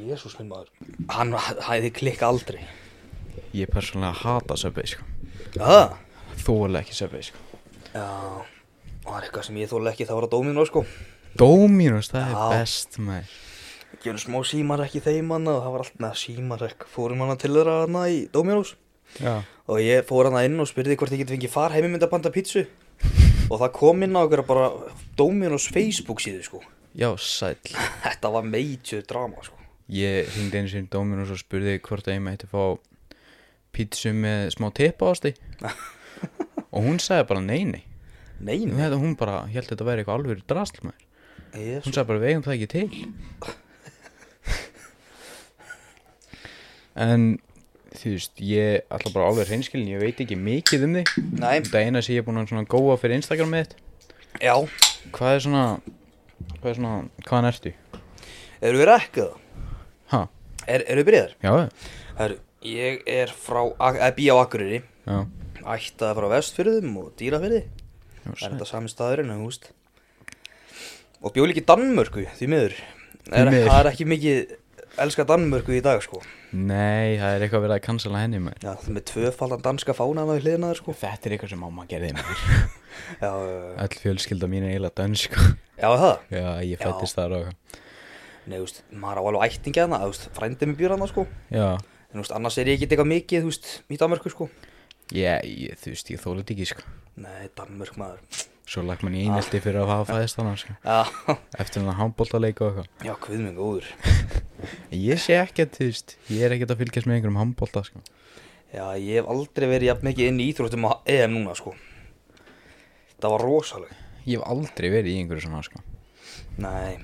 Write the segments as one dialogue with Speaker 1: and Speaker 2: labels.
Speaker 1: Jésús minn maður Hann hæði klikka aldrei
Speaker 2: Ég persónulega hata Subway sko
Speaker 1: Já,
Speaker 2: Þóla ekki Subway sko
Speaker 1: já Það er eitthvað sem ég þóla ekki það var að dóminu sko
Speaker 2: Dominos, það er
Speaker 1: Já.
Speaker 2: best maður
Speaker 1: Gjörum smá símarek í þeim manna og það var allt með símarek Fórum hana til þeirra hana í Dominos
Speaker 2: Já
Speaker 1: Og ég fór hana inn og spurði hvort ég geti fengið far heimimyndabanda pítsu Og það kom inn á okkur bara Dominos Facebook síðu sko
Speaker 2: Já, sæll
Speaker 1: Þetta var meitjöð drama sko
Speaker 2: Ég hringdi einu sinni í Dominos og spurði hvort að ég mætti fá pítsu með smá teppa ásti og hún sagði bara nei nei
Speaker 1: Nei,
Speaker 2: En þetta, hún bara, ég held þetta væri eitthvað alveg drasl maður
Speaker 1: Jésús
Speaker 2: hún sagði bara við eigum það ekki til en þú veist ég ætla bara alveg hreinskilin, ég veit ekki mikið um þig
Speaker 1: Nei,
Speaker 2: þetta eina sem ég er búin að svona góa fyrir Instagram mitt
Speaker 1: já,
Speaker 2: hvað er svona hvað er svona, hvaðan ertu?
Speaker 1: eru við rekkuð?
Speaker 2: ha,
Speaker 1: Er, eru við breyðar?
Speaker 2: já,
Speaker 1: Herru, ég er frá, eða býja á Akureyri,
Speaker 2: já
Speaker 1: ættaði frá vestfyrðum og dýrafyrði,
Speaker 2: já,
Speaker 1: það er
Speaker 2: sæll.
Speaker 1: þetta sami staðurinn, þú veist. Og bjó líka í Danmörku, því miður.
Speaker 2: Því
Speaker 1: Er,
Speaker 2: miður.
Speaker 1: það er ekki mikið, elska Danmörku í dag, sko.
Speaker 2: nei, það er eitthvað verið að cancela henni maður
Speaker 1: Já, það er með tvöfaldan danska fánaða við hliðinaður, sko.
Speaker 2: þetta er eitthvað sem mamma gerði maður
Speaker 1: Já, já, já.
Speaker 2: all fjölskylda mín er eiginlega dönsk sko.
Speaker 1: já, það.
Speaker 2: já, ég
Speaker 1: Já.
Speaker 2: fættist þar og
Speaker 1: Nei, þú veist, maður á alveg ættingi að það, þú veist, frændið mér býr að það, sko.
Speaker 2: já,
Speaker 1: En, þú veist, annars er ég ekki eitthvað mikið, þú veist, í Danmörku, sko.
Speaker 2: ég, ég, þú veist, ég þóla þetta ekki sko
Speaker 1: Nei, Danmörk, maður.
Speaker 2: Svo lagt mann í einelti fyrir að hafa fæðist hann sko.
Speaker 1: Já,
Speaker 2: Eftir hann að handbóltaleika og eitthvað
Speaker 1: já, hvað minn góður.
Speaker 2: Ég sé ekkert, þú veist Ég er ekkert að fylgjast með einhverjum handbólta sko.
Speaker 1: Já, ég hef aldrei verið jafn mikið inn í íþróttum á EM núna, sko. Það var rosaleg.
Speaker 2: Ég hef aldrei verið í einhverju svona sko.
Speaker 1: Nei,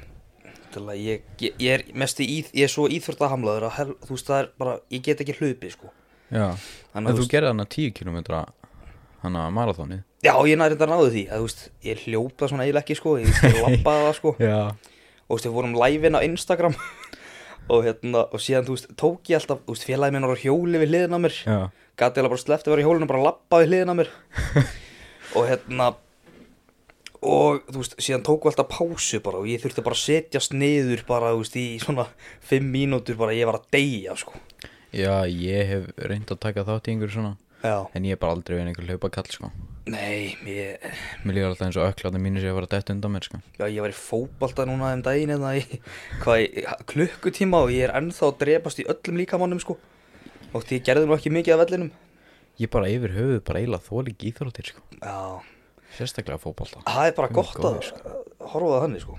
Speaker 1: til að ég, ég, ég er mest í, íþ- ég er svo íþróttahamlaður að, hel, þú veist, það er bara, ég get ekki hlupið, sko.
Speaker 2: Já
Speaker 1: Þannig að
Speaker 2: En
Speaker 1: þú
Speaker 2: þú
Speaker 1: veist-
Speaker 2: gerði hann að 10 km Hann að marathonið
Speaker 1: Já, ég næri þetta náðu því, að þú veist, ég hljópa svona eiginlega ekki, sko, ég, ég lappaði það, sko.
Speaker 2: Já
Speaker 1: Og þú veist, við vorum live-in á Instagram og hérna, og síðan, þú veist, tók ég alltaf, þú veist, félagið minn var á hjóli við hliðina á mér.
Speaker 2: Já
Speaker 1: Gat ég alveg bara sleppt að vera í hólunum bara lappaði hliðina á mér og hérna og þú veist, síðan tóku alltaf pásu bara og ég þurfti bara að setjast niður bara, þú veist, í svona fimm mínútur bara ég var að deyja, sko
Speaker 2: Já, ég hef reynd að taka þátt í einhverju svona
Speaker 1: Já,
Speaker 2: En ég er bara aldrei verið einhver hlaupakall sko.
Speaker 1: nei, ég,
Speaker 2: Mér líður alltaf eins og ökklaðna mínu sem ég var að detta undan mér sko.
Speaker 1: já, ég var í fótbalta núna um daginn eða í, hvað, í, klukkutíma og ég er ennþá að drepast í öllum líkamannum, sko og því ég gerði nú ekki mikið af vellinum
Speaker 2: Ég bara yfir höfuð bara eiginlega þoli ekki íþróttir sko.
Speaker 1: Já,
Speaker 2: Sérstaklega fótbolta
Speaker 1: það er bara
Speaker 2: Guð
Speaker 1: gott að
Speaker 2: góður,
Speaker 1: horfa það þannig, sko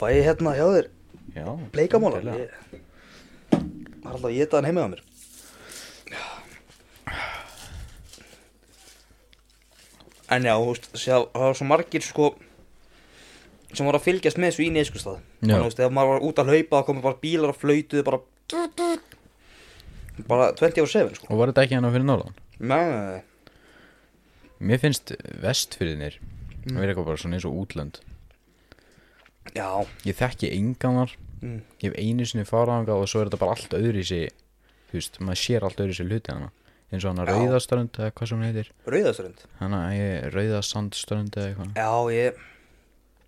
Speaker 1: Fæ ég hérna hjá þér
Speaker 2: Já
Speaker 1: Bleikamálar
Speaker 2: endilega.
Speaker 1: Ég var alltaf að geta hann heima á mér En já, þú veist, sjá, það var svo margir sko sem voru að fylgjast með þessu í neðskustad
Speaker 2: Já.
Speaker 1: Þannig, þú veist, ef maður var út að hlaupa þá komu bara bílar að flöytuðu bara bara 24-7 sko
Speaker 2: Og var þetta ekki hann fyrir norðan?
Speaker 1: Nei,
Speaker 2: Mér finnst vestfyrirnir mm. vera eitthvað bara svona eins og útlönd
Speaker 1: já,
Speaker 2: Ég þekki enganar
Speaker 1: Mm.
Speaker 2: Ég hef einu sinni faranga og svo er þetta bara allt öðru í sig Þú veist, maður sér allt öðru í sig hluti hana eins og hana
Speaker 1: Já.
Speaker 2: rauðaströnd eða hvað sem hún heitir
Speaker 1: rauðaströnd
Speaker 2: hana ég, rauðasandströnd eða eitthvað
Speaker 1: Já, ég,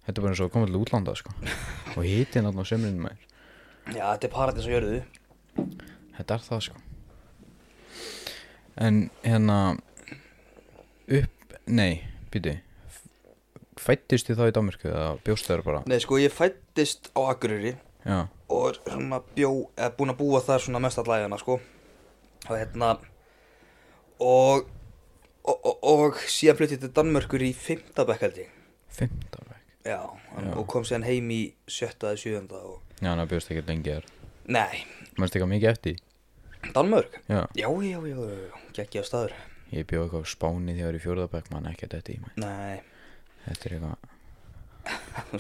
Speaker 2: Þetta er bara eins og að koma til útlanda sko og hitin hann á sömurinn maður
Speaker 1: já, þetta er paradís á jörðu
Speaker 2: Þetta er það sko En hérna upp, nei, býtu Fættist þið þá í Danmarku eða bjóst þeir bara
Speaker 1: Nei, sko, ég fættist á Akureyri
Speaker 2: Já,
Speaker 1: og er svona bjó, eða búin að búa þar svona mest allæðina sko og hérna og og, og, og síðan flutti ég til Danmörkur í 5. bekk held ég
Speaker 2: fimmtarveg
Speaker 1: já, já, og kom síðan heim í 7. eða 7. og
Speaker 2: Já, hann bjóst ekkert lengi þar
Speaker 1: nei,
Speaker 2: Mannst eitthvað mikið eftir því?
Speaker 1: Danmörk
Speaker 2: Já
Speaker 1: já, já, já, já, já, geggja staður
Speaker 2: Ég bjóð eitthvað á Spáni þegar ég var í fjórðabæk mann ekkert eftir því maður.
Speaker 1: nei,
Speaker 2: Þetta er eitthvað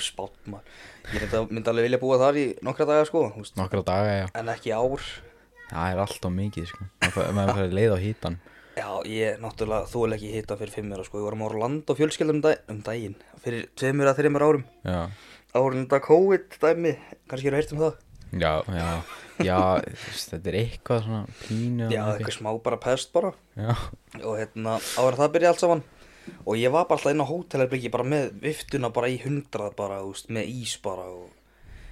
Speaker 1: spátt maður ég reyndi að- myndi alveg vilja búa þar í nokkra daga sko húst,
Speaker 2: Nokkra daga, já
Speaker 1: en ekki ár
Speaker 2: Það er alltaf mikið, sko Maður fær- Maður færi leið á hítan
Speaker 1: já, ég náttúrulega þóla ekki hita fyrir 5 ára sko, ég var á Orlando fjölskeldum um, dag, um daginn fyrir 2 að 3 árum
Speaker 2: Já
Speaker 1: árunda COVID dæmi, kannski eru heyrt um það
Speaker 2: Já, já Já, þú veist, þetta er eitthvað svona pínu
Speaker 1: Já,
Speaker 2: eða
Speaker 1: eitthvað smá bara pest bara
Speaker 2: Já
Speaker 1: og hérna, áður en það byrja allt saman og ég var bara alltaf inn á hótelherbyggi bara með viftuna bara í hundrað bara, þú veist, með ís bara og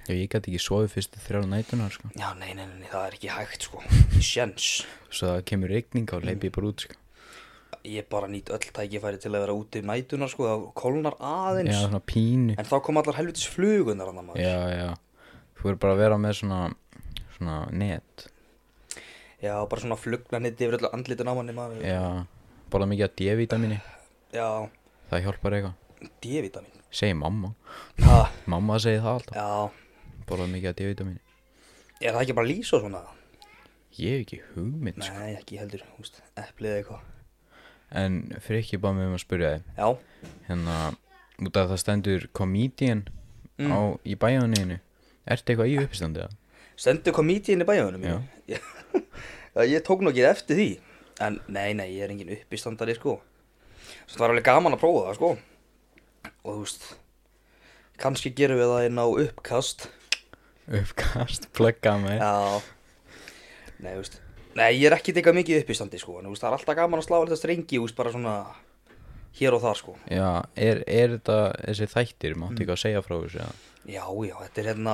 Speaker 2: Já, ég gæti ekki sofið fyrstu þrjá nætunar sko.
Speaker 1: Já, nei, nei, nei, nei, það er ekki hægt sko Sjens
Speaker 2: Svo það kemur regning og leipi ég bara út sko.
Speaker 1: Ég bara nýt öll tækifæri til að vera úti um nætuna sko Það kólnar
Speaker 2: Já,
Speaker 1: aðeins
Speaker 2: svona pínu
Speaker 1: En þá kom allar helvitis flugunar annar maður
Speaker 2: Já, já Þú verður bara að vera með svona Svona net
Speaker 1: Já, bara svona flugnanetti yfir öllu andlitin á manni maður
Speaker 2: Já, bara mikið að D-vitamini
Speaker 1: Já,
Speaker 2: Það hjálpar eitthvað
Speaker 1: D-vitamin
Speaker 2: Segir mamma
Speaker 1: Ha,
Speaker 2: Mamma segir það alltaf
Speaker 1: Já,
Speaker 2: Bara mikið að D-vitamini
Speaker 1: er það ekki bara lýsa og svona?
Speaker 2: Ég hef ekki hugmynd sko.
Speaker 1: Nei, ekki heldur, húst, eplið eða eitthvað
Speaker 2: En fyrir ekki bara með um að spyrja þig
Speaker 1: Já,
Speaker 2: Hérna Út af það stendur comedian á, Í bæjaninu Ertu eitthvað í uppstandi það?
Speaker 1: sendu komítiðin í bæjónum
Speaker 2: Já.
Speaker 1: Ég, ég tók nokkið eftir því En nei, nei, ég er engin uppistandari sko Svo það var alveg gaman að prófa það sko Og þú veist kannski gerum við það inn á uppkast
Speaker 2: Uppkast, plugga mig
Speaker 1: Já Nei, þú veist Nei, ég er ekki teka mikið uppistandi sko En þú veist, það er alltaf gaman að slá alltaf strengi Þú veist, bara svona Hér og þar sko
Speaker 2: Já, er, er þetta þessi þættir, máttu eitthvað að segja frá þessu eða?
Speaker 1: Já, já, þetta er hérna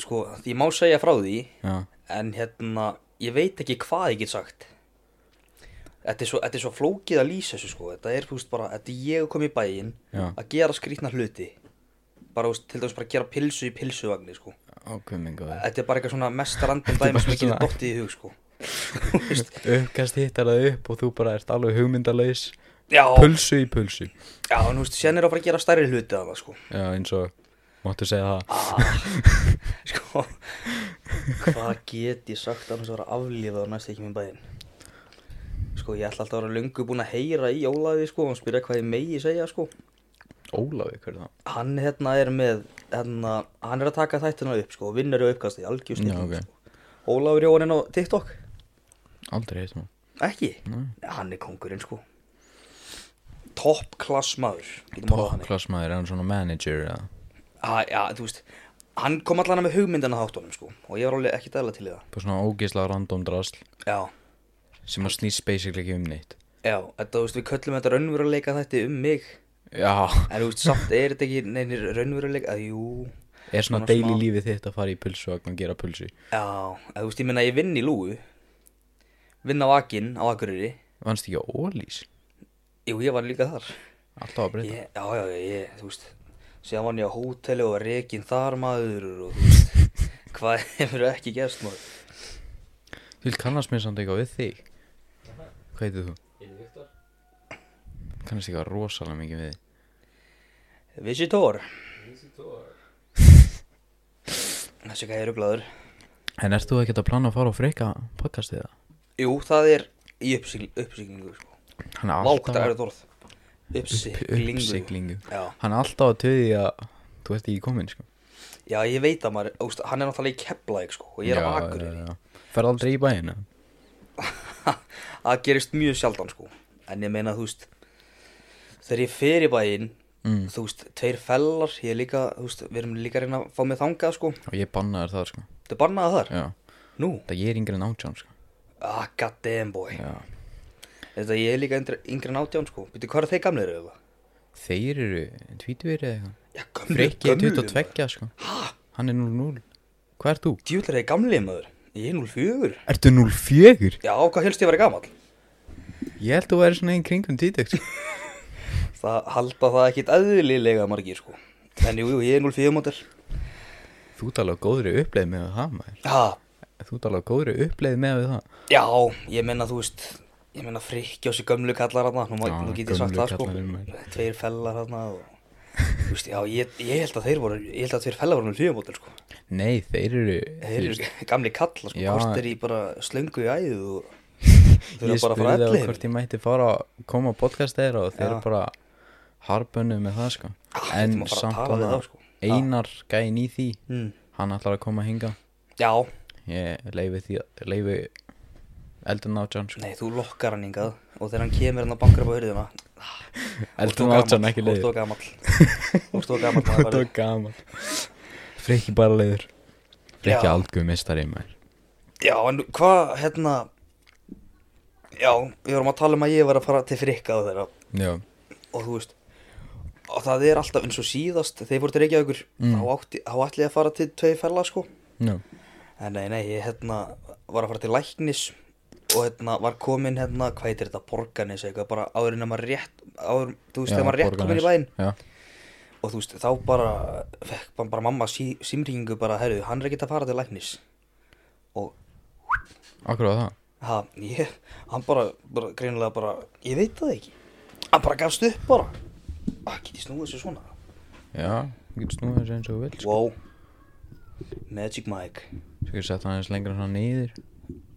Speaker 1: Sko, ég má segja frá því
Speaker 2: Já,
Speaker 1: En hérna, ég veit ekki hvað ég get sagt Þetta er svo, þetta er svo flókið að lýsa þessu sko Þetta er, þú veist, bara, þetta er ég að koma í bæinn
Speaker 2: Já.
Speaker 1: Að gera skrýtna hluti Bara, þú veist, til dæmis bara gera pilsu í pilsuvagni, sko
Speaker 2: ákveðmingu
Speaker 1: Þetta er bara eitthvað svona mest random dæmi sem ég
Speaker 2: svona-
Speaker 1: getur dottið í hug, sko Þú veist,
Speaker 2: Uppkast hittar það upp og þú bara ert alveg hugmyndalaus
Speaker 1: Já,
Speaker 2: Pulsu í pulsu
Speaker 1: já, en þú veist, sérna er að fara að gera stærri hluti af það, sko
Speaker 2: Já, eins og, máttu segja það
Speaker 1: Ah. Sko, hvað get ég sagt annars að vera aflífað og næst ekki minn bæðin? Sko, ég ætla alltaf að vera löngu búinn að heyra í Ólaði, sko, og spyrja hvað ég megi segja, sko.
Speaker 2: Ólafi, hver er það?
Speaker 1: Hann hérna er með, hérna, hann er að taka þættina upp, sko, og vinnur í uppkasti, algjör
Speaker 2: Já,
Speaker 1: stilling,
Speaker 2: ok.
Speaker 1: sko. Ólaður Jóhann er á TikTok,
Speaker 2: Aldrei heitum það
Speaker 1: ekki? Nei. Hann er kongurinn, sko. Top class maður, getum orðað hann.
Speaker 2: Toppklassmaður, er hann svona manager eða?
Speaker 1: Ah, já, þú veist, hann kom allan með hugmyndana þáttunum, sko, og ég var alveg ekki dæla til í það.
Speaker 2: Bara svona ógeðslega random drasl
Speaker 1: Já.
Speaker 2: Sem að snýst basically ekki um neitt
Speaker 1: Já, þetta, þú veist, við köllum þetta raunveruleika þetta um mig
Speaker 2: Já
Speaker 1: En þú veist, samt er þetta ekki neynir raunveruleika að jú
Speaker 2: Er svona
Speaker 1: Svona
Speaker 2: daily
Speaker 1: smá-
Speaker 2: lífið þitt að fara í pulsu og að gera pulsu
Speaker 1: Já, að, þú veist, ég minna að ég vinn í lúu Vinn á Akin, á Akureyri
Speaker 2: Vannst ekki á ólís?
Speaker 1: Jú, ég var líka þar
Speaker 2: Alltaf að breyta
Speaker 1: ég, Já, já, já, ég, þú veist Síðan var ég á hóteli og var rekin þar maður og þú veist Hvað hefur ekki gerst maður
Speaker 2: Þú vil kannast mér samt eitthvað við þig Hvað heitir þú? Ég er Viktor Kannast eitthvað rosalega mikið við þig
Speaker 1: Visitor Þessi hvað ég er upplæður
Speaker 2: En ert þú ekkert að plana að fara á freka podcastið það?
Speaker 1: Jú, það er í uppsigl- uppsiglingu, sko
Speaker 2: Hann
Speaker 1: Vákt,
Speaker 2: er
Speaker 1: það
Speaker 2: alltaf
Speaker 1: er þetta orð Uppsiglingu
Speaker 2: uppsiglingu
Speaker 1: Já.
Speaker 2: Hann er alltaf að töði að þú ert ekki komin sko
Speaker 1: Já, ég veit að maður, óst, hann er náttúrulega í Keflæk sko, og ég er á Akureyri.
Speaker 2: Fer aldrei í bæina
Speaker 1: Það gerist mjög sjaldan sko, en ég meina, þú veist, þegar ég fer í bæinn,
Speaker 2: Mm.
Speaker 1: þú veist, tveir fellar, ég er líka, þú veist, við erum líka að reyna að fá mig þangað sko,
Speaker 2: Og ég bannaði það sko
Speaker 1: þau bannaði þar.
Speaker 2: Já
Speaker 1: Nú,
Speaker 2: Það ég er yngri en átján sko
Speaker 1: ah, god damn boy,
Speaker 2: Já
Speaker 1: þetta ég er líka yngri, yngri en átján sko, veitu, hvað eru þeir gamlir eða?
Speaker 2: Þeir eru tvítuðir eða eitthvað
Speaker 1: Já, gamlir,
Speaker 2: Freki er 22 sko Hæ? Hann er 00 Hvað ert þú?
Speaker 1: Djúlar er þeir gamlir maður, ég er 04.
Speaker 2: Ertu 04?
Speaker 1: Já, hvað helst ég verið gamall?
Speaker 2: Ég held þú væri svona einn kringum tvítugt sko.
Speaker 1: Það halda það ekkit aðlilega margir sko, en jú, jú, ég er 04 mótel.
Speaker 2: Þú tala á góðri uppleið með það maður
Speaker 1: Ha,
Speaker 2: Þú tala á góðri uppleið með það
Speaker 1: Já, ég menna, þú veist, ég menna frikki á sér gömlu kallar hana, nú,
Speaker 2: Já,
Speaker 1: má- nú get ég sagt
Speaker 2: gömlu
Speaker 1: það sko,
Speaker 2: kallarnir, maður.
Speaker 1: tveir fellar hana og, þú veist, já, ég, ég held að þeir voru, ég held að tveir fellar voru með hljóðmótel sko,
Speaker 2: Nei, þeir eru
Speaker 1: þeir eru gamli kallar sko,
Speaker 2: Já.
Speaker 1: hvort er í bara slöngu í æðu og þau eru bara að
Speaker 2: Ég
Speaker 1: fara
Speaker 2: spurði
Speaker 1: allir,
Speaker 2: þá hvort ég mætti fara að koma á podcast þeirra og þeir
Speaker 1: Já.
Speaker 2: bara harbönnuð með það sko
Speaker 1: Ah,
Speaker 2: En
Speaker 1: þetta má fara að
Speaker 2: samt
Speaker 1: tala við
Speaker 2: hana
Speaker 1: þá, sko. Já.
Speaker 2: Einar gæin í því
Speaker 1: Mm.
Speaker 2: Hann ætlar að koma að hinga
Speaker 1: já,
Speaker 2: Ég leifi því að leifi Eldun átján sko
Speaker 1: nei, þú lokkar hann hingað og þegar hann kemur hann að bankra upp á hörðina,
Speaker 2: Eldun átján ekki leifi
Speaker 1: orðstu og gamall, orðstu og gamall, maður
Speaker 2: Þetta
Speaker 1: bara-
Speaker 2: var gaman Freki bara leiður Freki
Speaker 1: Já.
Speaker 2: algjör mistari maður
Speaker 1: Já, en hvað, hérna, já, við vorum að tala um að ég var að fara til frikka á þeirra
Speaker 2: Já
Speaker 1: og þú veist og það er alltaf eins og síðast þegar ég fór til Reykjavíkur þá, átti, þá ætli ég að fara til tvei ferla sko
Speaker 2: no.
Speaker 1: en nei, nei, ég hérna var að fara til læknis og hérna var komin hérna, hvað heitir þetta, borganis eitthvað, bara áður en að maður rétt áður, þú veist, þegar maður rétt komin í bæinn
Speaker 2: já,
Speaker 1: og þú veist, þá bara fekk bara, bara mamma sí, símringu bara, herru, hann er ekkert að fara til læknis og
Speaker 2: akkurat það
Speaker 1: ha, ég, hann bara, bara greinilega bara, ég veit það ekki hann bara gafst upp bara að geti snúið þessu svona
Speaker 2: já, þú getur snúið þessu eins og þú vil sko.
Speaker 1: wow, Magic Mike
Speaker 2: svo getur sett það aðeins lengra svona niður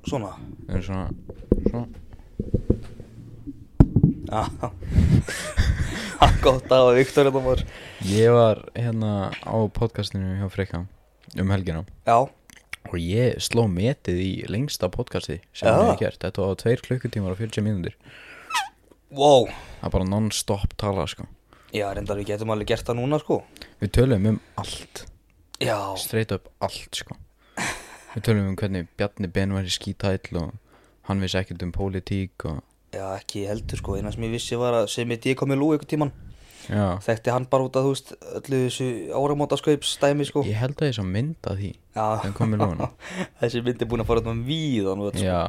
Speaker 1: svona
Speaker 2: það er svona, svona
Speaker 1: ah, gott að hafa Viktor hérna, þetta var
Speaker 2: ég var hérna á podcastinu hjá Freyka um helgina
Speaker 1: já,
Speaker 2: og ég sló metið í lengsta podcasti sem ég
Speaker 1: Já.
Speaker 2: hef gert þetta var tveir klukkutímar og 40 mínútur
Speaker 1: wow
Speaker 2: það er bara non-stop tala sko
Speaker 1: já, reyndar við getum alveg gert það núna sko
Speaker 2: við tölum um allt
Speaker 1: já,
Speaker 2: straight up allt sko við tölum um hvernig Bjarni Ben var í skítæll og hann vissi ekkert um pólitík og
Speaker 1: já, ekki heldur sko eina sem ég vissi var að sem ég kom í lú ykkur tíman
Speaker 2: já,
Speaker 1: þekkti hann bara út að þú veist öllu þessu áramótaskaups dæmi sko
Speaker 2: ég held að ég sá mynd að því
Speaker 1: já,
Speaker 2: hann kom í lúna
Speaker 1: þessi myndi búin að fara út með víðan og
Speaker 2: já,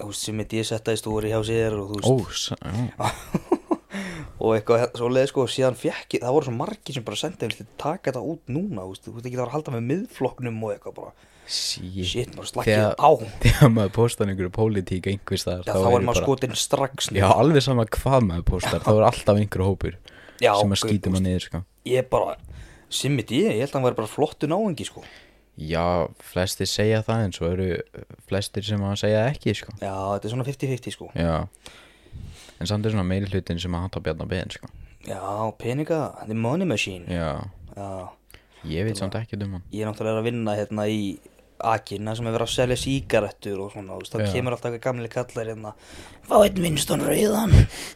Speaker 1: þú veist sem myndi ég setta í stóri hjá sér og þú
Speaker 2: ó,
Speaker 1: veist
Speaker 2: sa-
Speaker 1: Ah,
Speaker 2: já,
Speaker 1: og eitthvað svo leið sko síðan fekk ég, það voru svo margir sem bara sendið mér til taka þetta út núna þú veist, þú veist ekki það var að halda með miðflokknum og eitthvað bara
Speaker 2: shit
Speaker 1: shit maður slakkið
Speaker 2: Þegar-
Speaker 1: á
Speaker 2: þegar maður postar einhverju pólitík einhvers þar
Speaker 1: Já, þá er maður skotin strax
Speaker 2: já, alveg sama hvað maður postar þá er alltaf einhverju hópur
Speaker 1: Já,
Speaker 2: sem
Speaker 1: guð,
Speaker 2: að skýta maður niður sko
Speaker 1: ég bara sem myndi ég, ég held að hann væri bara flottu náengi sko
Speaker 2: já, flestir segja það en svo eru flestir sem að segja ekki sko
Speaker 1: já, þetta er svona 50-50 sko
Speaker 2: já en samt er svona meiri hlutin sem að hata Bjarni Ben sko
Speaker 1: já, peninga, the money machine
Speaker 2: já,
Speaker 1: já
Speaker 2: Ég veit samt ekkert um hann
Speaker 1: ég er náttúrulega að vinna hérna í Akina sem er verið að selja sígarettur og svona, þú veist, þá
Speaker 2: Já.
Speaker 1: kemur alltaf gamli kallar hérna, fá einn vinstan rauðan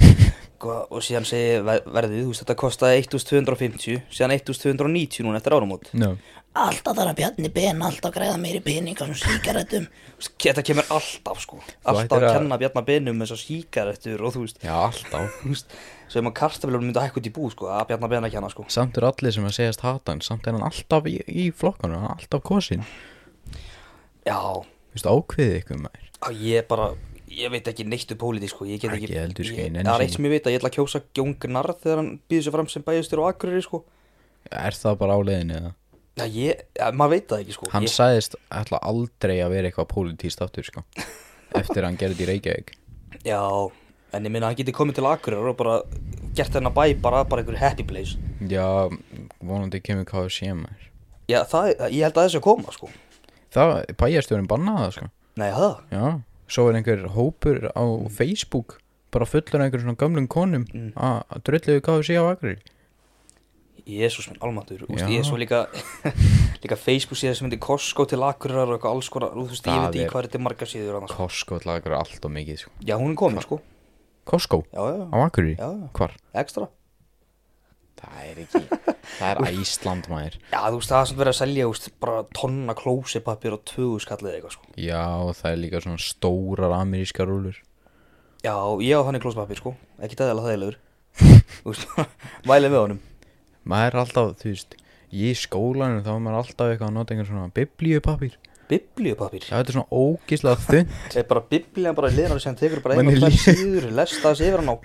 Speaker 1: Hva- og síðan segi ver- verðið, þú veist, þetta kostaði 1250, síðan 1290 núna eftir áramót
Speaker 2: no.
Speaker 1: Alltaf þarf að bjarni ben, alltaf græða meiri pening á svona sígarettum Þetta kemur alltaf, sko, alltaf
Speaker 2: ættir
Speaker 1: að
Speaker 2: að-
Speaker 1: kenna bjarni benum með þessar sígarettur og þú veist,
Speaker 2: Já, alltaf
Speaker 1: þú veist, sem að kartaflunum myndi að hækka út í bú, sko, að bjarni ben að kenna, sko
Speaker 2: Samt er allir sem að segjast hata hann Samt er hann alltaf í, í flokkanu Hann er alltaf kosin
Speaker 1: Já,
Speaker 2: Vist, Ákveðið ykkur maður
Speaker 1: Já, ég bara, ég veit ekki neitt um pólitík sko, ég get
Speaker 2: Ekki
Speaker 1: ekki
Speaker 2: heldur, sko, ég nenni
Speaker 1: Það er
Speaker 2: því
Speaker 1: eitt sem ég veit að ég ætla að kjósa Jón Gnarð þegar hann býður sér fram sem bæjastur á Akureyri sko
Speaker 2: Er það bara áleiðin eða?
Speaker 1: Já, ég, ja, maður veit það ekki sko
Speaker 2: Hann
Speaker 1: ég,
Speaker 2: sagðist ætla aldrei að vera eitthvað pólitíst aftur sko Eftir að hann gerði þetta í Reykjavík
Speaker 1: Já, en ég minna hann geti komið til Akureyri og bara gert hennar bæ bara, bara einhver happy place
Speaker 2: Já, vonandi kemur hvað að sé maður
Speaker 1: Já, það, ég held að þessi að koma sko
Speaker 2: Það, bæjarstjórinn bannaði það sko
Speaker 1: Nei, það,
Speaker 2: Já, svo er einhver hópur á Facebook Bara fullur af einhverjum svona gamlum konum Að Mm. mm. drulluðu hvað að sé á Akri
Speaker 1: Jésús minn, almatur Úst,
Speaker 2: Já.
Speaker 1: Ég er svo líka, líka Facebook síðan sem myndi Costco til Akureyri og eitthvað alls konar Þú veist, ég
Speaker 2: Það
Speaker 1: veit ekki
Speaker 2: er-
Speaker 1: hvað þetta er margar síður annars
Speaker 2: Costco ætlaði að gera allt og mikið sko
Speaker 1: Já, hún er komin sko
Speaker 2: Costco?
Speaker 1: Já, já,
Speaker 2: Á Akureyri?
Speaker 1: Já, já.
Speaker 2: Hvar?
Speaker 1: ekstra
Speaker 2: Það er ekki, það er Æsland maður
Speaker 1: Já, þú veist, það er samt verið að selja, þú veist, bara tonna klósipapir og tvögu skallið eitthvað, sko.
Speaker 2: Já, og það er líka svona stórar amerískar rúlur
Speaker 1: Já, ég á þannig klósipapir, sko. Ekki dæðilega þægilegur. þú veist, mælið með honum.
Speaker 2: Maður er alltaf, þú veist, ég í skólanum þá er maður alltaf eitthvað að nota einhvern svona biblíupapír Já,
Speaker 1: Bibliopapir.
Speaker 2: þetta er svona ógislega þunn
Speaker 1: Það er bara biblían bara í liðan sem tekur bara
Speaker 2: Manni
Speaker 1: einu og
Speaker 2: líður-
Speaker 1: tvær síður, lesta þessi yfir hann á.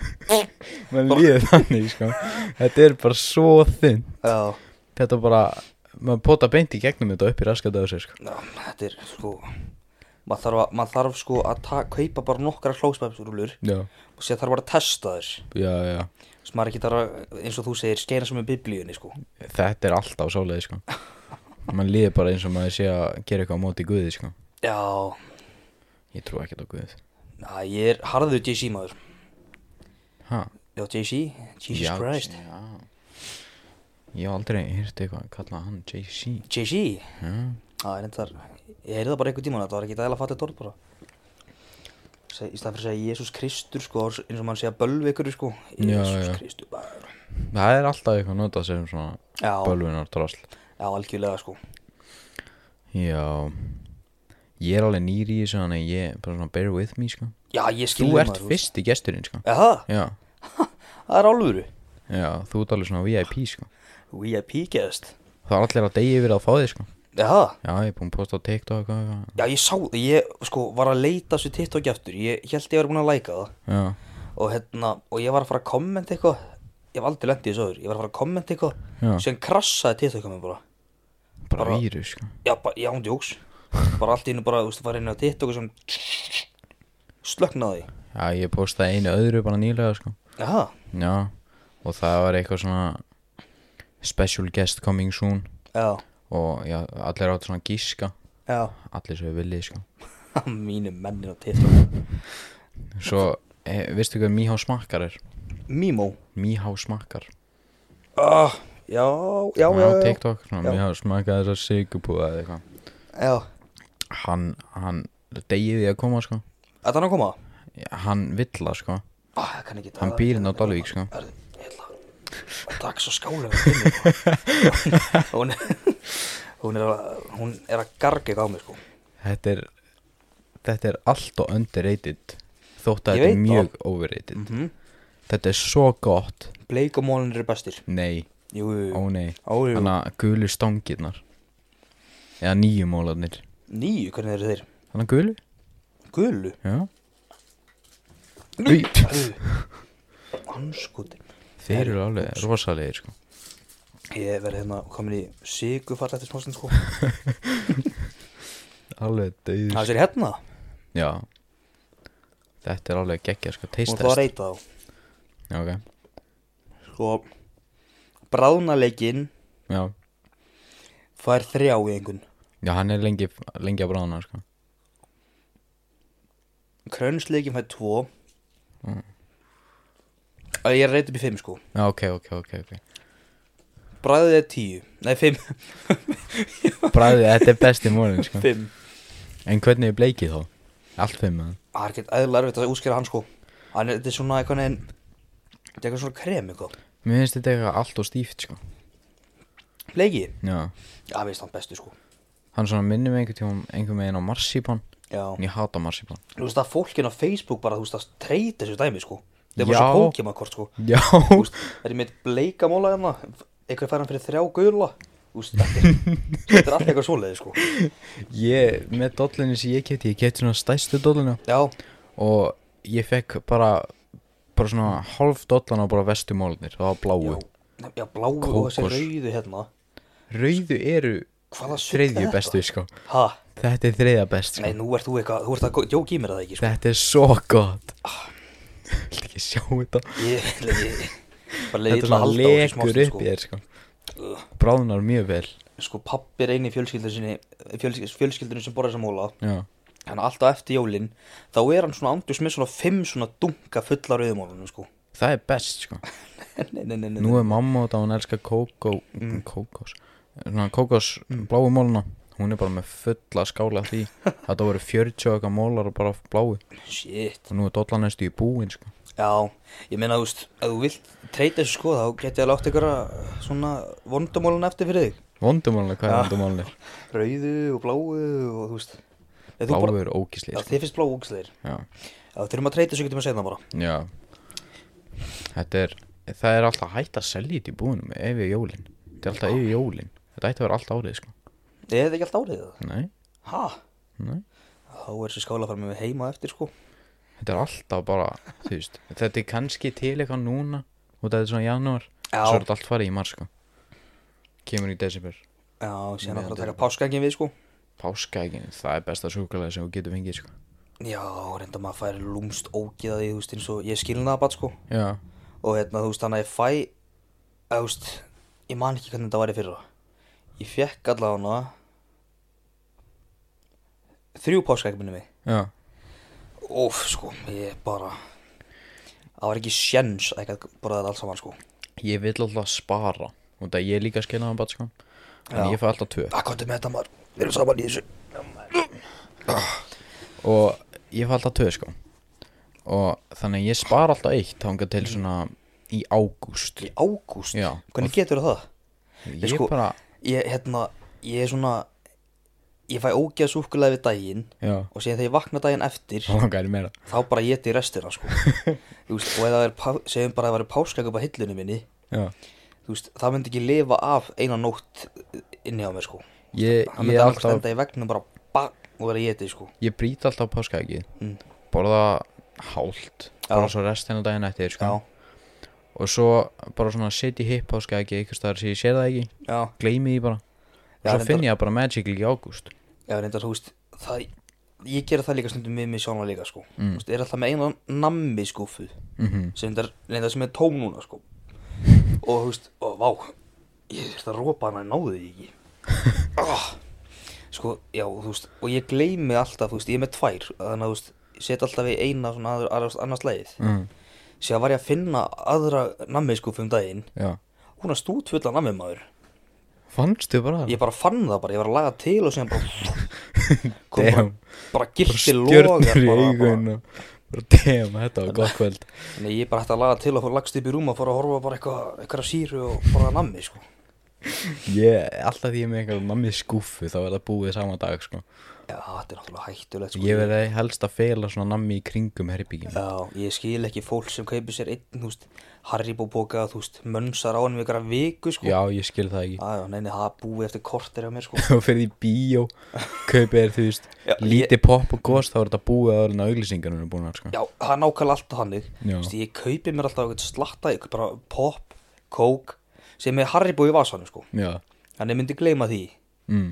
Speaker 2: Maður líður þannig, sko Þetta er bara svo þunn
Speaker 1: Já,
Speaker 2: Þetta er bara, maður pota beint í gegnum þetta og upp í raskat á sér, sko
Speaker 1: já, þetta er, sko, maður þarf, að, maður þarf sko, að ta- kaupa bara nokkra klósipapirrúlur
Speaker 2: Já,
Speaker 1: og sér þarf bara að testa þess.
Speaker 2: já, já
Speaker 1: Þess maður ekki þarf að, eins og þú segir, skeina sem er biblíunni, sko.
Speaker 2: Þetta er alltaf svoleiði, sko Maður líður bara eins og maður sé að gera eitthvað á móti guði, sko
Speaker 1: Já,
Speaker 2: Ég trú ekkert á guð
Speaker 1: na, ég er harður JC maður.
Speaker 2: Ha?
Speaker 1: Já, JC, Jesus
Speaker 2: Já,
Speaker 1: Christ
Speaker 2: já. Ég hef aldrei hýrt eitthvað að kalla hann JC
Speaker 1: JC,
Speaker 2: Já,
Speaker 1: það er reyndar Ég heyrði það bara einhvern tímann, þetta var ekki dæla fallið orð bara Seg, Í staðan fyrir að segja Jésús Kristur sko, þá er eins og mann segja bölveikur sko
Speaker 2: Já,
Speaker 1: Jésús
Speaker 2: já.
Speaker 1: Kristur maður
Speaker 2: Það er alltaf eitthvað notað sem svona
Speaker 1: Já.
Speaker 2: bölvunar drasl
Speaker 1: Já, algjörlega sko
Speaker 2: Já Ég er alveg nýr í þessu Þannig að ég bara svona bear with me sko
Speaker 1: Já, ég
Speaker 2: Þú
Speaker 1: skilði
Speaker 2: ert fyrsti gesturinn sko
Speaker 1: Já, það,
Speaker 2: Já,
Speaker 1: það er álfuru
Speaker 2: Já, þú ert alveg svona VIP sko
Speaker 1: VIP guest
Speaker 2: Það er allir að degi yfir að fá þig sko
Speaker 1: Já,
Speaker 2: Já, ég er búin að posta á TikTok og eitthvað
Speaker 1: já ég sá það, ég sko var að leita þessu TikTok eftir Ég held ég var búin að læka það
Speaker 2: Já,
Speaker 1: og, hérna, og ég var að fara að kommenta eitthvað Ég var aldrei lendið þessu öður Ég var að fara að kommenta
Speaker 2: Já.
Speaker 1: eitthvað Sem krassaði TikTok að mér bara
Speaker 2: bara,
Speaker 1: Bara-
Speaker 2: vírus sko
Speaker 1: Já, bara, já, hún djóks Bara allt í hennu bara, þú veist, farið inn á TikTok og sem Slöknaði
Speaker 2: Já, ég postaði einu öðru bara nýlega sko
Speaker 1: Já,
Speaker 2: Já, og það var eitthvað svona Special guest coming soon
Speaker 1: já,
Speaker 2: Og já, allir áttu svona að gíska
Speaker 1: já
Speaker 2: Allir sem við viljið sko
Speaker 1: Mínu mennin á TikTok
Speaker 2: Svo, e, veistu hvað Míhá smakkar er?
Speaker 1: Mimo
Speaker 2: Míhá smakkar
Speaker 1: ah, Já, já,
Speaker 2: Hann
Speaker 1: já,
Speaker 2: er á
Speaker 1: já,
Speaker 2: TikTok, svona
Speaker 1: Já.
Speaker 2: Míhá smakkar þess að sigupúða eða eitthvað
Speaker 1: já.
Speaker 2: Hann, hann, degið því að koma sko
Speaker 1: Þetta er hann að koma?
Speaker 2: Já, Hann vill það sko
Speaker 1: Ah, ég kann ekki
Speaker 2: Hann býr inn á Dalvík sko
Speaker 1: Hörðu, ég ætla að drakk svo skála hún, hún, er að, hún er að garga eitthvað á mig sko
Speaker 2: Þetta er, þetta er allt og underrated Þótt að
Speaker 1: Ég
Speaker 2: þetta er
Speaker 1: veit Mhm.
Speaker 2: mjög overrated Þetta er svo gott
Speaker 1: Bleik og mólin eru bestir
Speaker 2: Nei,
Speaker 1: Jú,
Speaker 2: ó nei
Speaker 1: Ó, jú.
Speaker 2: Þannig að gulu stangirnar Eða nýju mólarnir
Speaker 1: nýju, hvernig eru þeir?
Speaker 2: Þannig að gulu,
Speaker 1: Gulu
Speaker 2: já Í.
Speaker 1: Anskutin
Speaker 2: Þeir eru alveg rosalegir sko
Speaker 1: Ég verði hérna komin í sigufall eftir smástund sko
Speaker 2: Alveg döð
Speaker 1: Það er hérna
Speaker 2: Já Þetta er alveg geggja sko,
Speaker 1: Hún
Speaker 2: taste
Speaker 1: er það að
Speaker 2: test
Speaker 1: reyta þá
Speaker 2: Já, ok
Speaker 1: Sko Bráðnaleikinn
Speaker 2: Já,
Speaker 1: fær þrjá í einhvern
Speaker 2: já hann er lengi, lengi að brána sko
Speaker 1: Krönsleikinn fær tvo mm. Ég er að reyta upp í fimm sko
Speaker 2: Já, ok, ok, ok, ok
Speaker 1: Bræðið er tíu Nei, fimm
Speaker 2: Bræðið, þetta er besti mólin sko
Speaker 1: Fimm
Speaker 2: En hvernig er bleikið þá? Allt fimm eða?
Speaker 1: Ah, Það er ekkert eðla erfitt að útskýra hann sko Hann er, þetta er svona eitthvað neginn Þetta er eitthvað svona krem eitthvað
Speaker 2: Mér finnst þetta eitthvað allt og stíft sko
Speaker 1: Leiki
Speaker 2: Já
Speaker 1: Já, við veist hann bestu sko
Speaker 2: Hann svona minnir mig einhvern tíma einhvern veginn á marsipan
Speaker 1: Já
Speaker 2: En ég hata marsipan
Speaker 1: Þú veist að fólkin á Facebook bara, þú veist að treyta þessu dæmi sko Það er bara
Speaker 2: Já.
Speaker 1: svo Pokémon kort sko
Speaker 2: Já
Speaker 1: Þú veist, það er mitt bleika móla hérna Eitthvað fær hann fyrir þrjá gula Þú veist, þetta er- þetta er alltaf eitthvað svoleiði sko
Speaker 2: Ég, með dollinu sem ég kefti Ég kefti svona stæstu dollinu
Speaker 1: Já,
Speaker 2: Og ég fekk bara Bara svona hálf dollan á bara vestu mólunir Það var
Speaker 1: já,
Speaker 2: bláu
Speaker 1: Nei, já bláu og
Speaker 2: Kókos.
Speaker 1: þessi rauðu hérna
Speaker 2: Rauðu eru
Speaker 1: Hvaða sull er
Speaker 2: þriðju
Speaker 1: þetta?
Speaker 2: bestu sko
Speaker 1: Ha,
Speaker 2: Þetta er þriðja best sko
Speaker 1: nei nú ert þú eitthvað, þú ert að jók í mér að það ekki sko
Speaker 2: Þetta er svo gott Viltu ekki sjá þetta
Speaker 1: Ah. Ég, ég, bara leiði illa
Speaker 2: Þetta
Speaker 1: að
Speaker 2: svona
Speaker 1: halda á þessu
Speaker 2: lekur
Speaker 1: smástund
Speaker 2: upp
Speaker 1: sko.
Speaker 2: í þér sko Bráðnar mjög vel
Speaker 1: Sko pappi er eini fjölskyldur sinni, fjölsky- fjölskyldunum sem borða þessa móla
Speaker 2: Já
Speaker 1: Þannig að alltaf eftir jólin, þá er hann svona andjus með svona fimm svona dunka fulla rauðumólunum sko
Speaker 2: Það er best sko
Speaker 1: Nei, nei, nei, nei
Speaker 2: Nú er mamma og það hún elskar kókó Kókós Svona kókós bláu móluna Hún er bara með fulla skála af því Þetta voru 40 og eitthvað mólar og bara bláu
Speaker 1: Shit
Speaker 2: Og nú er dollan næstu í búin sko
Speaker 1: Já, ég meina, þú veist, ef þú vilt treyta þessu sko, þá getið að láta ykkur svona vondumólun eftir fyrir þig
Speaker 2: Vondumálunir, hvað er vondumálunir?
Speaker 1: Rauðu og bláu og þú veist Ef þú
Speaker 2: Bláu
Speaker 1: bara-
Speaker 2: eru
Speaker 1: Já,
Speaker 2: ógísli sko.
Speaker 1: þið finnst blá úksleir
Speaker 2: Já.
Speaker 1: Já, þurfum að treyta þessu getum að segna bara
Speaker 2: Já Þetta er Það er alltaf hægt að selja þetta í búinum Ef ég jólin Þetta er alltaf yfir jólin Þetta ætti að vera allt árið sko
Speaker 1: Eða þetta ekki allt árið það?
Speaker 2: Nei,
Speaker 1: Ha?
Speaker 2: nei
Speaker 1: Þá er þessi skála fara með heima eftir sko
Speaker 2: Þetta er alltaf bara, þú veist, þetta er kannski til eitthvað núna út af þetta er svona janúar
Speaker 1: Já.
Speaker 2: svo er þetta allt farið í mars sko kemur í desember
Speaker 1: Já, síðan að fara að taka páskangin við sko
Speaker 2: páskaegin, það er besta súkulega sem þú getur fengið sko
Speaker 1: Já, reynda maður færi lúmst ógeða því, þú veist, eins og ég skilnaði bara sko
Speaker 2: Já,
Speaker 1: og hérna, þú veist, þannig að ég fæ að, þú veist, ég man ekki hvernig þetta var í fyrra ég fekk allavega þrjú páskaegg minni mig
Speaker 2: já,
Speaker 1: óf, sko, ég bara það var ekki sjens að ekki borða þetta allt saman, sko
Speaker 2: ég vil alltaf spara út af ég er líka skilnaðan bara sko en
Speaker 1: Já.
Speaker 2: ég fæ alltaf tvö
Speaker 1: að komdu með þetta maður, við erum saman í þessu
Speaker 2: og ég fæ alltaf tvö sko og þannig að ég spara alltaf eitt þangað til svona í ágúst
Speaker 1: í ágúst,
Speaker 2: Já.
Speaker 1: hvernig getur það?
Speaker 2: ég
Speaker 1: sko-
Speaker 2: bara,
Speaker 1: ég, hérna, ég er svona ég fæ ógeða súkulega við daginn
Speaker 2: já,
Speaker 1: og síðan þegar ég vakna daginn eftir
Speaker 2: þá langar ég meira
Speaker 1: þá bara geti ég restina sko Þú veist, og ef það er, pá- segjum bara að það væri páskakjöp á hillunni minni
Speaker 2: já.
Speaker 1: þú veist, það myndi ekki lifa af eina nótt inni á mér sko
Speaker 2: Ég,
Speaker 1: það
Speaker 2: ég,
Speaker 1: myndi
Speaker 2: er
Speaker 1: alveg
Speaker 2: alltaf,
Speaker 1: stenda í vegna bara bang og vera í eti sko
Speaker 2: ég brýt alltaf páskaegið
Speaker 1: mm.
Speaker 2: borða hált bara
Speaker 1: Já.
Speaker 2: svo restina daginn eftir
Speaker 1: já,
Speaker 2: sko. og svo bara svona setja hipp á skæki eitthvað staðar sem ég sér það ekki
Speaker 1: já,
Speaker 2: gleymi því bara og
Speaker 1: Já,
Speaker 2: svo
Speaker 1: reyndar-
Speaker 2: finn ég það bara magically í ágúst
Speaker 1: já, reyndar þú veist það, ég gera það líka stundum með mig sjálf líka sko
Speaker 2: Mm.
Speaker 1: þú veist, er alltaf með eina nammi skúfu
Speaker 2: mm -hmm.
Speaker 1: sem reyndar, reyndar sem er tóm núna sko og þú veist, og vá ég þurfti að rópa hana en náði því ekki ah, sko, já, þú veist og ég gleymi alltaf, þú veist, ég er með tvær þannig að þú veist, ég set alltaf í eina svona aður, aður, annars leið
Speaker 2: mm,
Speaker 1: Sér var ég að finna aðra nammi skúfu um daginn
Speaker 2: já
Speaker 1: Hún er stútfulla nammi maður
Speaker 2: fannstu bara það
Speaker 1: Ég bara fann það bara, ég var að laga til og síðan bara Kom bara,
Speaker 2: Damn.
Speaker 1: bara
Speaker 2: bara
Speaker 1: gilti logar
Speaker 2: stjörnur í
Speaker 1: bara,
Speaker 2: augun
Speaker 1: bara.
Speaker 2: og bara damn þetta var gott kvöld
Speaker 1: Þannig ég bara hætti að laga til og fór lagst upp í rúm og fór að horfa bara eitthvað eitthvað á síru og bara nammi sko
Speaker 2: ég, alltaf því ég er með eitthvað nammi skúfu þá er það búið sama dag sko.
Speaker 1: Já, þetta er náttúrulega hættulegt sko
Speaker 2: ég verði helst að fela svona nammi í kringum herbygjum
Speaker 1: Já, ég skil ekki fólk sem kaupir sér einn, þú veist, Haribo boka, þú veist, mönsar á hann við ykkur að viku sko
Speaker 2: já ég skil það ekki
Speaker 1: Já, já, neini, það búið eftir kortir á mér sko
Speaker 2: og ferði í bíó kaupið er þú veist
Speaker 1: Já,
Speaker 2: lítið popp og gos þá er þetta búið að orðin að auglýsingarnir er búin að sko.
Speaker 1: Já, það er nákvæmlega alltaf hannig
Speaker 2: Já.
Speaker 1: Vist, Ég kaupi mér alltaf eitthvað slatta eitthvað bara pop, kók sem er Haribo í vasanum sko
Speaker 2: já,
Speaker 1: Þannig ég myndi gleyma því
Speaker 2: mm.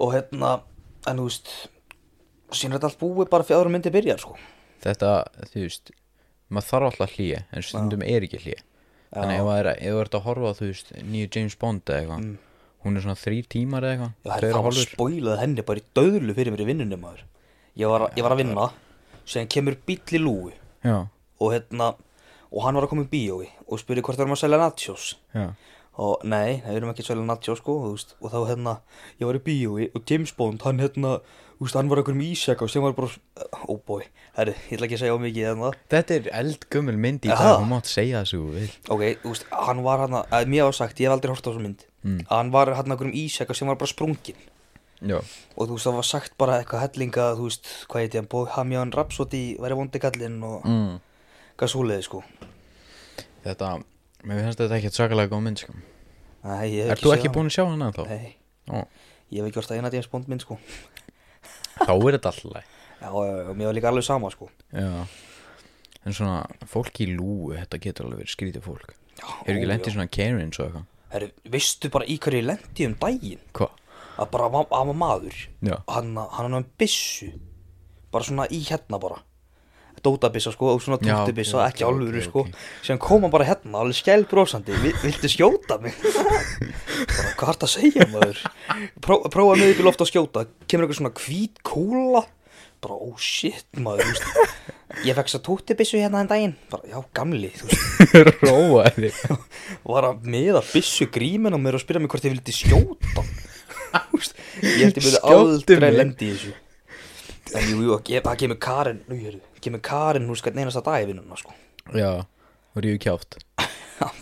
Speaker 1: og hérna, en þú veist síðan er þetta allt búið bara fyrir aðra myndi byrjar sko
Speaker 2: þetta þú veist maður þarf alltaf hlýja en stundum er ekki hlýja þannig ef maður er- ef þú ert að horfa á, þú veist nýju James Bond eða eitthvað hún er svona þrý tímar eða
Speaker 1: Mm. Já,
Speaker 2: eitthvað
Speaker 1: það er
Speaker 2: tveir og
Speaker 1: það
Speaker 2: hálfur
Speaker 1: spóilaði henni bara í döðlu fyrir mér í vinnunni maður Ég var, ég var að vinna, síðan kemur bíll í lúi
Speaker 2: já,
Speaker 1: og hérna, og hann var að koma í bíói og spurði hvort það erum að selja nachos
Speaker 2: já,
Speaker 1: og nei, nei, við erum ekki svolítið nattjó sko þú veist, og þá hérna, ég var í bíói og James Bond, hann hérna, þú veist, hann var einhverjum ísjaka sem var bara, ó oh boy herri, ég ætla ekki að segja á mikið hérna
Speaker 2: þetta er eldgömmul mynd í
Speaker 1: Aha.
Speaker 2: dag hún mátt segja þessu þú vil
Speaker 1: ok, þú veist, hann var hann að mér var sagt, ég hef aldrei hort á þessu mynd mm. að hann var hann einhverjum ísjaka sem var bara sprungin
Speaker 2: já,
Speaker 1: og þú veist, það var sagt bara eitthvað hellinga, þú veist, hvað heiti hann Bohemian Rhapsody, væri vondi kallinn og
Speaker 2: mm.
Speaker 1: hvað svoleiði sko
Speaker 2: þetta, mér finnst þetta ekki svakalega góð mynd sko.
Speaker 1: nei, ég hef
Speaker 2: er þú
Speaker 1: séð
Speaker 2: ekki
Speaker 1: hana.
Speaker 2: búin að sjá hana þá?
Speaker 1: nei,
Speaker 2: Ó,
Speaker 1: ég hef ekki hort að eina James Bond mynd sko
Speaker 2: þá er þetta alltaf læg
Speaker 1: já, já, já, mér var líka alveg sama sko
Speaker 2: Já En svona, fólk í lúu, þetta getur alveg verið skrítið fólk
Speaker 1: Já,
Speaker 2: Hefur ekki
Speaker 1: ó,
Speaker 2: lent í svona Karens og eitthvað
Speaker 1: Herru, veistu bara í hverju ég lendi um daginn?
Speaker 2: Hva?
Speaker 1: Að bara var, að var maður.
Speaker 2: Já.
Speaker 1: Hann, hann hann byssu. Bara svona í hérna bara. Dótabissa sko, og svona
Speaker 2: Já,
Speaker 1: tóftibissa,
Speaker 2: ok,
Speaker 1: ekki
Speaker 2: ok,
Speaker 1: alvöru
Speaker 2: ok,
Speaker 1: sko.
Speaker 2: ok.
Speaker 1: Sem kom hann bara hérna, alveg skæl brósandi. Viltu skjóta mig? bara, hvað er það að segja maður? Pró, prófa mig upp í loft að skjóta. Kemur eitthvað svona hvít kúla. Bara, oh shit maður, þú veist. Ég fekk svo tóftibissu hérna en daginn. Bara, já, gamli, þú veist
Speaker 2: Róa þig
Speaker 1: var að meða byssu grímin á mér og spyrja mig hvort ég vildi skjóta Þú veist, ég held ég myndi
Speaker 2: Skjóttu
Speaker 1: aldrei
Speaker 2: mig.
Speaker 1: lendi í þessu en jú, jú, ge- það kemur Karin nú, heru, kemur Karin hún skal neynast að dagi vinnuna sko.
Speaker 2: Já, og ríu kjáft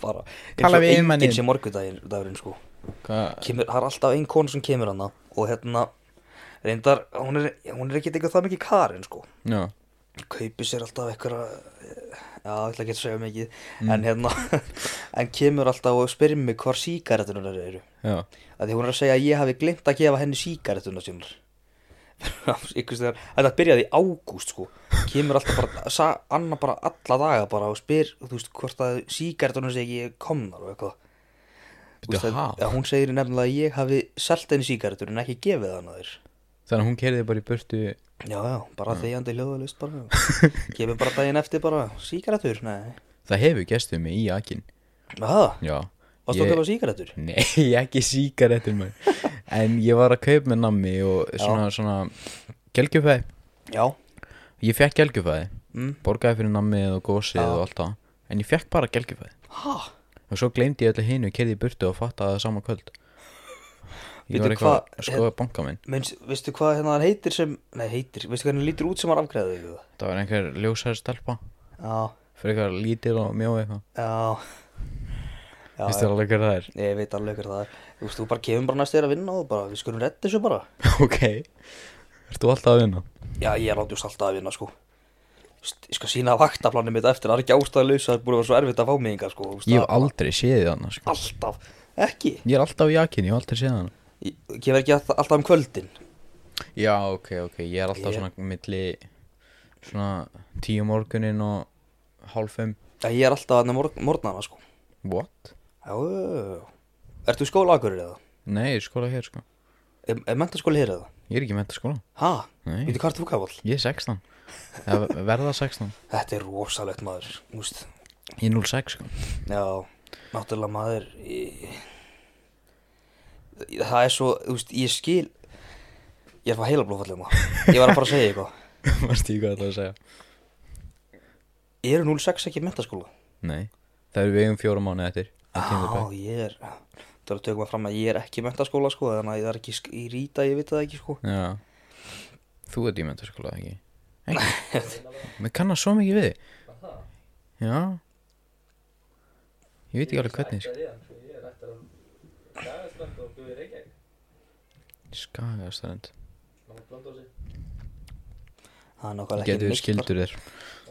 Speaker 1: bara, eins
Speaker 2: Tala
Speaker 1: og
Speaker 2: við yfirmanninn.
Speaker 1: enginn sem morgudagurinn sko.
Speaker 2: Hvað?
Speaker 1: kemur, það er alltaf ein kona sem kemur hana og hérna reyndar, hún er, hún er ekki eitthvað það mikið Karin sko
Speaker 2: Já,
Speaker 1: kaupi sér alltaf eitthvað já, ég ætla ekki að segja mikið
Speaker 2: Mm.
Speaker 1: en hérna, en kemur alltaf og spyrir mig hvar síkaretunar eru
Speaker 2: já
Speaker 1: að því hún er að segja að ég hafi glemt að gefa henni síkaretuna sínar ykkur stegar, þetta byrjaði í ágúst sko kemur alltaf bara, sa, annar bara alla daga bara og spyr, þú veist, hvort að síkaretuna sé ekki komnar og eitthvað Þú
Speaker 2: Bíddu,
Speaker 1: veist,
Speaker 2: ha?
Speaker 1: að, að hún segir nefnilega að ég hafi selt henni síkaretur en ekki gefið hann að þér
Speaker 2: Þannig að hún kerði bara í burtu
Speaker 1: já, já, bara þegjandi hljóðalist bara kemur bara daginn eftir bara síkaretur, nei
Speaker 2: Það hefur gestuð mig í jakin
Speaker 1: Aha,
Speaker 2: Já
Speaker 1: varstu að
Speaker 2: Ég-
Speaker 1: gefa síkaretur?
Speaker 2: Nei, ekki síkarettur maður En ég var að kaupa með nammi og svona, svona Gelgjufæði
Speaker 1: já,
Speaker 2: Ég fekk gelgjufæði
Speaker 1: Mm.
Speaker 2: Borgaði fyrir nammið og gósið og allt það En ég fekk bara gelgjufæði
Speaker 1: ha,
Speaker 2: Og svo gleymdi ég öllu hinu, kerði í burtu og fattaði það sama kvöld Ég
Speaker 1: Veitu
Speaker 2: var eitthvað
Speaker 1: hvað-
Speaker 2: að skoða banka minn
Speaker 1: Minns, veistu hvað hérna hann heitir sem nei, heitir, veistu hvað hann lítur út sem hann afgræði þig það?
Speaker 2: Það var einhver ljósæri stelpa
Speaker 1: Já,
Speaker 2: Fyrir eitthvað lítil og mjó eitthvað
Speaker 1: já Já,
Speaker 2: Vistu alveg hver það er?
Speaker 1: ég veit alveg hver það er Þú veist, þú bara kemur bara næst þér að vinna og bara, við skulum redda þessu bara
Speaker 2: ok Ertu alltaf að vinna?
Speaker 1: Já, ég er átjúst alltaf að vinna, sko st- ég skal sína vaktaplanin mitt eftir, það er ekki ástæðilegs það er búin að vera svo erfitt að fá mig enga sko, þú veist,
Speaker 2: Ég hef
Speaker 1: það-
Speaker 2: aldrei séð hann sko.
Speaker 1: alltaf, ekki
Speaker 2: Ég er alltaf í jakin, ég hef aldrei séð hann
Speaker 1: ég, ég verð ekki alltaf, alltaf um kvöldin
Speaker 2: Já, ok, ok, ég er alltaf
Speaker 1: Ég-
Speaker 2: svona milli svona tíu morgunin og hálfum
Speaker 1: en ég er alltaf aðna morg, morgnana sko
Speaker 2: What?
Speaker 1: já, já, já, já. ertu í skóla akkurir eða?
Speaker 2: Nei, ég er skóla hér sko
Speaker 1: er, er mentaskóli hér eða?
Speaker 2: Ég er ekki með þetta skóla
Speaker 1: ha,
Speaker 2: Nei.
Speaker 1: veitu hvað er þú kafall?
Speaker 2: Ég er 16 Eða Verða 16
Speaker 1: þetta er rosalegt maður, þú veist
Speaker 2: Ég er 06 sko
Speaker 1: Já, náttúrulega maður ég, Það er svo, þú veist, ég skil Ég er að fá heila blófallið maður Ég var að fara að segja eitthvað
Speaker 2: Varst ég hvað það að segja
Speaker 1: Eru 06 ekki í mentaskóla?
Speaker 2: Nei, það eru við um fjóra mánu eftir að kemur
Speaker 1: Já, ég er Það er að tökum að fram að ég er ekki í mentaskóla sko Þannig að ég er ekki sk- í rýta, ég veit það ekki sko
Speaker 2: Já Þú ert í mentaskóla ekki Ekki Mér kannast svo mikið við þig. Já Ég veit ekki alveg hvernig sko.
Speaker 3: Ættar ég, sko, ég er ættar um Dagasland og bjóði Reykjavík
Speaker 2: Skagastrænd
Speaker 3: Náttúrulega blanda á sig
Speaker 1: Það er nákvæmlega ekki
Speaker 2: Getur
Speaker 1: neitt
Speaker 2: við
Speaker 1: bara.
Speaker 2: skildur þér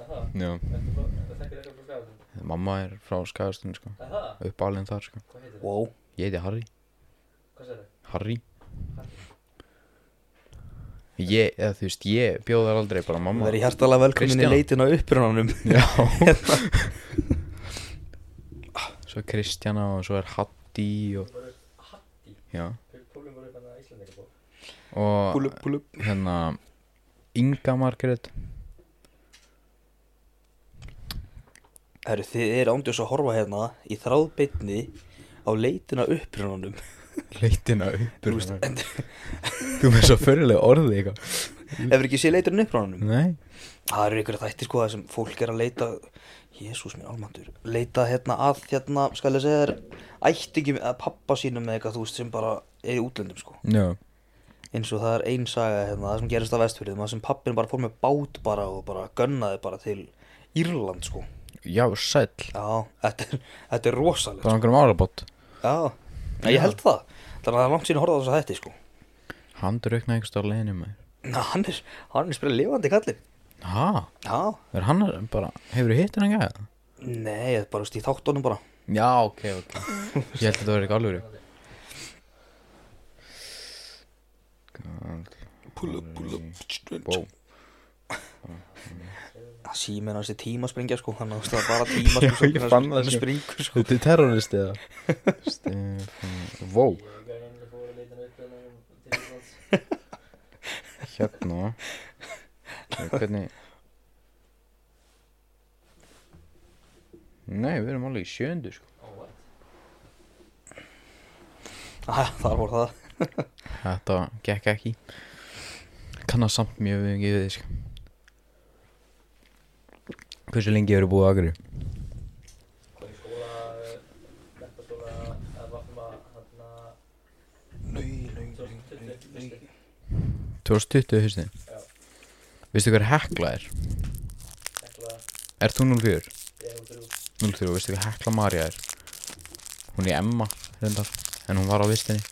Speaker 3: Aha,
Speaker 2: Já
Speaker 3: ertu frá, það þekkir eitthvað frá Dagasland
Speaker 2: Mamma er frá Skagastrænd sko
Speaker 3: Aha,
Speaker 2: Uppalinn þar sko
Speaker 3: hvað heitir það?
Speaker 1: Wow,
Speaker 2: Ég heiti Harry
Speaker 3: Hvað sér það?
Speaker 2: Harry Ég, eða þú veist, ég bjóð þar aldrei bara
Speaker 1: það
Speaker 2: mamma
Speaker 1: verður hjartalega velkomin í
Speaker 2: Kristján.
Speaker 1: leitin á upprunanum
Speaker 2: Já Svo er Kristjana og svo er Hatti og
Speaker 3: Hatti,
Speaker 2: Já
Speaker 3: fyrir púlum voru upp hann að Íslandega bók
Speaker 2: Og
Speaker 1: Púlup, púlup
Speaker 2: hérna Inga Margrét
Speaker 1: Herru, þið er ándjós að horfa hérna í þráðbeinni á leitina upprunanum
Speaker 2: Leitina uppur
Speaker 1: Þú veist, en
Speaker 2: Þú með svo fyrirlega orðið eitthvað
Speaker 1: Hefur ekki séð leiturinn uppránanum?
Speaker 2: Nei
Speaker 1: Það eru ykkur þættir sko það sem fólk er að leita Jésús minn almandur Leita hérna að hérna skal ég segja þér Ættingi að pappa sínum með eitthvað þú veist sem bara er í útlöndum sko
Speaker 2: Já
Speaker 1: eins og það er ein saga hérna það sem gerist á vestfyrðum það sem pappin bara fór með bát bara og bara gönnaði bara til Írland sko
Speaker 2: Já, sæll
Speaker 1: Já, þetta er, þetta er rosalegt
Speaker 2: Bara einhverjum árabót
Speaker 1: Já, Nei, ég held það Þannig að það er langt síðan að horfa á þess að þetta sko
Speaker 2: Hann drukna einhverst á leiðinu með
Speaker 1: Ná, hann er, hann er spyrir lifandi kallinn
Speaker 2: Ha?
Speaker 1: Já,
Speaker 2: Er hann er bara Hefur þú hitt hann ekki að
Speaker 1: nei, þetta er bara þú veist, í þáttunum bara
Speaker 2: Já, ok, ok Ég held að þetta var ekki alveg
Speaker 1: Pull up, pull up
Speaker 2: Bó
Speaker 1: Það síminn hans er tímaspringja sko hann ást að bara tímaspringja
Speaker 2: Já, ég fann það,
Speaker 1: sko.
Speaker 2: sko.
Speaker 1: springur sko
Speaker 2: Þetta er terrorist eða Stefán Vó
Speaker 3: Ég er einnig fór að leita hann upp hann til Íslands
Speaker 2: Hérna Eh, Hvernig Nei, við erum alveg í sjöndu sko
Speaker 3: Ó, what?
Speaker 1: Æ, Þar voru það
Speaker 2: Þetta gekk ekki Kannast samt mjög við ekki við þig sko Hversu lengi hefur búið á Akri?
Speaker 3: Hvað er skóla, metaskóla, eða vaffum að hann að Nei, nei, nei,
Speaker 2: 2020 hausti
Speaker 3: Já.
Speaker 2: Veistu hver hekla er?
Speaker 3: Hekla,
Speaker 2: Er þú 04?
Speaker 3: ég er út þrjú
Speaker 2: 03, veistu hver hekla Marja er? Hún er Emma reyndar En hún var á vistinni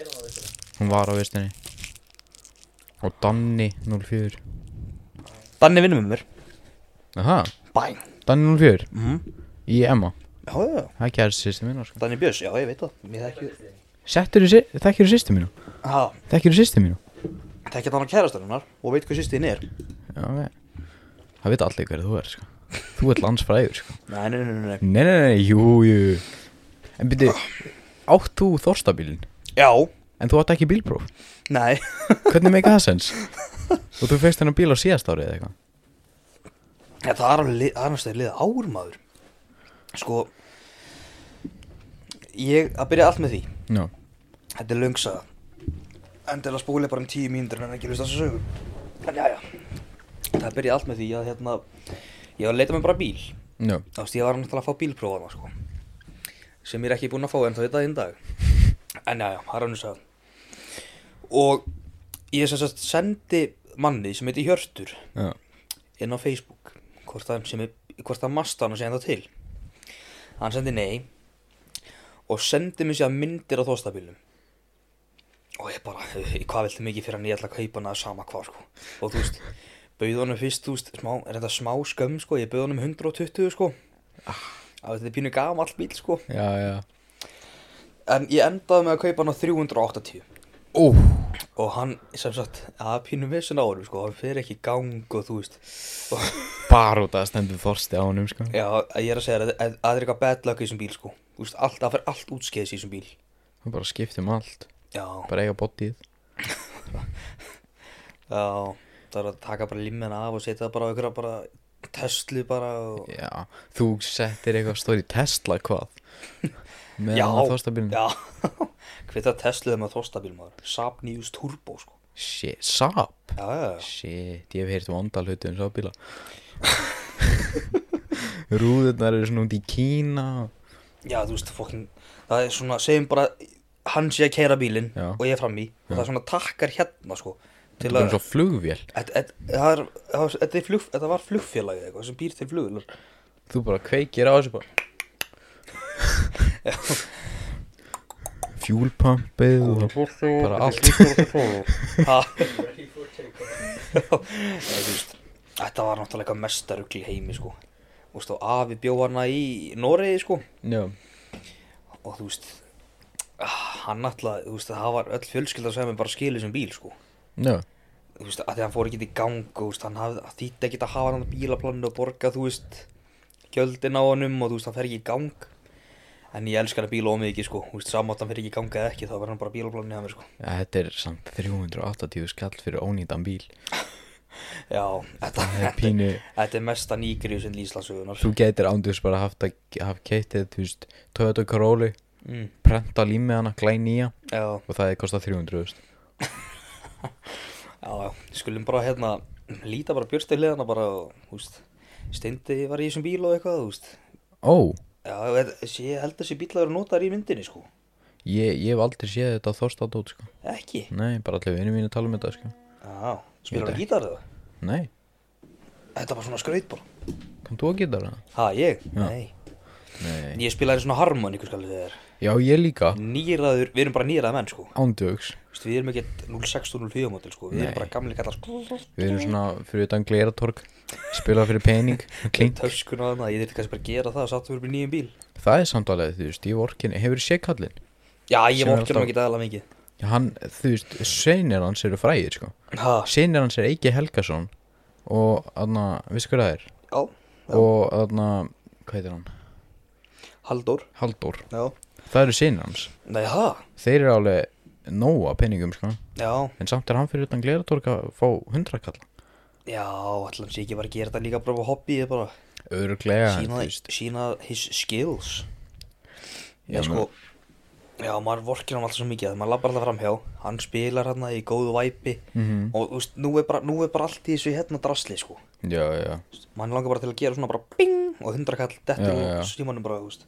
Speaker 3: Er hann að veitur það?
Speaker 2: Hún var á vistinni Og Danni 04
Speaker 1: Danni vinnum með mér
Speaker 2: Aha,
Speaker 1: Bæn
Speaker 2: Danni 04
Speaker 1: mm
Speaker 2: Í Emma
Speaker 1: Já, já, já
Speaker 2: Það gerir sýstu mínu sko
Speaker 1: Danni Björns, já ég veit það Mér þekki
Speaker 3: Hvað er
Speaker 2: Settur þú, þekkir þú sýstu mínu?
Speaker 1: Ha,
Speaker 2: Þekkir þú sýstu mínu?
Speaker 1: þekki hann á kærastarinnar og veit hvað sýst þín er
Speaker 2: Já, ok Það veit allir hverð þú er sko Þú ert landsfræður sko
Speaker 1: Nei, nei, nei, nei, nei
Speaker 2: Nei, nei, nei, jú, jú En byrju, átt þú þorstabilin?
Speaker 1: Já,
Speaker 2: En þú átt ekki bílpróf?
Speaker 1: nei
Speaker 2: Hvernig meika það sens? Og þú feist hennar bíl á síðast árið eða eitthvað?
Speaker 1: ja, Það er alveg, lið- það er náttúrulega liða ár maður Sko Ég, að byrja allt með því
Speaker 2: Já
Speaker 1: Þetta er löngsa Endilega spúli bara um tíu mínútur en ekki hlusta þessu sögum En jæja Það byrja allt með því að hérna Ég var að leita mér bara bíl Þá
Speaker 2: Já
Speaker 1: veist ég var náttúrulega að fá bílprófana sko Sem ég er ekki búinn að fá en þá þetta einn dag En jæja, það er hann að Og ég sem sagt sendi manni sem heiti Hjörtur
Speaker 2: Já
Speaker 1: inn á Facebook hvort það, sem er, hvort það masta hann að segja það til hann sendi nei og sendi mér sér myndir á þóstabilum og ég bara, "Hey, hvað viltu mikið fyrir hann ég ætla að kaupa hann að sama hvað sko og þú veist, bauð honum fyrst, þú veist, smá, er þetta smá skömm, sko, ég bauð honum 120, sko. Ah. Þetta er pínu gamall bíl, sko.
Speaker 2: Já, já
Speaker 1: En ég endaði með að kaupa hann á 380.
Speaker 2: Ó,
Speaker 1: Og hann, sem sagt, að pínu missun á honum, sko, hann fer ekki í gang og þú veist. Og,
Speaker 2: bara út að stendur þorsti á honum, sko
Speaker 1: já, ég er að segja þér að að- að það er eitthvað bad luck í þessum bíl, sko. Þú veist, allt, það fer allt útskeiðis í þessum bíl.
Speaker 2: Hann bara skipti um allt,
Speaker 1: Já,
Speaker 2: bara eiga bodyð
Speaker 1: já, það er að taka bara limmen af og setja það bara á einhverja bara Tesla bara og...
Speaker 2: Já, þú settir eitthvað stóri Tesla hvað Með
Speaker 1: Já,
Speaker 2: hann að þorstabilnum
Speaker 1: Já, hvað það Tesla er með þóstabíl maður Saab News Turbo sko
Speaker 2: Shit, Saab
Speaker 1: Já, já, já
Speaker 2: Shit, ég hef heyrt vandal hlutu um Saabíla Rúðurnar eru svona út í Kína
Speaker 1: Já, þú veist, fokkin Það er svona, segjum bara Hann sé að keira bílinn
Speaker 2: Já.
Speaker 1: og ég er fram í Og það er svona takkar hérna sko Til
Speaker 2: Þetta er
Speaker 1: að
Speaker 2: svo flugvél
Speaker 1: Þetta- þetta- það er- það var- Þetta er flug- þetta var flugfélagið eitthvað sem býr til flugvélar
Speaker 2: Þú bara kveikir á þessu bara Fjúlpampið og bara allt
Speaker 1: Ha. Já, þú veist, Þetta var náttúrulega eitthvað mesta rugl í heimi sko Þú veist, og afi bjó hana í Noregi sko
Speaker 2: Já,
Speaker 1: og þú veist ah, hann alltaf, þú veist, það var öll fjölskylda sem bara skilið sem bíl, sko
Speaker 2: já,
Speaker 1: þú veist, að því hann fór ekki í gang og þú veist, hann hafði, þýtti ekki að hafa hann á bílaplaninu og borga, þú veist gjöldin á honum og þú veist, hann fer ekki í gang en ég elska hann bíl ómið ekki, sko þú veist, samátt hann fer ekki í gang eða ekki, þá var hann bara á bílaplaninu hjá mér, sko
Speaker 2: Ja, þetta er samt 380 skall fyrir ónýtan bíl
Speaker 1: já, þetta,
Speaker 2: Það er
Speaker 1: þetta,
Speaker 2: pínu
Speaker 1: þetta er mesta nýgrið sem Íslandsögunar
Speaker 2: Þú getur ándurs bara haft að hafa keitið, þú veist, Toyota Corolla
Speaker 1: mm,
Speaker 2: prenta límið hana, glæn nýja
Speaker 1: já,
Speaker 2: og það kostar 300 veist.
Speaker 1: já, já, skulum bara hérna líta bara björstæðliðana bara, og, þú veist steindi var í þessum bíl og eitthvað, þú veist
Speaker 2: Ó,
Speaker 1: Já, ég- þessi- ég held að þessi bílar eru notaðar í myndinni sko
Speaker 2: ég, ég hef aldrei séð þetta þorstadót, sko
Speaker 1: Ekki?
Speaker 2: Nei, bara allir vinnu mínu tala um þetta, sko
Speaker 1: Já,
Speaker 2: Ég
Speaker 1: spilar
Speaker 2: veit
Speaker 1: hann gítar eða?
Speaker 2: Nei,
Speaker 1: Þetta var svona skraut bara
Speaker 2: kann þú að geta það?
Speaker 1: Ha, ég? Nei
Speaker 2: Nei
Speaker 1: Ég spilaði svona harmoníku skal þið er
Speaker 2: Já, ég líka,
Speaker 1: Nýraður, við erum bara nýraða menn sko
Speaker 2: ándjöks
Speaker 1: Vist, Við erum ekkert 06 og 04 mótil sko Við erum bara gamli kallar sko
Speaker 2: Við erum svona fyrir utan gleratorg Spila fyrir pening, klink
Speaker 1: Töskun og annað, ég þurfti kannski bara að gera það Sáttu fyrir nýjum bíl
Speaker 2: Það er samt alveg, þú veist, ég vorkin Hefur séð kallinn?
Speaker 1: Já, ég
Speaker 2: Sem
Speaker 1: var
Speaker 2: er
Speaker 1: ekki nú
Speaker 2: alltaf-
Speaker 1: ekki aðalega mikið
Speaker 2: Já, Hann, þú veist, seinir hans eru fræðir, sko
Speaker 1: Ha,
Speaker 2: Seinir hans er Eiki Helgason Og, aðna, vissi hver það er?
Speaker 1: já,
Speaker 2: Og, aðna, hvað heitir hann?
Speaker 1: Halldór
Speaker 2: Halldór
Speaker 1: Já
Speaker 2: Það eru sinni hans
Speaker 1: Nei, ha,
Speaker 2: Þeir eru alveg nóa peningum sko
Speaker 1: já
Speaker 2: En samt er hann fyrir utan gleratorg að fá hundrakalla
Speaker 1: Já, allan sé ekki bara að gera þetta líka bara hobbyið bara
Speaker 2: Öruglega en
Speaker 1: sína,
Speaker 2: þú veist
Speaker 1: sína his skills
Speaker 2: Já,
Speaker 1: Já, sko Já, maður vorkir hann alltaf svo mikið að maður labbar alltaf framhjá Hann spilar hann í góðu væpi
Speaker 2: Mhm.
Speaker 1: Og þú veist, nú er, bara, nú er bara allt í þessu hérna drasli, sko
Speaker 2: Já, já,
Speaker 1: Mann langar bara til að gera svona bara bing Og hundrakall,
Speaker 2: Já,
Speaker 1: dettur
Speaker 2: já, já.
Speaker 1: og símanum bara, þú veist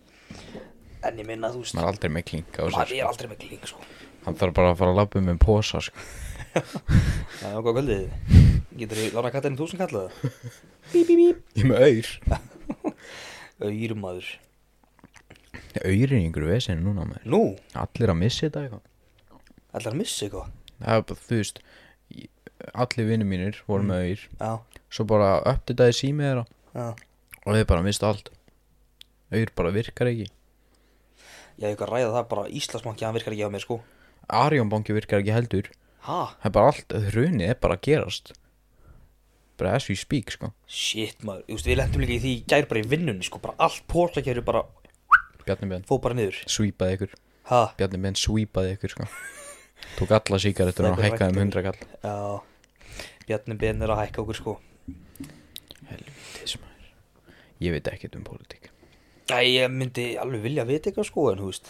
Speaker 1: En ég minna, þú veist
Speaker 2: maður er aldrei með klink á
Speaker 1: Maður
Speaker 2: sig
Speaker 1: er aldrei með klík, sko
Speaker 2: Hann þarf bara að fara að labba um með posa sko
Speaker 1: Já, já, hvað kvöldið þið? Getur þið lána kattinu þúsund kallið það? Bí, bí, bí
Speaker 2: Ég er með auður
Speaker 1: Aurumadur
Speaker 2: Auður er í einhverju vesinu núna maður
Speaker 1: Nú,
Speaker 2: Allir að missi þetta eitthvað
Speaker 1: ætlar að missa eitthvað?
Speaker 2: Það er bara, þú veist ég- Allir vinnir mínir voru með auður
Speaker 1: Já,
Speaker 2: Svo bara uppditaði símið þeirra
Speaker 1: já
Speaker 2: Og þeir bara mistu allt Auður bara virkar ekki
Speaker 1: Ég hef eitthvað að ræða það bara Íslandsbanki, hann virkar ekki á mér, sko
Speaker 2: Arjónbanki virkar ekki heldur
Speaker 1: Ha?
Speaker 2: það er bara allt, hrunið er bara að gerast bara as we speak sko
Speaker 1: Shit maður, þú veist við lendum líka í því í gær bara í vinnunni sko, bara allt pórlækjaru bara
Speaker 2: Bjarni Ben
Speaker 1: fóð bara niður
Speaker 2: svípaði ykkur,
Speaker 1: Ha,
Speaker 2: Bjarni Ben svípaði ykkur sko tók alla síkaretur og
Speaker 1: Sleppir
Speaker 2: hækkaði um
Speaker 1: ræktinni.
Speaker 2: hundra kall
Speaker 1: já, Bjarni Ben er að hækka okkur sko
Speaker 2: ég veit ekkert um pólitík
Speaker 1: Æ, ég myndi alveg vilja vita eitthvað sko en þú veist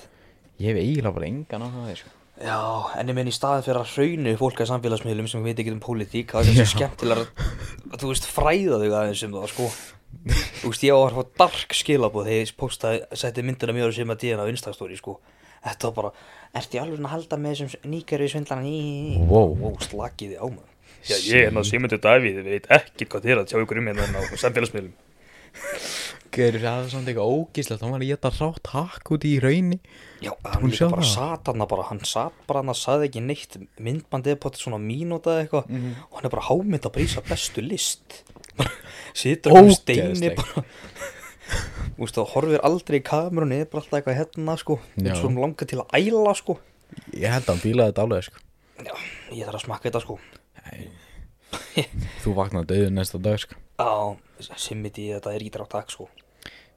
Speaker 2: ég hef eiginlega bara engan á það sko.
Speaker 1: Já, en ég menn í staðin fyrir að hraunu fólk að samfélagsmiðlum sem veit ekki um pólitík það er kannski skemmtilega að, þú veist, fræða þau aðeins um það sko Þú veist, ég var að fá dark skilabóð þegar ég postaði, setti myndina mjög sem að díðan á Instastory sko Þetta var bara, ertu í alveg að halda með þessum nýkjörfi svindlan í
Speaker 2: Wow.
Speaker 1: wow slakiði á maður
Speaker 4: Já, ég er hérna Sigmundur Davíð, við veit ekkert hvað þið er að tjá ykkur um hérna á samfélagsmiðlum.
Speaker 2: Gaur, það var samt eitthvað ógíslegt Hann var að geta rátt hakk út í raunni
Speaker 1: Já, hann
Speaker 2: Hún
Speaker 1: líka
Speaker 2: sjá
Speaker 1: bara
Speaker 2: það?
Speaker 1: sat hann bara, hann sat bara hann að saði ekki neitt myndbandið potið svona mínúta eða eitthvað
Speaker 2: Mhm.
Speaker 1: og hann er bara hámynd að brýsa bestu list Bara situr hann á steini
Speaker 2: Ógeðslegt.
Speaker 1: bara Úst, það horfir aldrei í kamerunni er bara alltaf eitthvað hérna sko
Speaker 2: Já.
Speaker 1: eins og hann langar til að æla sko
Speaker 2: Ég held að hann bílaði þetta alveg sko.
Speaker 1: Já, ég þarf að smakka þetta sko
Speaker 2: Þú vaknaði döðu næsta dag sko.
Speaker 1: Á, simmiti þetta er ídrátt takk sko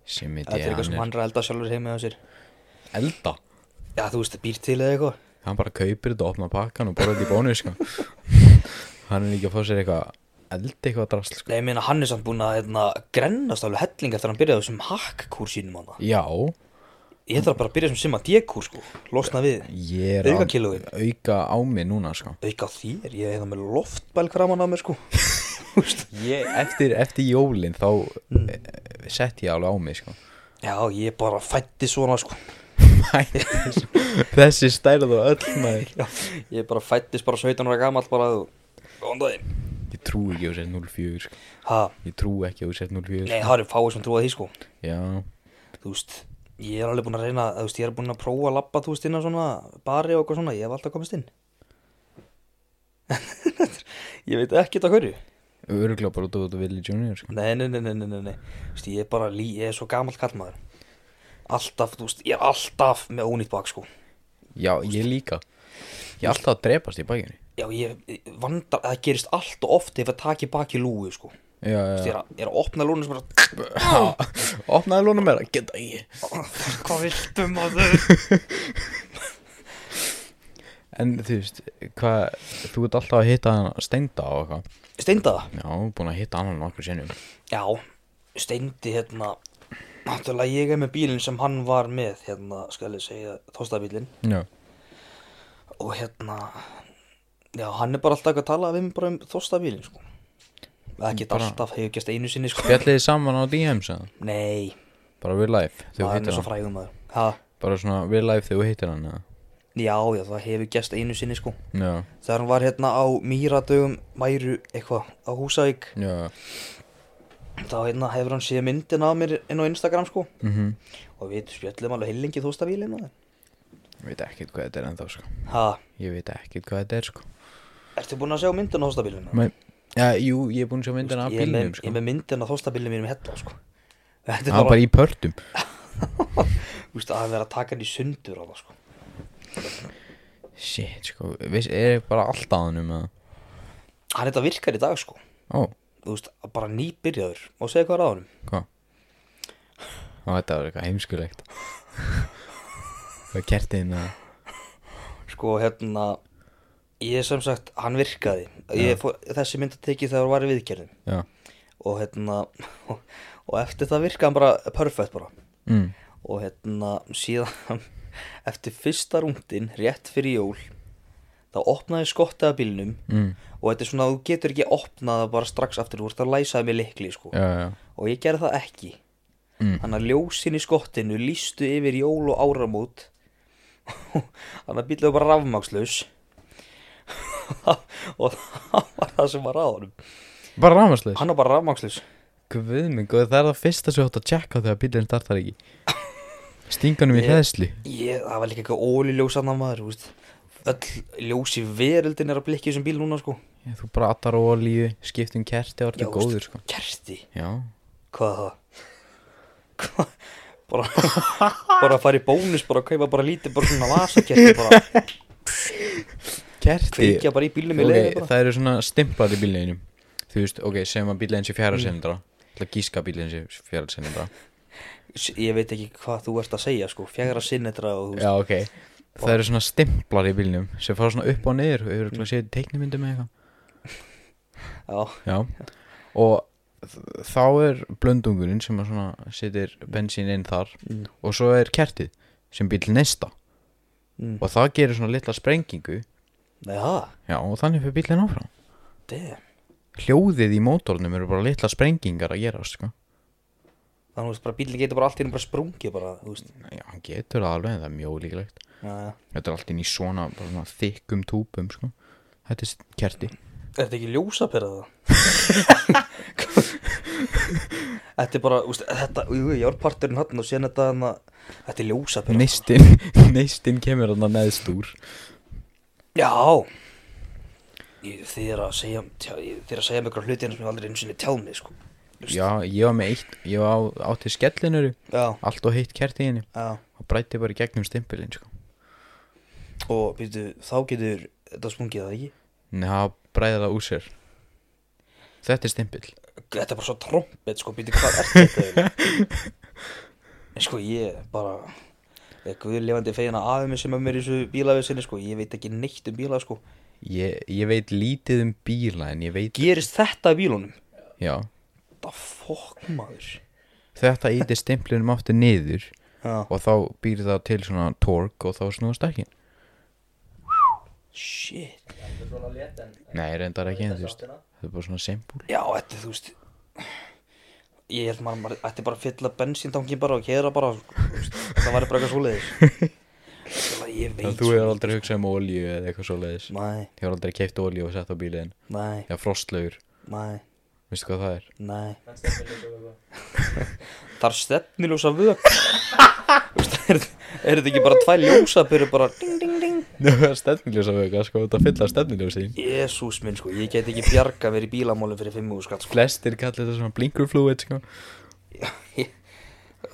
Speaker 2: Sem ég
Speaker 1: Þetta er eitthvað sem hann er að elda sjálfur heim með sér
Speaker 2: elda
Speaker 1: Já, þú veist, býr til eða eitthvað
Speaker 2: Hann bara kaupir þetta, opna pakkan og borða þetta í bónu sko. Hann er líka að fá sér eitthvað Elda eitthvað drasl sko.
Speaker 1: Nei, ég meina, hann er samt búin að hérna, grennast alveg helling eftir að hann byrjaði á þessum hakkúrsínum hann
Speaker 2: Já,
Speaker 1: Ég þarf bara að byrja sem simma D-kúr sko, losna við
Speaker 2: ég er
Speaker 1: Auka
Speaker 2: að
Speaker 1: kílóin.
Speaker 2: auka á mig núna sko.
Speaker 1: Auka á þér, ég hefði með loftbæl kraman á mér sko
Speaker 2: ég, eftir, eftir jólin þá mm. sett ég alveg á mig sko.
Speaker 1: Já, ég bara fætti svona sko
Speaker 2: Þessi stærð og öll maður
Speaker 1: Já, ég bara fættist bara 17 ára gamall bara Góðan daginn
Speaker 2: Ég trú ekki á sér 04 sko.
Speaker 1: Ha,
Speaker 2: Ég trú ekki á sér 04
Speaker 1: nei,
Speaker 2: sko.
Speaker 1: það eru fáið sem trúa því sko
Speaker 2: Já,
Speaker 1: Þú veist, ég er alveg búin að reyna, þú veist, ég er búin að prófa að labba, þú veist, inn á svona bari og eitthvað svona, ég hef alltaf komist inn Ég veit ekki þetta hverju
Speaker 2: öruglega bara út á þetta Willi Junior sko.
Speaker 1: Nei, nei, nei, nei, nei, nei, nei. Þú veist, ég er bara lí, ég er svo gamall kallmaður Alltaf, þú veist, ég er alltaf með ónýtt bak, sko
Speaker 2: Já, ég líka Ég er alltaf að drepast í bækinni
Speaker 1: Já, ég ég vandar, það gerist allt og oft ef að taki baki lúi, sko Þú
Speaker 2: Já,
Speaker 1: veist,
Speaker 2: já,
Speaker 1: ég er að, ég er að opna lúni sem bara
Speaker 2: já Opnaði lónum meira, geta ég
Speaker 1: Hvað viltu maður?
Speaker 2: En þú veist, hvað Þú ert alltaf að hitta hann steinda á eitthvað
Speaker 1: Steinda það?
Speaker 2: Já, búin að hitta hann nokkur sinnum
Speaker 1: Já, steindi hérna Náttúrulega ég er með bílinn sem hann var með hérna, skal ég segja, tóstabílinn
Speaker 2: Já
Speaker 1: og hérna já, hann er bara alltaf að tala við mig bara um þóstabílinn sko ekki
Speaker 2: Bara-
Speaker 1: alltaf, hefur gæst einu sinni sko
Speaker 2: Fjalliði saman á DM sagði hann.
Speaker 1: nei,
Speaker 2: Bara real life þegar þú
Speaker 1: hann er
Speaker 2: hittir
Speaker 1: svo
Speaker 2: hann
Speaker 1: frægum maður ha,
Speaker 2: Bara svona real life þegar þú hittir hann eða?
Speaker 1: já, já, það hefur gæst einu sinni sko
Speaker 2: Já,
Speaker 1: þegar hann var hérna á mýradögum mæru eitthvað á Húsavík
Speaker 2: já
Speaker 1: þá hérna hefur hann séð myndin af mér inn á Instagram sko
Speaker 2: mm
Speaker 1: og við spjöllum alveg heilingi þóstabílinn maður
Speaker 2: Ég veit ekkert hvað þetta er ennþá sko
Speaker 1: ha,
Speaker 2: Ég veit ekkert hvað þetta er sko
Speaker 1: ertu búin að sjá myndin á þóstabílinn
Speaker 2: Men, ja, Jú, ég er búin að sjá myndina af
Speaker 1: ég er með,
Speaker 2: bílnum
Speaker 1: ég
Speaker 2: sko
Speaker 1: er með myndin á þóstabílinn mínum hérna sko þetta er
Speaker 2: Það var
Speaker 1: bara,
Speaker 2: bara í pörtum
Speaker 1: þú veist, að vera að taka hann í sundur á það sko
Speaker 2: Shit, sko, veist, er ég bara alltaf að hann um að
Speaker 1: hann þetta virkar í dag sko
Speaker 2: Ó,
Speaker 1: þú veist, bara nýbyrjaður og segja hvað er á hann
Speaker 2: hvað? Ó, þetta var eitthvað heimskulegt Hvað kerti þín að
Speaker 1: sko hérna ég sem sagt, hann virkaði ég, fór, þessi mynd að tekið þegar var í viðgerðum
Speaker 2: Já,
Speaker 1: og hérna og, eftir það virkaði hann bara perfect bara
Speaker 2: mm,
Speaker 1: og hérna síðan eftir fyrsta rúndin rétt fyrir jól þá opnaði skottaða bílnum
Speaker 2: mm,
Speaker 1: og þetta er svona þú getur ekki opnaða bara strax aftur þú ert að læsaði með likli sko
Speaker 2: já, já,
Speaker 1: og ég gerði það ekki
Speaker 2: Mm.
Speaker 1: þannig að ljósin í skottinu lístu yfir jól og áramót þannig að bílaðu bara rafmakslaus og það var það sem var að honum
Speaker 2: bara rámasleis
Speaker 1: hann var bara rafmakslaus
Speaker 2: Guð minn, góð, það er það fyrsta sem þú átt að tjekka þegar bílinn startar ekki Stinganum í
Speaker 1: Ég-
Speaker 2: hlæðslu
Speaker 1: ég, það var líka eitthvað óliljós annar maður þú veist. öll ljós í veröldin er að blikki þessum bíl núna sko
Speaker 2: Þú bratar á olíu, skiptum kerti og ertu
Speaker 1: Já,
Speaker 2: góður,
Speaker 1: veist,
Speaker 2: sko
Speaker 1: kerti,
Speaker 2: Já,
Speaker 1: hvað er það Hvað- bara, bara að fara í bónus bara að kaupa bara lítið bara svona vasakerti bara
Speaker 2: kerti
Speaker 1: kveikja bara í bílum í leiðinu
Speaker 2: Ok,
Speaker 1: bara
Speaker 2: það eru svona stimplar í bílinum Þú veist, ok, segjum að bílinn sé fjara
Speaker 1: Mm.
Speaker 2: senindra Það er gíska bílinn sé fjara senindra
Speaker 1: S- ég veit ekki hvað þú ert að segja sko fjagra sinnetra og þú veist
Speaker 2: Já, ok Það eru svona stimplar í bílnum sem fara svona upp og niður og eru
Speaker 1: Mm.
Speaker 2: ekki að séð teiknumyndum með eitthvað
Speaker 1: já,
Speaker 2: Já Og þ- þá er blöndungurinn sem að svona setir bensín inn þar og svo er kertið sem bíl nesta
Speaker 1: Mm.
Speaker 2: og það gerir svona litla sprengingu
Speaker 1: nei það,
Speaker 2: Já, og þannig fyrir bílinn áfram
Speaker 1: damn
Speaker 2: Hljóðið í mótornum eru bara litla sprengingar að gera, sko
Speaker 1: þannig að þú veist bara bílinn getur bara allt í hún bara sprungið bara, þú veist
Speaker 2: Já, hann getur það alveg en það er mjög líklegt
Speaker 1: já, já.
Speaker 2: Þetta er allt inn í svona, bara svona þykkum túpum sko. Þetta er s- kerti
Speaker 1: er þetta ekki ljósapera það Þetta er bara, úst, þetta, jú, ég var parturinn hann og sérna þetta hann að, þetta er ljósapera.
Speaker 2: Neistinn, neistinn kemur hann að neðst úr
Speaker 1: Já. Ég, þið er að segja, tjá, ég, þið er að segja mig ykkur hlutina sem ég hef aldrei einu sinni tjáð mig, sko. Just.
Speaker 2: Já, ég var með eitt, ég var á, átti skellinur
Speaker 1: Já,
Speaker 2: Allt og heitt kert í henni
Speaker 1: já.
Speaker 2: Og brætti bara í gegnum stimpilinn, sko
Speaker 1: Og, býtu, þá getur þetta spungið það ekki.
Speaker 2: Nei, það bræði það úr sér Þetta er stimpil
Speaker 1: Þetta er bara svo trompet, sko, býtu, hvað er þetta? eiginlega? en sko, ég bara, ég guður lifandi fegin að aðeins sem er mér í þessu bílavesinni, sko, ég veit ekki neitt um bíla, sko.
Speaker 2: ég, ég veit lítið um bíla en ég veit
Speaker 1: Gerist þetta í bílunum?
Speaker 2: Já,
Speaker 1: Þetta fokk maður.
Speaker 2: þetta ítir stimplinum aftur niður
Speaker 1: Já.
Speaker 2: Og þá býr það til svona tork og þá snúast ekki
Speaker 1: Shit.
Speaker 3: Þetta er svona létt en
Speaker 2: Nei, reyndar ekki en þú veist
Speaker 3: áttina.
Speaker 2: Þetta er bara svona simpul
Speaker 1: Já, þetta, þú veist Ég held maður, maður ætti bara að fylla bensíntangin bara og kera bara sko, þú veist, Það væri bara eitthvað svoleiðis Það var- Ég veit
Speaker 2: Þú hefur aldrei hugsað um olíu eða eitthvað svoleiðis
Speaker 1: Nei,
Speaker 2: Ég hefur aldrei keift olíu og sett á bílinn
Speaker 1: nei,
Speaker 2: Já, frostlaugur,
Speaker 1: nei,
Speaker 2: veistu hvað það er?
Speaker 1: nei
Speaker 3: Það stefnir líka við það.
Speaker 1: Það er stefniljósa vök Þú veist, er, er þetta ekki bara tvær ljósa byrju bara ding, ding, ding
Speaker 2: Nú, það er stefniljósa vöga, sko, þetta fylla stefniljósi
Speaker 1: Jésús minn sko, ég get ekki bjarga mér í bílamálum fyrir fimmu skatt sko
Speaker 2: Flestir kallir þetta svona blinkurflúið, sko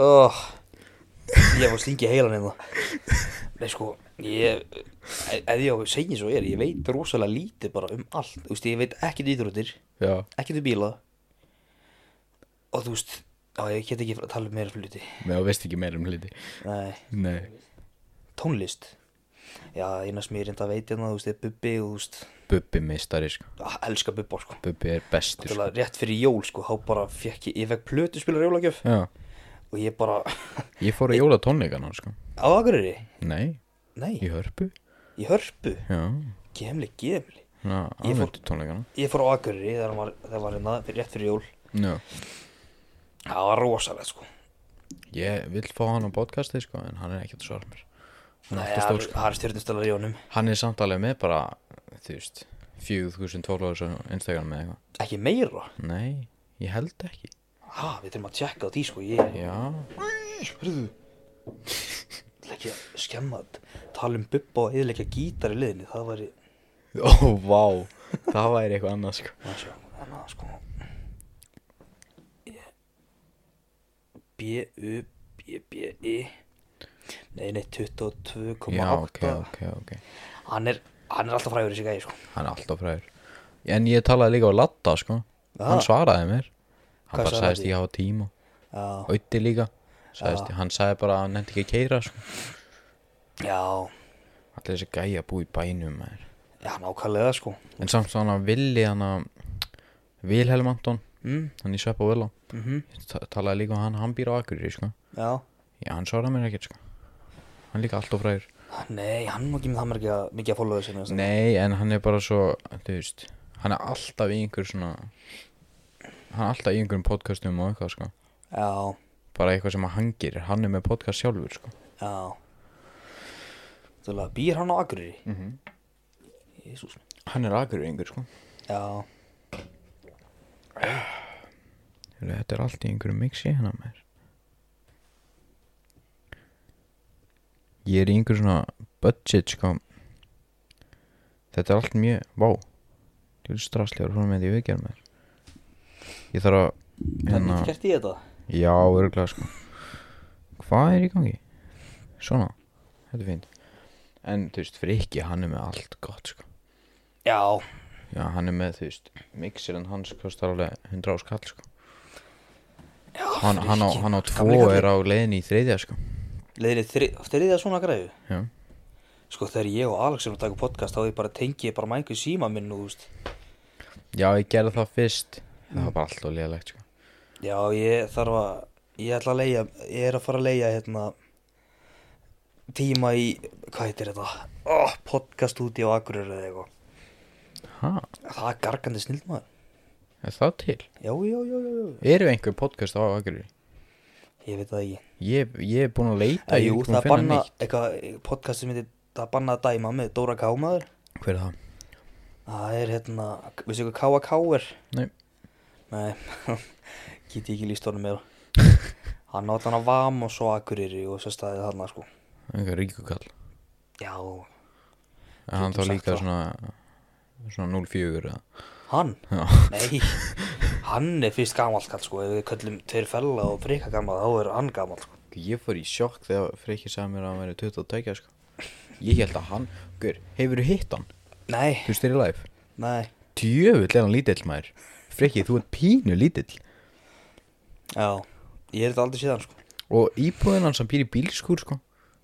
Speaker 1: oh, Ég var slingi heilan eða hérna. Nei sko, ég e- Ef ég á að segja svo er, ég veit rosalega lítið bara um allt Þú veist, ég veit ekkert íþróttir,
Speaker 2: Já,
Speaker 1: ekkert um bíla Og þú veist, á, ég get ekki að tala um meira fluti
Speaker 2: með þú veist ekki meira um hluti
Speaker 1: Nei,
Speaker 2: Nei
Speaker 1: tónlist Já, eina sem ég reynda að veit hérna, þú veist, er Bubbi og þú veist
Speaker 2: Bubbi mistari, sko,
Speaker 1: ah, Elska Bubba, sko
Speaker 2: Bubbi er bestur, sko
Speaker 1: Náttúrulega rétt fyrir jól, sko, þá bara fekk ég, ég fekk plötu spilar jólagjöf
Speaker 2: Já,
Speaker 1: Og ég bara,
Speaker 2: ég fór að jóla tónleikana, sko
Speaker 1: á Akureyri?
Speaker 2: Nei,
Speaker 1: Nei,
Speaker 2: í hörpu
Speaker 1: í Hörpu,
Speaker 2: Já,
Speaker 1: gemli, gemli
Speaker 2: svona
Speaker 1: Ég fór-
Speaker 2: aðvendu tónleikana
Speaker 1: Ég fór á Akureyri þegar hann var, þegar var hérna fyrir- rétt fyrir jól
Speaker 2: Já,
Speaker 1: Það var rosalegt sko
Speaker 2: ég vil fá hann á podcasti, sko, en hann er ekkert svara mér Hann er
Speaker 1: Nei,
Speaker 2: alltaf stór, sko
Speaker 1: Það er stjórnistölar í honum
Speaker 2: Hann er samt alveg með bara, þú veist, 4000 fólóðis á Instagram eða eitthvað
Speaker 1: Ekki meira
Speaker 2: Nei, ég held ekki
Speaker 1: Ha, við þurfum að tjekka á því sko Ég
Speaker 2: Já,
Speaker 1: ætla ekki að skemma Tala um bubba og eðilegja gítar í liðinni Það var í
Speaker 2: Ó, vá, það væri eitthvað annað sko
Speaker 1: Þannig að sko Ég- B-U-B-B-I E. Nei, nei, 22,8
Speaker 2: Já, ok, ok, ok
Speaker 1: Hann er, hann er alltaf frægur í sig gæði sko
Speaker 2: Hann er alltaf fræður En ég talaði líka á Latta sko Hann svaraði mér Hann
Speaker 1: Ah. Hvað
Speaker 2: bara
Speaker 1: svaraði Ah.
Speaker 2: sagðist ég hafa tíma
Speaker 1: Já,
Speaker 2: Ötti líka sagðist, Hann sagði bara að hann nefndi ekki að keira sko
Speaker 1: já,
Speaker 2: Allir þessi gæja búi í bænum maður.
Speaker 1: já, nákvæmlega sko
Speaker 2: En samt svona villi hann að Vilhelm Anton
Speaker 1: mm,
Speaker 2: Hann í Sveppa Völa
Speaker 1: mm
Speaker 2: Ta- Talaði líka á hann, hann býr á Akureyri sko
Speaker 1: Já
Speaker 2: Já, hann svaraði mér ekkert sko Hann er líka alltaf fræður
Speaker 1: Nei, hann er nú ekki með það margja, mikið að hérna, fólóðu sinna Nei.
Speaker 2: Nei, en hann er bara svo, þú veist, hann er alltaf í einhver svona, hann er alltaf í einhverjum podcastum og eitthvað, sko.
Speaker 1: Já,
Speaker 2: Bara eitthvað sem að hann gerir, hann er með podcast sjálfur, sko.
Speaker 1: já Þú býr hann á Akureyri? Mm -hmm. Jésús
Speaker 2: Hann er aðgurur einhver, sko.
Speaker 1: Já,
Speaker 2: Heyrðu, Þetta er allt í einhverju mixi hérna, hennar mér. Ég er í einhver svona budget, sko. Þetta er allt mjög, vá, þú veist strafslegar, hún með því viðgerð mér. Ég þarf að, hérna,
Speaker 1: hann er gert í þetta
Speaker 2: Já, örgulega sko Hvað er í gangi? Svona, þetta er fínt En þú veist, Frikki, hann er með allt gott sko
Speaker 1: Já,
Speaker 2: Já, hann er með, þú veist, mixirinn hans kostar alveg 100 á skall sko
Speaker 1: já,
Speaker 2: Hann, hann, á,
Speaker 1: Frikki,
Speaker 2: hann á
Speaker 1: gamli
Speaker 2: tvo er
Speaker 1: kallinn.
Speaker 2: á leiðin í þriðja sko
Speaker 1: Leiðinni þri- þriðja svona græðu
Speaker 2: Já,
Speaker 1: Sko þegar ég og Alex erum að taka podcast þá ég bara tengi ég bara mængu síma minn og þú veist
Speaker 2: Já ég gerði það fyrst Það var bara alltaf leiðilegt sko
Speaker 1: Já, ég þarf að ég ætla að leia, ég er að fara að leia hérna tíma í, hvað heitir þetta? Oh, podcast úti á Akureyri eða eitthvað
Speaker 2: Ha,
Speaker 1: Það er gargandi snild maður
Speaker 2: er það til?
Speaker 1: Já, já, já, já, já.
Speaker 2: Eru einhver podcast á Akureyri?
Speaker 1: Ég veit það ekki.
Speaker 2: Ég, ég er búin að leita, ég
Speaker 1: jú,
Speaker 2: er ekki búin
Speaker 1: það
Speaker 2: að finna
Speaker 1: banna,
Speaker 2: neitt
Speaker 1: eitthvað, podcast sem heitir Það banna að dæma með Dóra Kámaður.
Speaker 2: Hver er það?
Speaker 1: Það er hérna, veistu hvað K.A.K. er?
Speaker 2: Nei,
Speaker 1: Nei, get ég ekki líst honum meira hann átt hann að vam og svo akureyri og svo staðið þarna sko
Speaker 2: einhver ríkukall
Speaker 1: já,
Speaker 2: en hann þá
Speaker 1: Getum sagt
Speaker 2: líka
Speaker 1: það.
Speaker 2: svona svona 0-4 eða
Speaker 1: hann
Speaker 2: já,
Speaker 1: nei, hann er fyrst gamall kall sko ef við köllum tveir fella og frika gamall þá er hann gamall sko
Speaker 2: ég fór í sjokk þegar Freyki sagði mér að hann væri 22 sko. ég held að hann, hver, hefur hitt hann
Speaker 1: nei,
Speaker 2: þú styrir live
Speaker 1: nei,
Speaker 2: djöfull er hann lítill maður Freyki, þú ert pínu lítill
Speaker 1: já ég er þetta aldrei síðan sko
Speaker 2: og íbúðin hans, hann býr í bílskúr sko.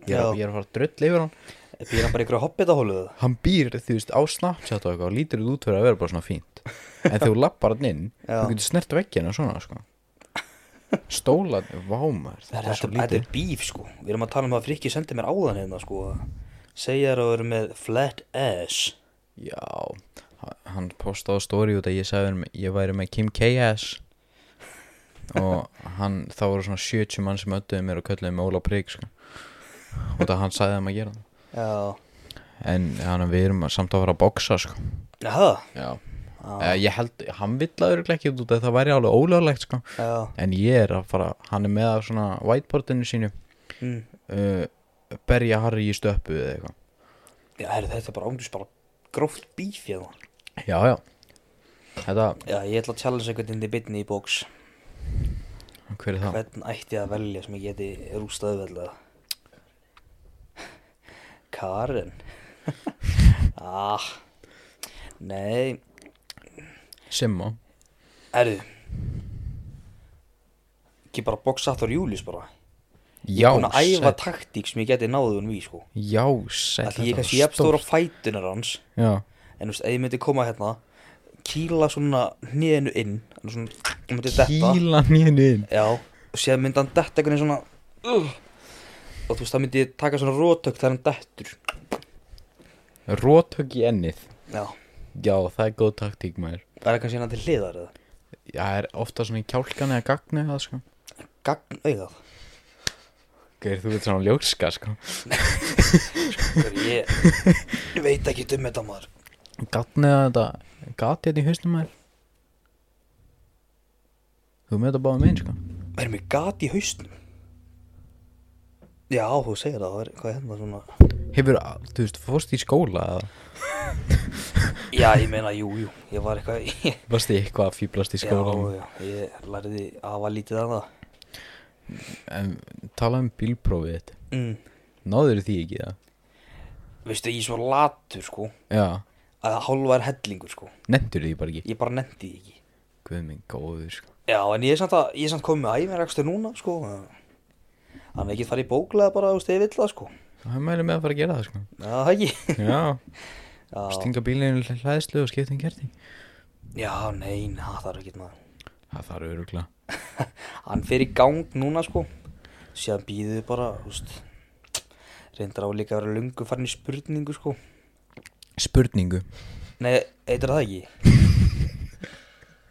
Speaker 2: ég,
Speaker 1: Já.
Speaker 2: er, ég er að fara að dröll yfir hann
Speaker 1: býr hann bara ykkur að hoppita hóluðu
Speaker 2: hann býr, þú veist, á Snapchat og eitthvað og lítur þú út fyrir að vera bara svona fínt en þegar þú lappar hann inn,
Speaker 1: Já.
Speaker 2: þú getur snert veggina svona, sko stólan, vámar, þetta
Speaker 1: þetta
Speaker 2: er svo
Speaker 1: þetta
Speaker 2: lítið
Speaker 1: er bíf sko við erum að tala um að friki sendi mér áðan hérna sko segja þér að vera með flat ass
Speaker 2: já, ha- hann postaði á story út að ég sagði hann, ég væri með Kim K.S. og hann, þá voru svona 70 mann sem öttuði mér og kölluði með Óla Prygg, sko og það hann sagði þeim að gera það
Speaker 1: já,
Speaker 2: en hann, við erum samt að fara að boxa, sko
Speaker 1: já,
Speaker 2: já Eh, Ég held, hann vill að örgulega ekki út út að það væri alveg ólöglegt sko
Speaker 1: já
Speaker 2: En ég er að fara, hann er með á svona whiteboardinu sínu
Speaker 1: mm.
Speaker 2: uh, Berja Harry í stöppu eða eitthvað
Speaker 1: Já, heru, þetta er bara ánglis bara gróft bíf hérna.
Speaker 2: Já, já Þetta,
Speaker 1: Já, ég ætla að challenge einhvern inn í bitni í bóks.
Speaker 2: hver er það?
Speaker 1: Hvern ætti ég að velja sem ég geti rústaðu velja? Karen. ah, nei.
Speaker 2: Simma
Speaker 1: Erðu. Ekki bara bóksattur Július bara.
Speaker 2: Já,
Speaker 1: Búin að æfa
Speaker 2: sæll.
Speaker 1: taktík sem ég geti náðu hann við, sko.
Speaker 2: Já, sætt
Speaker 1: Ætli ég er kannski jafnst stóra fætunar hans.
Speaker 2: Já,
Speaker 1: En þú veist, ef ég myndi koma hérna, kýla svona hniðinu inn. alveg Svona, ég myndi detta.
Speaker 2: kýla nýðinu inn
Speaker 1: Já, og séð myndi hann detta einhvern veginn svona uh, Og þú veist, það myndi ég taka svona rótök þegar hann dettur
Speaker 2: Rótök í ennið
Speaker 1: Já,
Speaker 2: Já, það er góð taktík maður
Speaker 1: það er kannski hérna til hliðar eða
Speaker 2: Já, það er ofta svona í kjálkan eða gagnu eða sko
Speaker 1: Gagn auðað
Speaker 2: Hver, þú veit svona ljókska sko
Speaker 1: Ég ég veit ekki um þetta maður
Speaker 2: Gatni að þetta Gat hérna í hausnum maður Þú með þetta báðum einn sko
Speaker 1: Erum við gat í hausnum? Já, þú segir það, það er, hvað er hérna svona
Speaker 2: Hefur, þú veist, fórst í skóla eða
Speaker 1: Já, ég meina, jú, jú, ég var eitthvað í
Speaker 2: Varst þið eitthvað að fýblast í skóla
Speaker 1: Já, já, ég lærði afa lítið annað
Speaker 2: En tala um bílprófið þitt
Speaker 1: mm.
Speaker 2: Náður því ekki það?
Speaker 1: Veistu, ég er svo latur, sko
Speaker 2: Já,
Speaker 1: Að hálfa er hellingur, sko
Speaker 2: nendur því bara ekki
Speaker 1: Ég bara nefndi því ekki
Speaker 2: Guð minn góður sko
Speaker 1: Já, en ég er samt, að, ég er samt komið með æfinrækstur núna, sko. Þannig að ég get farið í bóklega bara, þú veist, ef ég vill það, sko.
Speaker 2: Það mæli með að fara að gera það sko
Speaker 1: Já, það ekki.
Speaker 2: Já,
Speaker 1: Já,
Speaker 2: stinga bílinu í hlæðslu og skipta um kerti
Speaker 1: já nein, það þarf ekki maður.
Speaker 2: Það þarf öruglega
Speaker 1: Hann fer í gang núna, sko. Síðan býðu bara, þú veist, reyndar á líka að vera lungu farin í spurningu, sko.
Speaker 2: Spurningu
Speaker 1: Nei, eitthvað það ekki.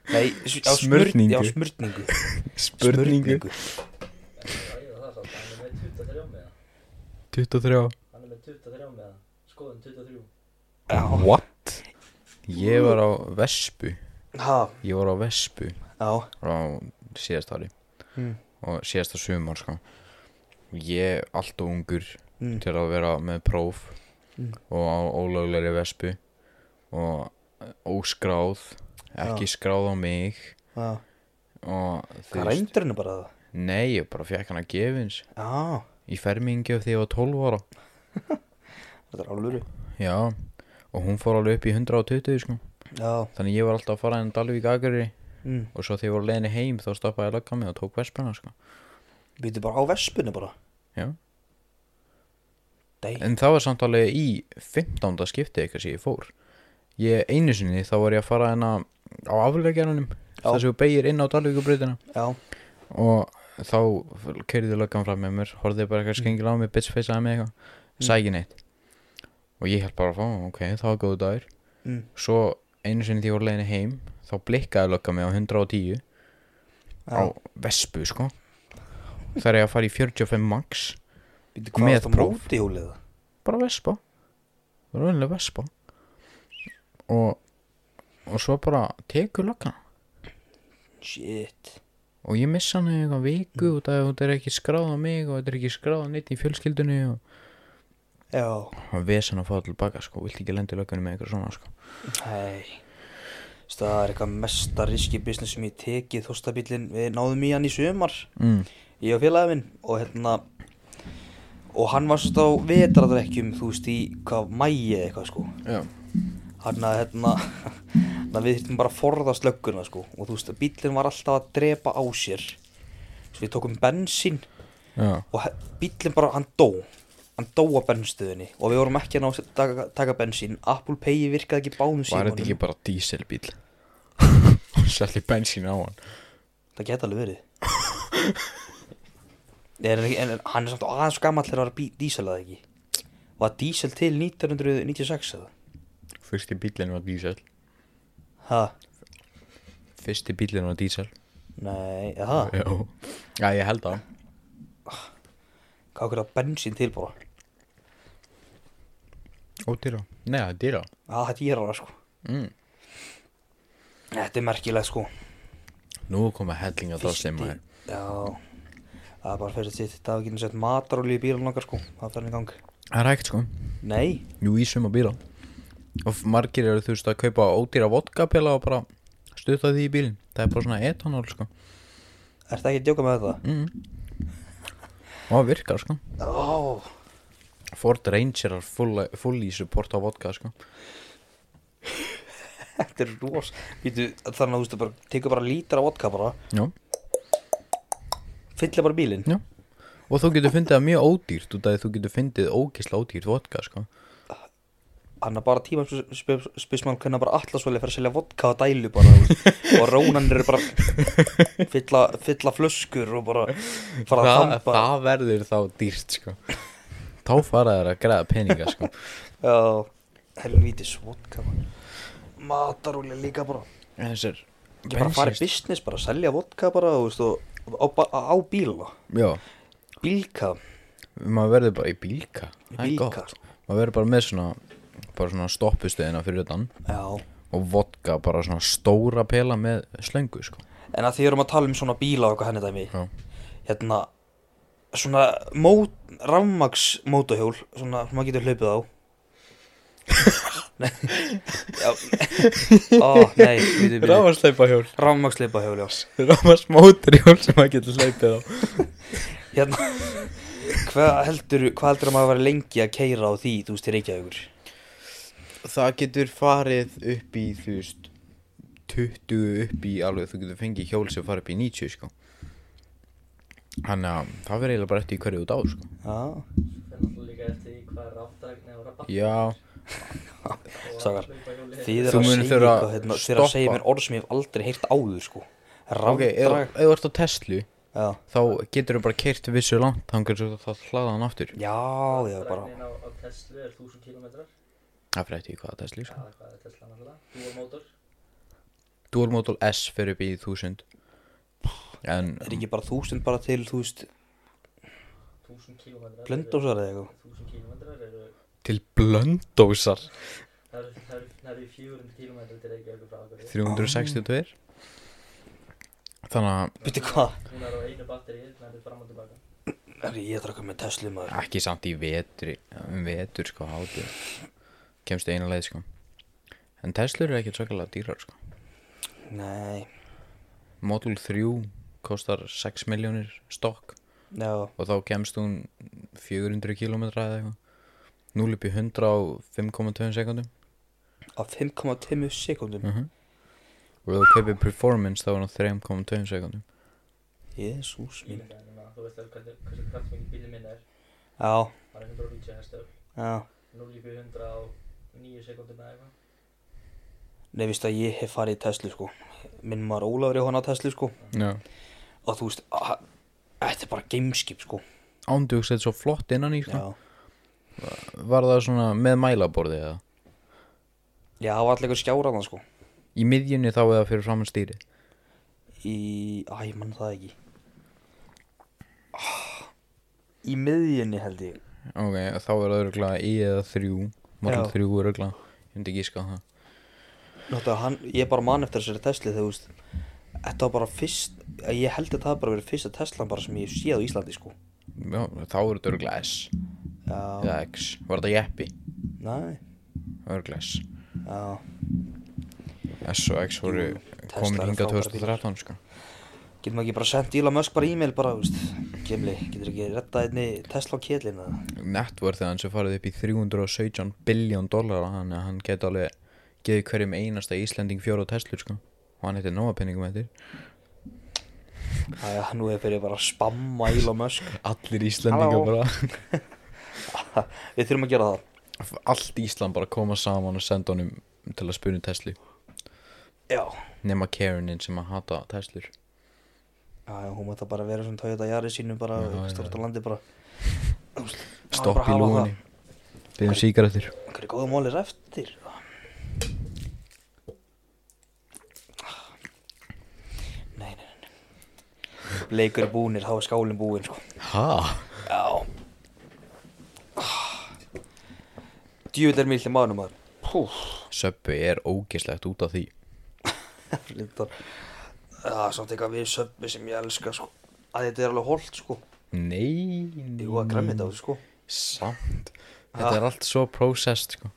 Speaker 1: Nei, s- á
Speaker 2: Smurningu.
Speaker 1: smurningu. Já, smurningu.
Speaker 3: ræða það samt, hann er með 23 með það.
Speaker 2: 23
Speaker 3: Hann er með 23 með það. Skoðun 23.
Speaker 1: Já,
Speaker 2: What? Ég var á Vespu
Speaker 1: ha,
Speaker 2: Ég var á Vespu
Speaker 1: já,
Speaker 2: frá síðast ári
Speaker 1: Mm.
Speaker 2: og síðasta sumar sko. ég er alltaf ungur
Speaker 1: Mm.
Speaker 2: til að vera með próf
Speaker 1: Mm.
Speaker 2: og á ólöglegri vespu og eh, óskráð ekki skráð á mig
Speaker 1: já.
Speaker 2: og þú
Speaker 1: Hvað
Speaker 2: veist-
Speaker 1: reyndur henni bara það?
Speaker 2: nei, ég bara fekk hana gefins
Speaker 1: Já,
Speaker 2: í fermingi af því ég var 12 ára
Speaker 1: þetta er áluru.
Speaker 2: já, og hún fór alveg upp í 120 sko.
Speaker 1: Já,
Speaker 2: þannig ég var alltaf að fara enn Dalvík Akari
Speaker 1: mm.
Speaker 2: og svo þegar ég voru leiðinni heim þá stoppaði ég að lagga mig og tók vespuna sko.
Speaker 1: Býtu bara á vespunni bara
Speaker 2: já
Speaker 1: Dei,
Speaker 2: En það var samt alveg í 15. skipti eitthvað sem ég fór Ég einu sinni þá var ég að fara hérna á aflegjaranum
Speaker 1: Já.
Speaker 2: þar sem við beigir inn á Dalvíkubrautina
Speaker 1: já,
Speaker 2: og þá kerði löggan fram með mér horfði bara
Speaker 1: Mm.
Speaker 2: eitthvað skengil á mig, bitchfaceaði mig eitthvað sagði ekki neitt og ég held bara að fá, ok, það var góðu dagur
Speaker 1: mm.
Speaker 2: svo einu sinni því ég voru leiðinni heim þá blikkaði löggan mig á 110 á
Speaker 1: já.
Speaker 2: vespu sko þar er ég að fara í 45 max
Speaker 1: Býtu
Speaker 2: með
Speaker 1: hvað er þetta
Speaker 2: próf.
Speaker 1: móti hjólið það?
Speaker 2: bara vespa bara vennilega vespa og og svo bara tekur löggan
Speaker 1: Shit
Speaker 2: og ég missa hann í eitthvað viku út af því að þetta er ekki skráð á mig og þetta er ekki skráð á neitt í fjölskyldunni og
Speaker 1: Já
Speaker 2: hann ves hann að fá það tilbaka sko, vilt ekki lendi löggunni með eitthvað svona sko
Speaker 1: Nei Þú veist, Það er eitthvað mesta riski business sem ég tekið þóstabílinn Við náðum í hann í sumar
Speaker 2: mm.
Speaker 1: Ég og félagið minn Og hérna Og hann var svolítið á vetradrekkjum Þú veist í hvað mæi eða eitthvað sko
Speaker 2: Já,
Speaker 1: Þannig að hérna, hérna við þurftum bara að forðast lögguna sko og þú veist að bílinn var alltaf að drepa á sér svo við tókum bensín
Speaker 2: já,
Speaker 1: og he- bíllinn bara, hann dó hann dó á bennstöðinni og við vorum ekki að ná að taka, taka bensín Apple Pay virkaði ekki báðum
Speaker 2: var
Speaker 1: símanum
Speaker 2: þetta ekki bara díselbíl og sætti bensín á hann
Speaker 1: það geta alveg verið en, en, en hann er samt aðeins gammal þegar það var bí, diesel að ekki var diesel til 1996 eða?
Speaker 2: Fyrsti bílinn var dísel
Speaker 1: ha,
Speaker 2: Fyrsti bílinn var dísel
Speaker 1: nei, eða það
Speaker 2: Já, já ég held það
Speaker 1: hvað okkur að bensín til bara
Speaker 2: Ódýra Nei, það er dýra
Speaker 1: að þetta ég er alveg sko
Speaker 2: mm.
Speaker 1: Þetta er merkilegt sko
Speaker 2: Nú koma hellinga þá sem maður
Speaker 1: Já Það er bara fyrir sitt Það er ekki sett matarolíu í bílunum okkar sko Það fer hann í gang
Speaker 2: Það er hægt sko
Speaker 1: Nei
Speaker 2: Jú, í suma bíla Og f- margir eru þú veist að kaupa ódýra vodkapela og bara stutta því í bílinn Það er bara svona etanól sko
Speaker 1: Ertu ekki að djóka með þetta?
Speaker 2: mm. Og það virkar sko
Speaker 1: Ó
Speaker 2: Ford Ranger er full, full í support á vodka sko
Speaker 1: Þetta er ros Vítu Þannig að þú veist bara Tekur bara lítra vodka bara
Speaker 2: Já,
Speaker 1: Fyllir bara bílinn
Speaker 2: já Og þú getur fundið það mjög ódýrt út af því þú getur fundið ógisla ódýrt vodka sko
Speaker 1: Hann er bara tíma Spismann Hvernig bara allarsvöli Fyrir að selja vodka á dælu bara þú veist. Og rónan eru bara Fylla, fylla flöskur Og bara Fara að
Speaker 2: það,
Speaker 1: þampa
Speaker 2: það verður þá dýrt sko Þá fara þær að græða peninga sko
Speaker 1: Já Helvítis vodka man. Matarolíu líka bara
Speaker 2: En Þessar
Speaker 1: Ég bara farið business, bara selja vodka bara, þú veist, og á, ba- á bíla,
Speaker 2: Já,
Speaker 1: bílka,
Speaker 2: maður verður bara í bílka Það er
Speaker 1: bílka,
Speaker 2: gott. Maður verður bara með svona bara svona stoppustöðina fyrir utan
Speaker 1: já.
Speaker 2: og vodka bara svona stóra pela með slöngu sko
Speaker 1: En að því erum að tala um svona bíla og eitthvað henni dæmi,
Speaker 2: Já,
Speaker 1: hérna, svona mót, rafmaks mótohjól, svona, sem maður getur hlaupið á. nei, já, ó, nei, við erum við,
Speaker 2: Ráfarsleipa hjól
Speaker 1: rafmaks leipahjól, já.
Speaker 2: Ráfarsmótur hjól sem maður getur sleipið á
Speaker 1: Hérna, hvað heldur, hvað heldur að maður verið lengi að keira á því, þú veist, til Reykjavíkur?
Speaker 2: Það getur farið upp í þú veist 20 upp í alveg þú getur fengið hjól sem farið upp í 90 sko Þannig að það verður eiginlega bara eftir í hverju út á sko
Speaker 1: Já,
Speaker 3: Það er náttúrulega líka eftir því hvað er ráttagn eða rabatt
Speaker 2: Já,
Speaker 1: Strákar,
Speaker 3: Því
Speaker 1: Þið eru
Speaker 2: Þú
Speaker 1: að
Speaker 2: munir
Speaker 1: segja
Speaker 2: þurfa
Speaker 1: eitthvað, hérna, þið eru að
Speaker 2: stoppa.
Speaker 1: segja mér orð sem ég hef aldrei heyrt áður, sko.
Speaker 2: ok, ef
Speaker 1: Rafdrag.
Speaker 2: ef þú ert á Tesla
Speaker 1: Já,
Speaker 2: þá getur þú bara keirt vissu langt þangar svo það hlaða hann aftur
Speaker 1: já, já, bara.
Speaker 3: Ragnin á, á Tesla er 1000 kilometrar
Speaker 2: Það fyrir eftir í hvaða Tesla
Speaker 3: Já,
Speaker 2: sko
Speaker 3: hvað er Tesla náttúrulega? Dualmotor
Speaker 2: Dual Model S fyrir upp í 1000 En
Speaker 1: Er ekki bara þúsund bara til, þú veist,
Speaker 3: 1000 kilometrar
Speaker 1: blöndósar eða eitthvað?
Speaker 3: 1000 kilometrar eru
Speaker 2: til blöndósar
Speaker 3: Það eru- það eru það eru 400 kilometrar til Reykjavíkur frá okkur
Speaker 2: 362 Þannig að
Speaker 1: Býttu hvað?
Speaker 3: Hún er á einu batteri, það er fram og tilbaka
Speaker 1: Er ég að draka með Tesla maður?
Speaker 2: ekki samt í vetri um vetur sko hátu kemst eina leið sko En Tesla eru ekki svakalega dýrar sko
Speaker 1: Nei,
Speaker 2: Model 3 kostar 6 miljónir stokk
Speaker 1: já,
Speaker 2: og þá kemst hún 400 km eða eitthvað 0 upp í 100 á 5,2 sekundum
Speaker 1: á 5,5 sekundum.
Speaker 2: -huh. og ef þú kaupir performance þá er hún á 3,2 sekundum
Speaker 1: Jésús mín.
Speaker 3: Ímyndaði núna, þú veist alveg hvernig- hversu kraftmengi bílið minn er
Speaker 1: Já,
Speaker 3: Hann er 190 hestöfl
Speaker 1: já.
Speaker 3: 0 í 100 á 9 sekundum eða eitthvað
Speaker 1: Nei, víst að ég hef farið í Tesla, sko. Minn maður Ólafur Jóhann á Tesla, sko.
Speaker 2: Já
Speaker 1: Og þú veist, að- þetta er bara gameskip, sko.
Speaker 2: Ándjóks þetta er svo flott innan í sko
Speaker 1: Já.
Speaker 2: Var það svona með mælaborði eða
Speaker 1: Já, það var allir eitthvað skjáraðan, sko.
Speaker 2: Í miðjunni þá eða fyrir framann stýri
Speaker 1: í, æ, ég mann það ekki Ah. í miðjunni held ég
Speaker 2: Ok, þá er það örgulega í eða 3 Model
Speaker 1: Já.
Speaker 2: 3 er örgulega Ég myndi ekki ská það
Speaker 1: Náttúrulega, hann, ég bara man eftir þessari Tesla þegar, þú veist Þetta var bara fyrst eh, Ég held að það hafi bara verið fyrsta Teslan bara sem ég hef séð á Íslandi sko
Speaker 2: Já, þá eru þetta örgulega S
Speaker 1: Já,
Speaker 2: eða X, var þetta jeppi
Speaker 1: næ,
Speaker 2: örgulega S
Speaker 1: já
Speaker 2: S og X voru
Speaker 1: Jú, Tesla
Speaker 2: komin
Speaker 1: eru
Speaker 2: hingað
Speaker 1: frábærar bílar.
Speaker 2: 2013 sko
Speaker 1: Getum ekki bara sendt Elon Musk bara e-mail bara, þú veist Kemli, getur ekki rettað einni Tesla kjellin eða
Speaker 2: networth hans er farið upp í 317 biljón dollara þannig að hann geti alveg geði hverjum einasta Íslending fjóra Tesla sko og hann heitir nóa penningum eftir
Speaker 1: Æja, nú hefur fyrir bara að spamma Elon Musk
Speaker 2: allir Íslendingar
Speaker 1: Halló.
Speaker 2: bara
Speaker 1: Við þurfum að gera það
Speaker 2: allt Ísland bara koma saman og senda honum til að spuna Tesla
Speaker 1: Já,
Speaker 2: nema Karenin sem að hata Tesla
Speaker 1: já, já, hún mætti bara vera sem Toyota Yaris sínum bara
Speaker 2: Já, já,
Speaker 1: Stort á landi bara Þú veist, það var
Speaker 2: stopp
Speaker 1: bara
Speaker 2: í
Speaker 1: að hafa það.
Speaker 2: lúgunni byrjum síkaretur
Speaker 1: Einhverju góðu mólir eftir Nei, nei, nei Leikur er búnir, þá er skálinn búinn sko.
Speaker 2: ha?
Speaker 1: Já Djúvill er mýldi maðurinn maður Púf
Speaker 2: Söppi er ógislegt út af því
Speaker 1: Lindar Það er samt eitthvað við söppi sem ég elska sko. að þetta er alveg holdt sko
Speaker 2: nei
Speaker 1: Jú að græmið þetta sko
Speaker 2: samt þetta er allt svo processed sko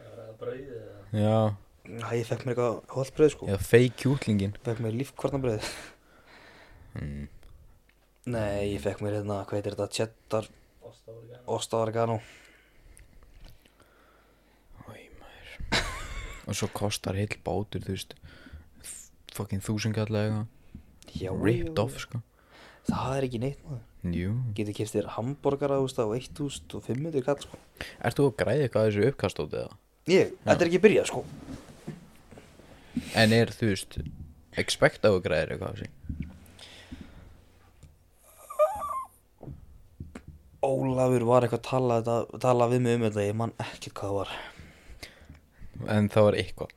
Speaker 3: Það er að brauðið eða?
Speaker 2: já
Speaker 1: Næ, ég fekk mér eitthvað holdt bröð sko
Speaker 2: eða fake kjúklingin
Speaker 1: Fekk mér lífkvarnabröð
Speaker 2: Hmm.
Speaker 1: Nei, ég fekk mér hérna, hvað heitir þetta, cheddar
Speaker 3: Osta voru gana.
Speaker 1: Osta oregano
Speaker 2: Æ, maður Og svo kostar heil bátur, þú veist Fucking þúsungall eða
Speaker 1: Já,
Speaker 2: eitthvað Ripped off, sko
Speaker 1: Það er ekki neitt maður
Speaker 2: Jú
Speaker 1: Getur kipst þér hambúrgara úst á 1500 kall sko
Speaker 2: Ert þú að græða eitthvað að þessu uppkast út eða?
Speaker 1: Ég, þetta er ekki byrjað sko
Speaker 2: En er, þú veist Expect að þú græðir eitthvað að þessu
Speaker 1: Ólafur var eitthvað að tala, þetta- tala við mig um þetta Ég man ekkert hvað það var
Speaker 2: En það var eitthvað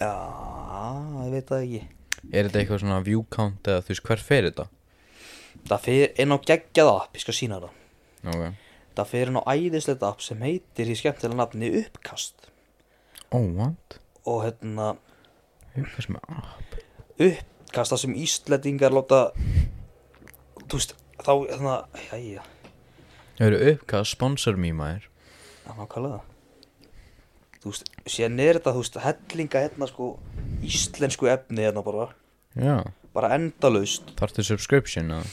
Speaker 1: Já, ég veit það ekki
Speaker 2: Er þetta eitthvað svona view count eða þú veist hver fer þetta?
Speaker 1: Það fyrir inn á geggjaða app, ég skal sína það
Speaker 2: Ok
Speaker 1: Það fyrir inn á æðislegt app sem heitir í skemmtilega nafni Uppkast
Speaker 2: Oh, what?
Speaker 1: Og hérna,
Speaker 2: Uppkast með app
Speaker 1: uppkast það sem Íslandingar láta Þú veist, þá, þannig að, jæja,
Speaker 2: Það eru uppkast sponsor me maður
Speaker 1: Það er nákvæmlega það. Þú veist, síðan er þetta, þú veist, hellinga hérna sko íslensku efni hérna bara,
Speaker 2: Já
Speaker 1: bara endalaust.
Speaker 2: Þarftu subscription eða?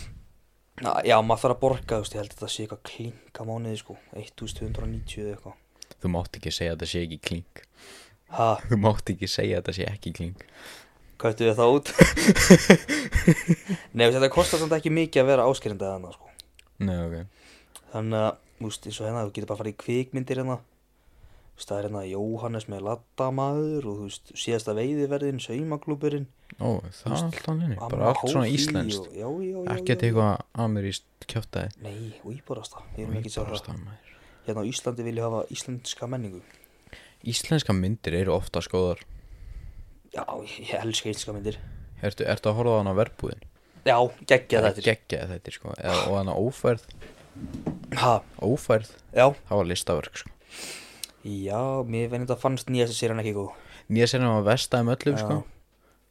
Speaker 1: Na, já, maður þarf að borga, þú veist, ég held að þetta sé eitthvað klinka mánuði sko, 1290 eða eitthvað.
Speaker 2: Þú mátt ekki segja að þetta sé ekki klink
Speaker 1: Ha,
Speaker 2: Þú mátt ekki segja að þetta sé ekki klink
Speaker 1: kvættu við það út? Nei, þú veist, þetta kostar samt ekki mikið að vera áskerinda hérna sko.
Speaker 2: Nei, ok
Speaker 1: Þannig að, þú veist, eins og hérna, þú getur bara að fara í kvikmyndir hérna. Þú veist, það er hérna Jóhannes með laddamaður og þú veist, síðasta veiðiverðin, saumaklúburinn.
Speaker 2: Ó, það er allt annað inni, bara
Speaker 1: Amma
Speaker 2: allt svona
Speaker 1: Hófí
Speaker 2: íslenskt
Speaker 1: og- Já, já, já.
Speaker 2: Ekkert
Speaker 1: já, já.
Speaker 2: eitthvað amerískt kjáttæði
Speaker 1: Nei, íbúrasta, við erum ekki að sjá það.
Speaker 2: maður
Speaker 1: Hérna á Íslandi vil ég hafa íslenska menningu.
Speaker 2: Íslenska myndir eru ofta skóðar
Speaker 1: Já, ég elska íslenska myndir.
Speaker 2: Ertu, ertu að horfa á hana verbúðin?
Speaker 1: Já, geggja
Speaker 2: Það
Speaker 1: þetta.
Speaker 2: er geggjað þetta sko Eða, Og hana ófærð,
Speaker 1: Ha,
Speaker 2: ófærð
Speaker 1: já,
Speaker 2: Það var listaverk sko
Speaker 1: já, mér finnir þetta fannst nýjast sér hann ekki góð.
Speaker 2: Nýja sérna var vestaðum öllum
Speaker 1: Já.
Speaker 2: sko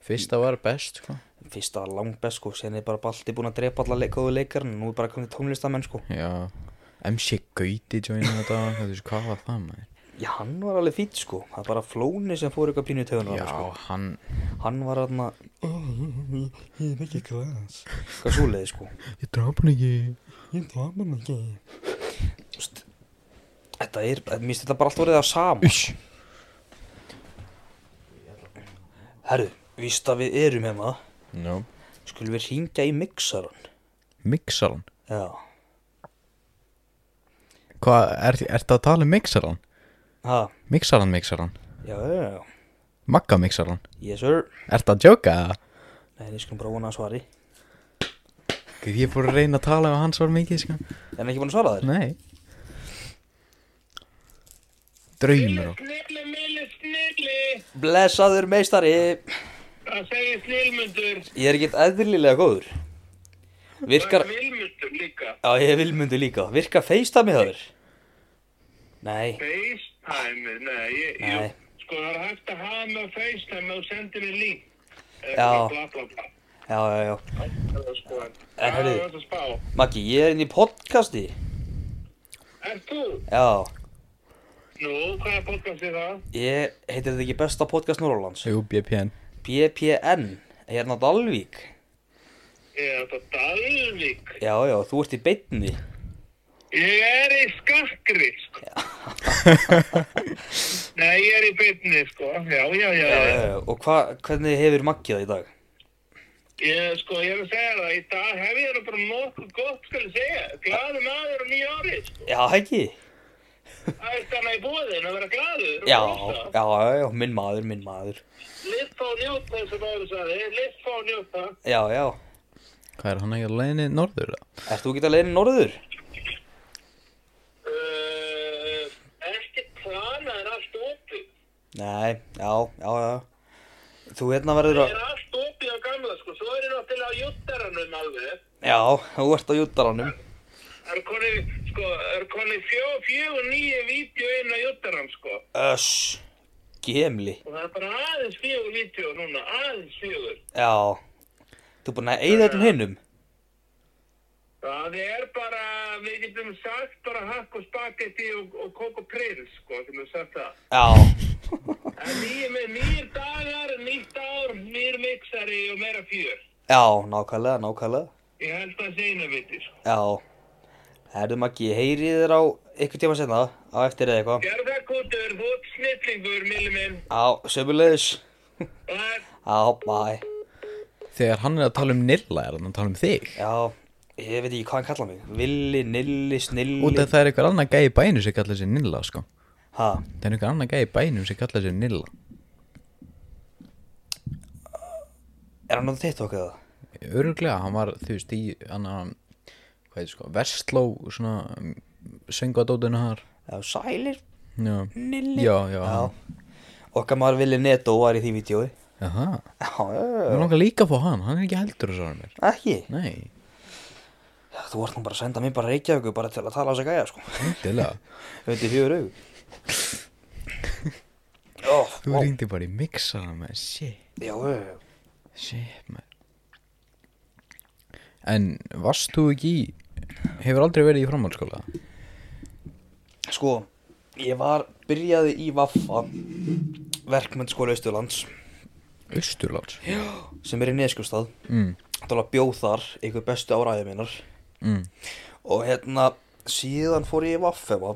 Speaker 2: Fyrsta var best sko
Speaker 1: Fyrsta var langbest sko, sen er bara balti búin að drepa alla leik, góðu leikar, en nú er bara komið tónlistamenn sko.
Speaker 2: Já MC Gauti joina þetta Þú veist hvað var það maður?
Speaker 1: Já, hann var alveg fýtt sko, það er bara flóni sem fór eitthvað pínu í töðunar.
Speaker 2: Já,
Speaker 1: Sko.
Speaker 2: hann
Speaker 1: Hann var aðna, ég er ekki glas. Hvað svoleiði sko.
Speaker 2: Ég draf hann ekki
Speaker 1: Ég drapa hann ekki Vist, Þetta er, mér finnst þetta bara alltaf orðið að sama
Speaker 2: Uss
Speaker 1: Herru, víst að við erum hérna
Speaker 2: No
Speaker 1: Skulum við hringja í mixaran
Speaker 2: Mixaran
Speaker 1: Já,
Speaker 2: Hvað, er, ertu að tala um mixaran?
Speaker 1: ha,
Speaker 2: Mixaran, mixaran
Speaker 1: já, já, já
Speaker 2: Magga mixaran
Speaker 1: Yes sir
Speaker 2: Ertu að djóka það?
Speaker 1: Nei, ég skulum bara vona að svari
Speaker 2: Ég fór að reyna að tala og hans var mikið sko
Speaker 1: Er hann ekki búin að svara þér?
Speaker 2: Nei Draumur og
Speaker 4: Snilli, milli, snilli,
Speaker 1: Blessaður meistari
Speaker 4: það segir snillmundur,
Speaker 1: Ég er ekkert eðlilega góður Virkar,
Speaker 4: vilmundur líka,
Speaker 1: já ég er vilmundu líka Virkar feistami hjá þér? Nei,
Speaker 4: FaceTime, nei, ég,
Speaker 1: Nei.
Speaker 4: Jú, sko það er hægt að hafa með FaceTime og sendi mér lík,
Speaker 1: Já.
Speaker 4: Bla, bla, bla.
Speaker 1: já, já, já
Speaker 4: Það er sko en.
Speaker 1: En heyrðu.
Speaker 4: Það er það spá.
Speaker 1: Maggi, ég er inn í podcasti
Speaker 4: Er þú?
Speaker 1: Já,
Speaker 4: Nú, hvaða podcast er það?
Speaker 1: ég heitir þetta ekki besta podcast Norrlands
Speaker 2: Jú, BPN
Speaker 1: BPN, hérna Dalvík
Speaker 4: Er þetta Dalvík?
Speaker 1: Já, já, þú ert í beinni
Speaker 4: Ég er í skakri, sko. Nei, ég er í beinni, sko. Já, já, já.
Speaker 1: Já,
Speaker 4: já,
Speaker 1: já, já. Og hva, hvernig hefur Maggi það í dag?
Speaker 4: Ég, sko, ég er að segja það. Í dag hef ég það bara nokkuð gott, skal ég segja. Glaðu maður á nýja árið, sko.
Speaker 1: Já, ekki?
Speaker 4: Það er þannig í bóðin að vera glaður.
Speaker 1: Já,
Speaker 4: og
Speaker 1: já,
Speaker 4: brosa.
Speaker 1: já, já, minn maður, minn maður
Speaker 4: Liffa og njóta sem maður sagði, liffa og njóta.
Speaker 1: Já, já,
Speaker 2: Hvað er hann ekki að leiðinni norður? eða?
Speaker 1: ert þú ekki að leiðin norður?
Speaker 4: Uh, ekki plana, er allt opið.
Speaker 1: Nei, já, já, já Þú hérna verður
Speaker 4: Það
Speaker 1: að
Speaker 4: er allt opið á gamla, sko. Svo er ég náttúrulega á juttaranum alveg.
Speaker 1: Já, þú ert á júttaranum
Speaker 4: Það er konið, sko, það er konið fjó, fjögur nýju vídeo inn á juttaran, sko.
Speaker 1: Öss, gemli
Speaker 4: Og það er bara aðeins fjögur vídeo núna, aðeins fjögur.
Speaker 1: Já, þú er búin að eigða öllum hinnum
Speaker 4: Það er bara, við getum sagt bara hakk og spagetti og, og kók og prins, sko, sem við sagt það.
Speaker 1: Já,
Speaker 4: En nýjir með nýjir dagar, nýtt ár, nýjir mixari og meira fjör.
Speaker 1: já, nákvæmlega, nákvæmlega
Speaker 4: Ég held að segna viti, sko.
Speaker 1: Já, herðu Maggi, ég heyri þér á ykkur tíma senna á eftir eða eitthvað
Speaker 4: Gerð það kútur, þú ert snillingur, milli minn.
Speaker 1: Já, sömulegis
Speaker 4: Það er
Speaker 1: Já, bæ
Speaker 2: Þegar hann er að tala um Nilla er hann að tala um þig
Speaker 1: Já, ég veit ekki hvað hann kallar mig Villi, Nilli, Snilli
Speaker 2: Út af það er einhver annar gæi í bænum sem kallar sér Nilla sko
Speaker 1: Ha,
Speaker 2: Það er einhver annar gæi í bænum sem kallar sér Nilla
Speaker 1: er hann á TikTok eða?
Speaker 2: Öruglega, hann var þú veist í annar, hvað heitir sko, Vestló svona söngadótinu þar
Speaker 1: Já, Sælir,
Speaker 2: Já,
Speaker 1: Nilli
Speaker 2: já, já,
Speaker 1: Já Okkar maður Villi Neto var í því vídjói
Speaker 2: Jaha,
Speaker 1: Já, já,
Speaker 2: mér langar líka að fá hann, hann er ekki heldur að svara mér
Speaker 1: já, ekki
Speaker 2: Nei,
Speaker 1: Já, Þú ert nú bara að senda mér bara reykjavíku bara til að tala á þess að gæja, sko
Speaker 2: endilega
Speaker 1: Undir fjögur augu Já,
Speaker 2: Þú
Speaker 1: vá.
Speaker 2: ringdi bara í mixaða með, shit
Speaker 1: Já, já, já
Speaker 2: Shit, maður En varst þú ekki í Hefur aldrei verið í framhaldsskóla?
Speaker 1: Sko, ég var, byrjaði í Vaffa Verkmöndskóla Austurlands
Speaker 2: Austurlands? Já
Speaker 1: sem er í Neskustad
Speaker 2: mm,
Speaker 1: Þannig að bjóð þar, einhver bestu áræði minnar
Speaker 2: mm,
Speaker 1: Og hérna, síðan fór ég í Vaffema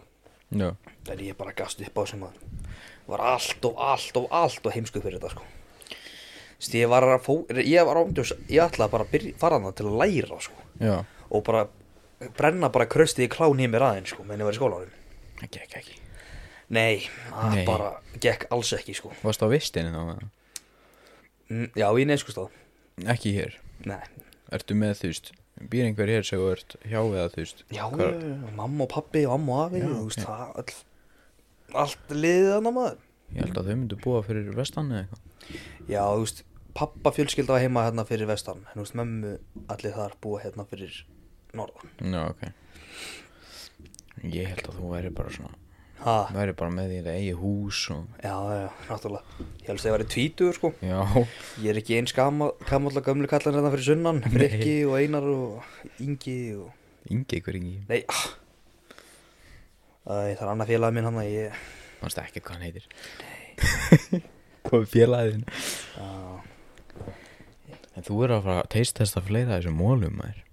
Speaker 2: Já
Speaker 1: En ég bara gast upp á sem að Var allt og allt og allt og heimsku fyrir þetta sko Þess ég var að fó Ég var ándjós, ég ætlaði bara að byrja, fara hana til að læra sko
Speaker 2: Já
Speaker 1: Og bara brenna bara kröstið í klán í mér aðeins sko Menni var í skólanum
Speaker 2: Ekki, ekki, ekki
Speaker 1: Nei, það
Speaker 2: Nei.
Speaker 1: bara gekk alls ekki sko
Speaker 2: Varst á vistinu þá? eða?
Speaker 1: Mm, Já, í neinskustaf
Speaker 2: Ekki hér
Speaker 1: Nei,
Speaker 2: Ertu með þú veist Býr einhver hér sem þú ert hjá eða þú veist
Speaker 1: já,
Speaker 2: hvar-
Speaker 1: já, mamma og pappi og amma og afi Þú veist, það all, Allt liðið annað maður
Speaker 2: Ég held að þau myndu búa fyrir vestan eða eitthvað
Speaker 1: Já, þú veist, pappa fjölskylda var heima hérna fyrir vestan En þú veist, mömmu allir þar búa hérna fyrir norðan
Speaker 2: Já, ok Ég held að þú væri bara svona
Speaker 1: Ha,
Speaker 2: Væri bara með því að eigi hús og
Speaker 1: já, já, náttúrulega Ég helst að ég væri tvítur, sko
Speaker 2: Já
Speaker 1: Ég er ekki eins kamallega gömlu kallan hérna fyrir sunnan Frikki og Einar og Ingi og...
Speaker 2: Ingi ykkur ingi
Speaker 1: Nei, ah Æ, það er annað félagið minn hann að ég
Speaker 2: Manstu ekki hvað hann heitir Hvað er félagin
Speaker 1: á,
Speaker 2: En þú er að fara að teistesta fleira af þessum mólum maður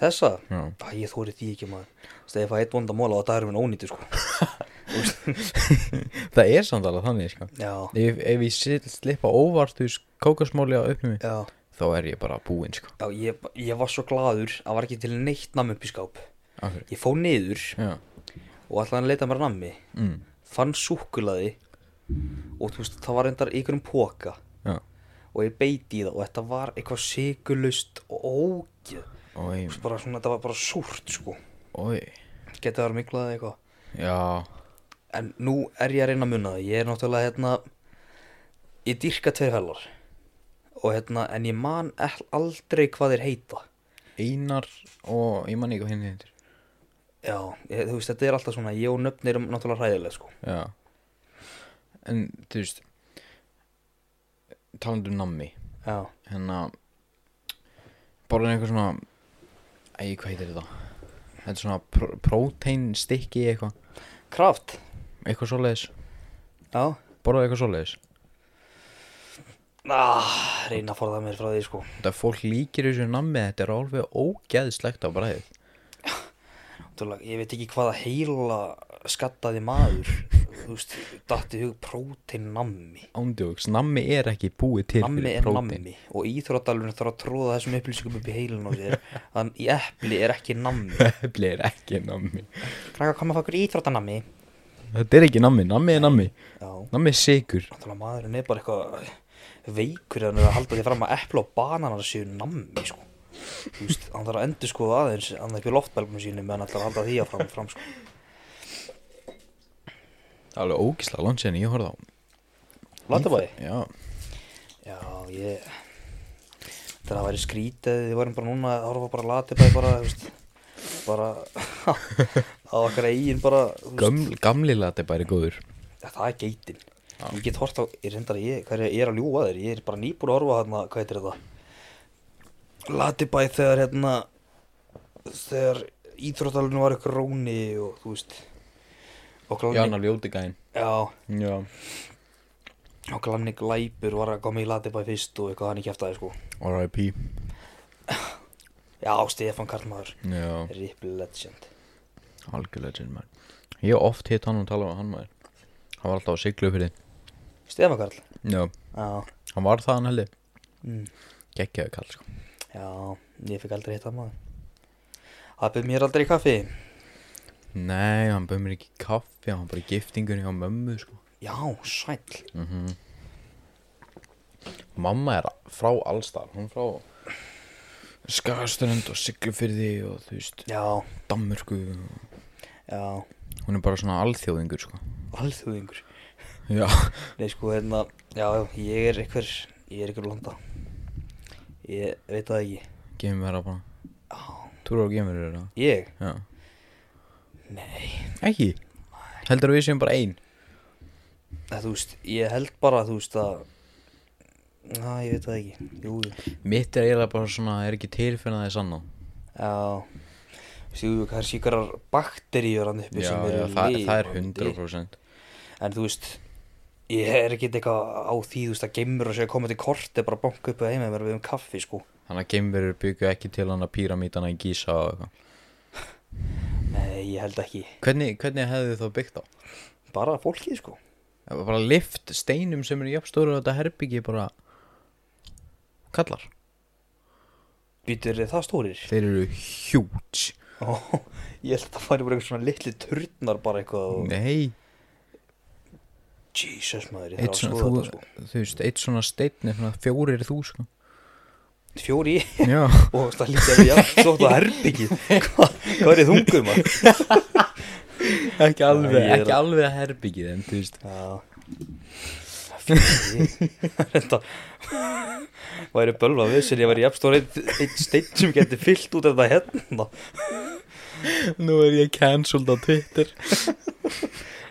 Speaker 1: Þessa,
Speaker 2: Já
Speaker 1: Æ, ég þóri því ekki maður Þú veist, ef ég fæ eitt vonda móla á dagarum minn ónýttu, sko Þú veist,
Speaker 2: Það er samt alveg þannig sko
Speaker 1: Já,
Speaker 2: Ef, ef ég sit- slippa óvart þú veist kókasmóli á uppnum mig
Speaker 1: já
Speaker 2: Þá er ég bara búinn sko
Speaker 1: Já, ég, ég var svo gladur að var ekki til neitt namn upp í skáp
Speaker 2: Af hverju?
Speaker 1: Ég fó niður
Speaker 2: Já
Speaker 1: og ætlaði að leita mér nammi
Speaker 2: mm.
Speaker 1: Fann súkkulaði Og þú veist, það var reyndar í einhverjum póka
Speaker 2: Já
Speaker 1: Og ég beiti í það og þetta var eitthvað sigurlust og ógeð Þú
Speaker 2: Oi,
Speaker 1: veist, bara svona, Þetta var bara súrt sko
Speaker 2: oi
Speaker 1: Getið að vera miklaði eitthvað
Speaker 2: Já
Speaker 1: En nú er ég að reyna að muna það Ég er náttúrulega hérna Ég dýrka tveir fellar Og hérna, en ég man all- aldrei hvað þeir heita
Speaker 2: Einar og ég man ekki hvað henni heitir
Speaker 1: Já, ég, þú veist, þetta er alltaf svona Ég og nöfn erum náttúrulega hræðileg sko
Speaker 2: Já En þú veist Talandi um nammi
Speaker 1: já,
Speaker 2: hérna borðin eitthvað svona æg, hvað heitir þetta? Þetta er svona pr protein stikki eitthvað
Speaker 1: kraft
Speaker 2: eitthvað svoleiðis,
Speaker 1: já,
Speaker 2: borðaði eitthvað svoleiðis
Speaker 1: ah, reyna að forða mér frá því sko
Speaker 2: þetta fólk líkir þessu nammi þetta er alveg ógeðslegt á bræðið
Speaker 1: Náttúrulega, ég veit ekki hvaða heila skattaði maður þú veist, datti hug prótein nammi
Speaker 2: ándjóks, nammi er ekki búið til
Speaker 1: nammi
Speaker 2: fyrir
Speaker 1: er
Speaker 2: prótein
Speaker 1: nammi og íþróttalunum þarf að tróða þessum upplýsingum upp í heilun á sér þannig í epli er ekki nammi
Speaker 2: Epli er ekki nammi
Speaker 1: krakka koma að fá okkur íþróttanammi
Speaker 2: þetta er ekki nammi, nammi er nammi
Speaker 1: já,
Speaker 2: nammi er sigur
Speaker 1: náttúrulega maðurinn er bara eitthvað veikur þannig að halda því fram að epli og bananar séu nammi sko þú veist, hann þarf að endur skoða aðeins hann er upp í loftbelgum sínum meðan hann ætlar að halda því að fram, fram sko.
Speaker 2: alveg ógislega langt sér en ég horfði á
Speaker 1: Latabæði?
Speaker 2: já,
Speaker 1: Já, ég Þetta að væri skrítið ef Við varum bara núna að horfa bara latibæði bara þú veist, bara á okkar eigin bara þú veist,
Speaker 2: Göml, gamli lati bara góður
Speaker 1: það er geitin Ég get hort á, ég reyndar að ég, hvað er, ég er að ljúga þér Ég er bara nýbúin að horfa þarna, hvað heitir þetta Latibæði þegar hérna þegar íþróttalunum var ykkur róni og þú veist og
Speaker 2: já, hann
Speaker 1: glanni,
Speaker 2: að ljóti gæn
Speaker 1: já,
Speaker 2: já,
Speaker 1: og glanni glæpur var að koma í latibæði fyrst og eitthvað hann ekki eftir sko
Speaker 2: R.I.P
Speaker 1: Já, Stefán Karlmaður
Speaker 2: já,
Speaker 1: Rip Legend
Speaker 2: algjör legend maður ég hef oft hitt hann og talað um hann maður hann var alltaf á siglu fyrir
Speaker 1: Stefán Karl
Speaker 2: já,
Speaker 1: Já,
Speaker 2: hann var það hann heldur
Speaker 1: mm.
Speaker 2: geggjaðu kall sko
Speaker 1: já ég fikk aldrei hitta maður Það byrð mér aldrei í kaffi
Speaker 2: nei, hann bauð mér ekki kaffi hann var bara í giftingunni á mömmu sko
Speaker 1: Já, sæll
Speaker 2: Mhm. mamma er frá allstar hún er frá skagasturend og siglufyrði og þú veist
Speaker 1: Já,
Speaker 2: dammurku
Speaker 1: já,
Speaker 2: hún er bara svona alþjóðingur sko
Speaker 1: alþjóðingur
Speaker 2: já,
Speaker 1: Nei, sko, hérna, já, já, ég er einhver Ég er einhver landa Ég veit það ekki
Speaker 2: geimverða bara
Speaker 1: Já,
Speaker 2: túra á geimverður eða
Speaker 1: ég?
Speaker 2: já
Speaker 1: Nei
Speaker 2: ekki heldur við séum bara ein
Speaker 1: Það, þú veist, ég held bara, þú veist, að Já, ég veit það ekki Jú, jú.
Speaker 2: mitt er eiginlega bara svona er ekki til fyrir að það er sann á
Speaker 1: já Þú veist, það er síkarar bakteríur hann uppi
Speaker 2: já,
Speaker 1: sem eru
Speaker 2: já það, það er
Speaker 1: lifandi.
Speaker 2: 100%
Speaker 1: En þú veist, ég er ekki eitthvað á því, þú veist, að geimur og sé að koma til kort er bara að banka upp að heima mér við um kaffi, sko.
Speaker 2: þannig að geimverður byggju ekki til hann að píramítana í Gísa og eitthvað
Speaker 1: Nei, ég held ekki.
Speaker 2: hvernig, hvernig hefðu þið þá byggt á?
Speaker 1: Bara fólkið, sko.
Speaker 2: Það var bara lift steinum sem eru jafnstóru og þetta herbyggi bara kallar
Speaker 1: Býtur eru það stórir.
Speaker 2: þeir eru hjúts
Speaker 1: Ó, ég held að það færi bara eitthvað svona litli turnar bara eitthvað og...
Speaker 2: nei
Speaker 1: Jesus, maður, ég
Speaker 2: eitt
Speaker 1: þarf að skoða
Speaker 2: svona, þú,
Speaker 1: þetta, sko.
Speaker 2: þú veist, eitt svona stein er svona fjórir sko. þú sko
Speaker 1: Fjóri í,
Speaker 2: já
Speaker 1: og það lítið að við jafn, slótt á herbyggið. Hvað, hvað er þið þungum, maður?
Speaker 2: ekki alveg,
Speaker 1: ég er
Speaker 2: ekki
Speaker 1: að-
Speaker 2: alveg herbyggið en þú veist
Speaker 1: Já. Fjóri í. Þetta væri bölvað við sem ég væri jafn stór einn ein steinn sem geti fyllt út þetta hérna.
Speaker 2: nú er ég cancelled á Twitter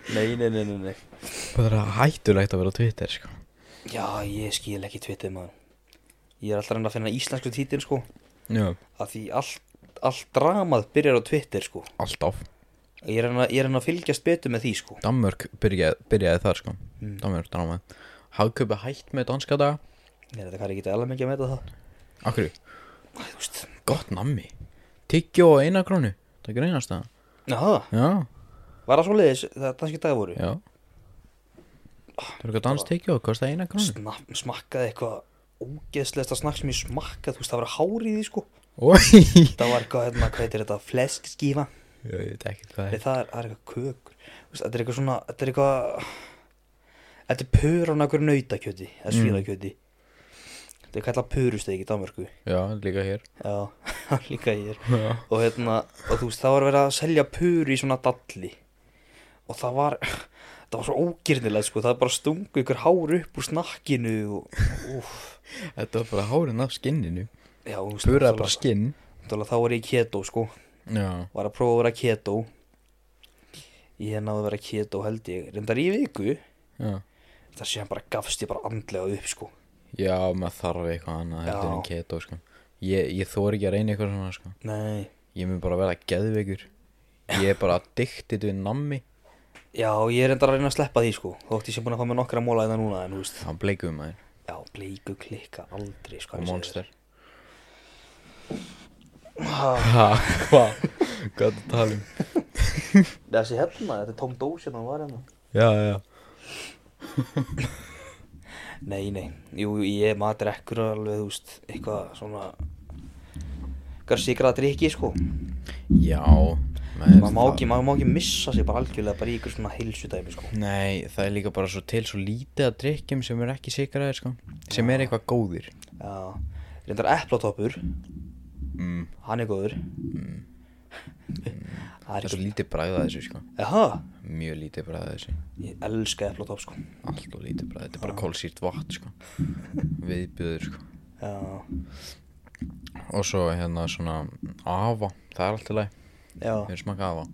Speaker 1: Nei, nei, nei, nei, nei.
Speaker 2: bara hættulegt að vera á Twitter sko
Speaker 1: Já, ég skil ekki tvitið maður Ég er alltaf að reyna að finna íslensku títin sko
Speaker 2: já,
Speaker 1: að því allt, allt dramað byrjar á Twitter sko
Speaker 2: alltaf
Speaker 1: Ég er að reyna- ég er að reyna að fylgjast betur með því sko
Speaker 2: Danmörk byrjaði, byrjaði þar sko Danmörk dramaði hagköpi hætt með danska daga
Speaker 1: Ég er þetta hvað ég geti alveg mikið að meta það Æ,
Speaker 2: akkur,
Speaker 1: þú veist
Speaker 2: gott nammi tyggjó og eina krónu það greinast það
Speaker 1: Jaha,
Speaker 2: já
Speaker 1: var það svo leiðis það danski dag voru
Speaker 2: Já Það er eitthvað danstekju og kostaði eina krónu
Speaker 1: Sna, Smakkaði eitthvað ógeðslegasta snakk sem ég smakkað þú veist það var hár í því sko
Speaker 2: Ói
Speaker 1: Það var eitthvað, hérna, hvað heitir þetta, fleskskífa
Speaker 2: Ég veit ekki hvað
Speaker 1: Nei,
Speaker 2: er
Speaker 1: það er, það er eitthvað kökur Þú veist, Þetta er eitthvað svona Þetta er eitthvað Þetta er pur á einhverju nautakjöti Eða svínakjöti Þetta er kallað purustegi í Danmörku
Speaker 2: Já, líka hér
Speaker 1: Já, líka ég er
Speaker 2: Já.
Speaker 1: Og hérna Og þú veist, það var verið að selja pur í svona dalli Og það var Það var svo ógirnilega, sko Það bara stungu ykkur hár upp úr snakkinu og, Úf
Speaker 2: Þetta var bara hárin af skinninu
Speaker 1: Já, þú veist
Speaker 2: Puraði
Speaker 1: náttúrulega-
Speaker 2: bara skinn
Speaker 1: náttúrulega Þá var ég keto, sko
Speaker 2: Já
Speaker 1: Var að prófa að vera keto Ég hef náðu að vera keto, held ég Reyndar í viku
Speaker 2: Já
Speaker 1: þar sem bara gafst ég bara andlega upp sko
Speaker 2: Já, maður þarf eitthvað annað
Speaker 1: Já.
Speaker 2: heldur en keto sko. Ég, ég þor ekki að reyna eitthvað svona sko.
Speaker 1: Nei
Speaker 2: Ég mun bara vera geðveikur Ég er bara addicted við nammi
Speaker 1: Já, ég er enda að reyna að sleppa því sko Þótt ég sem búin að fá mér nokkra móla þetta núna En þú veist
Speaker 2: Það bleikum maður
Speaker 1: Já, bleiku klikka aldrei sko
Speaker 2: og
Speaker 1: hann segir.
Speaker 2: monster Ha, hvað? Hvað er það að tala um?
Speaker 1: Þessi hérna, þetta er tóm dós hérna hann var hérna
Speaker 2: Já, já
Speaker 1: Nei, nei, jú, jú, ég maður drekkur alveg, þú veist, eitthvað svona Eitthvað sigrað að drikki sko
Speaker 2: Já maður,
Speaker 1: Maður má ekki, maður má ekki missa sig bara algjörlega bara í ykkur svona heilsudæmi sko
Speaker 2: Nei, það er líka bara svo til svo lítið að drikkjum sem er ekki sikraðir sko sem er eitthvað góðir
Speaker 1: Já, reyndar eplatoppur,
Speaker 2: mm.
Speaker 1: hann er góður Það
Speaker 2: Það
Speaker 1: er
Speaker 2: er svo
Speaker 1: ekki
Speaker 2: lítið bræða þessu sko
Speaker 1: Jaha,
Speaker 2: Mjög lítið bræða þessu
Speaker 1: ég elska eplatopp sko
Speaker 2: Allt og lítið bræða, þetta er bara kólsýrt vatn sko Viðbjöður sko
Speaker 1: Já,
Speaker 2: Og svo hérna svona afa, það er allt í lagi
Speaker 1: já,
Speaker 2: Hefur smakað afa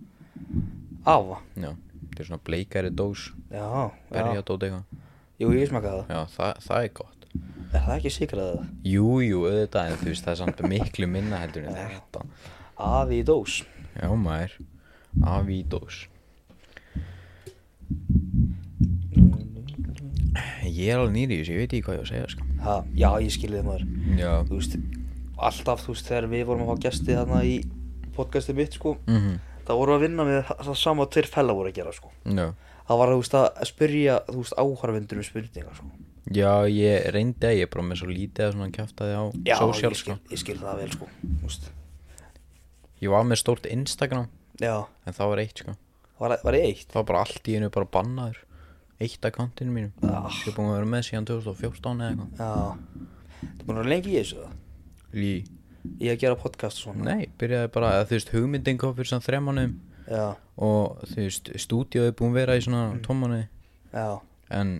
Speaker 1: afa,
Speaker 2: Já, þetta er svona bleikari dós
Speaker 1: já, já
Speaker 2: Berja dót eitthvað
Speaker 1: Jú, ég smakaði það
Speaker 2: Já, það, það er gott
Speaker 1: Er það ekki sigrað það?
Speaker 2: Jú, jú, auðvitað, en þú veist það er samt miklu minna heldur en þetta
Speaker 1: Afi í dós
Speaker 2: Já maður, afi í dós Ég er alveg nýri í þessu, ég veit ekki hvað ég á að segja sko.
Speaker 1: ha, Já, ég skilði það maður
Speaker 2: Já
Speaker 1: Þú veist, alltaf, þú veist, þegar við vorum að fá gesti þarna í podcastið mitt sko
Speaker 2: mm
Speaker 1: Það vorum við að vinna með það- það sama og tveir fella voru að gera sko
Speaker 2: Já.
Speaker 1: Það var, þú veist, að spyrja, þú veist, áhörfundurum spurningar sko
Speaker 2: Já, ég reyndi að ég er bara með svo lítið að svona kjafta á
Speaker 1: Já,
Speaker 2: social
Speaker 1: ég,
Speaker 2: sko
Speaker 1: skil, ég skil það vel sko Þú veist,
Speaker 2: Ég var með stórt Instagram,
Speaker 1: já,
Speaker 2: en það var eitt sko
Speaker 1: var, var ég eitt?
Speaker 2: Það var bara allt í einu bara bannaður Eitt akkantinu mínum
Speaker 1: Ah.
Speaker 2: Ég er búin að vera með síðan 2014 eða eitthvað
Speaker 1: Já Það búin að vera lengi í þessu það
Speaker 2: Lí
Speaker 1: Í að gera podcast og svona
Speaker 2: Nei, byrjaði bara að þú veist hugmyndin kom fyrir svona þremanum
Speaker 1: Já,
Speaker 2: Og þú veist, stúdíóið er búin að vera í svona mm. tómanuði
Speaker 1: já,
Speaker 2: En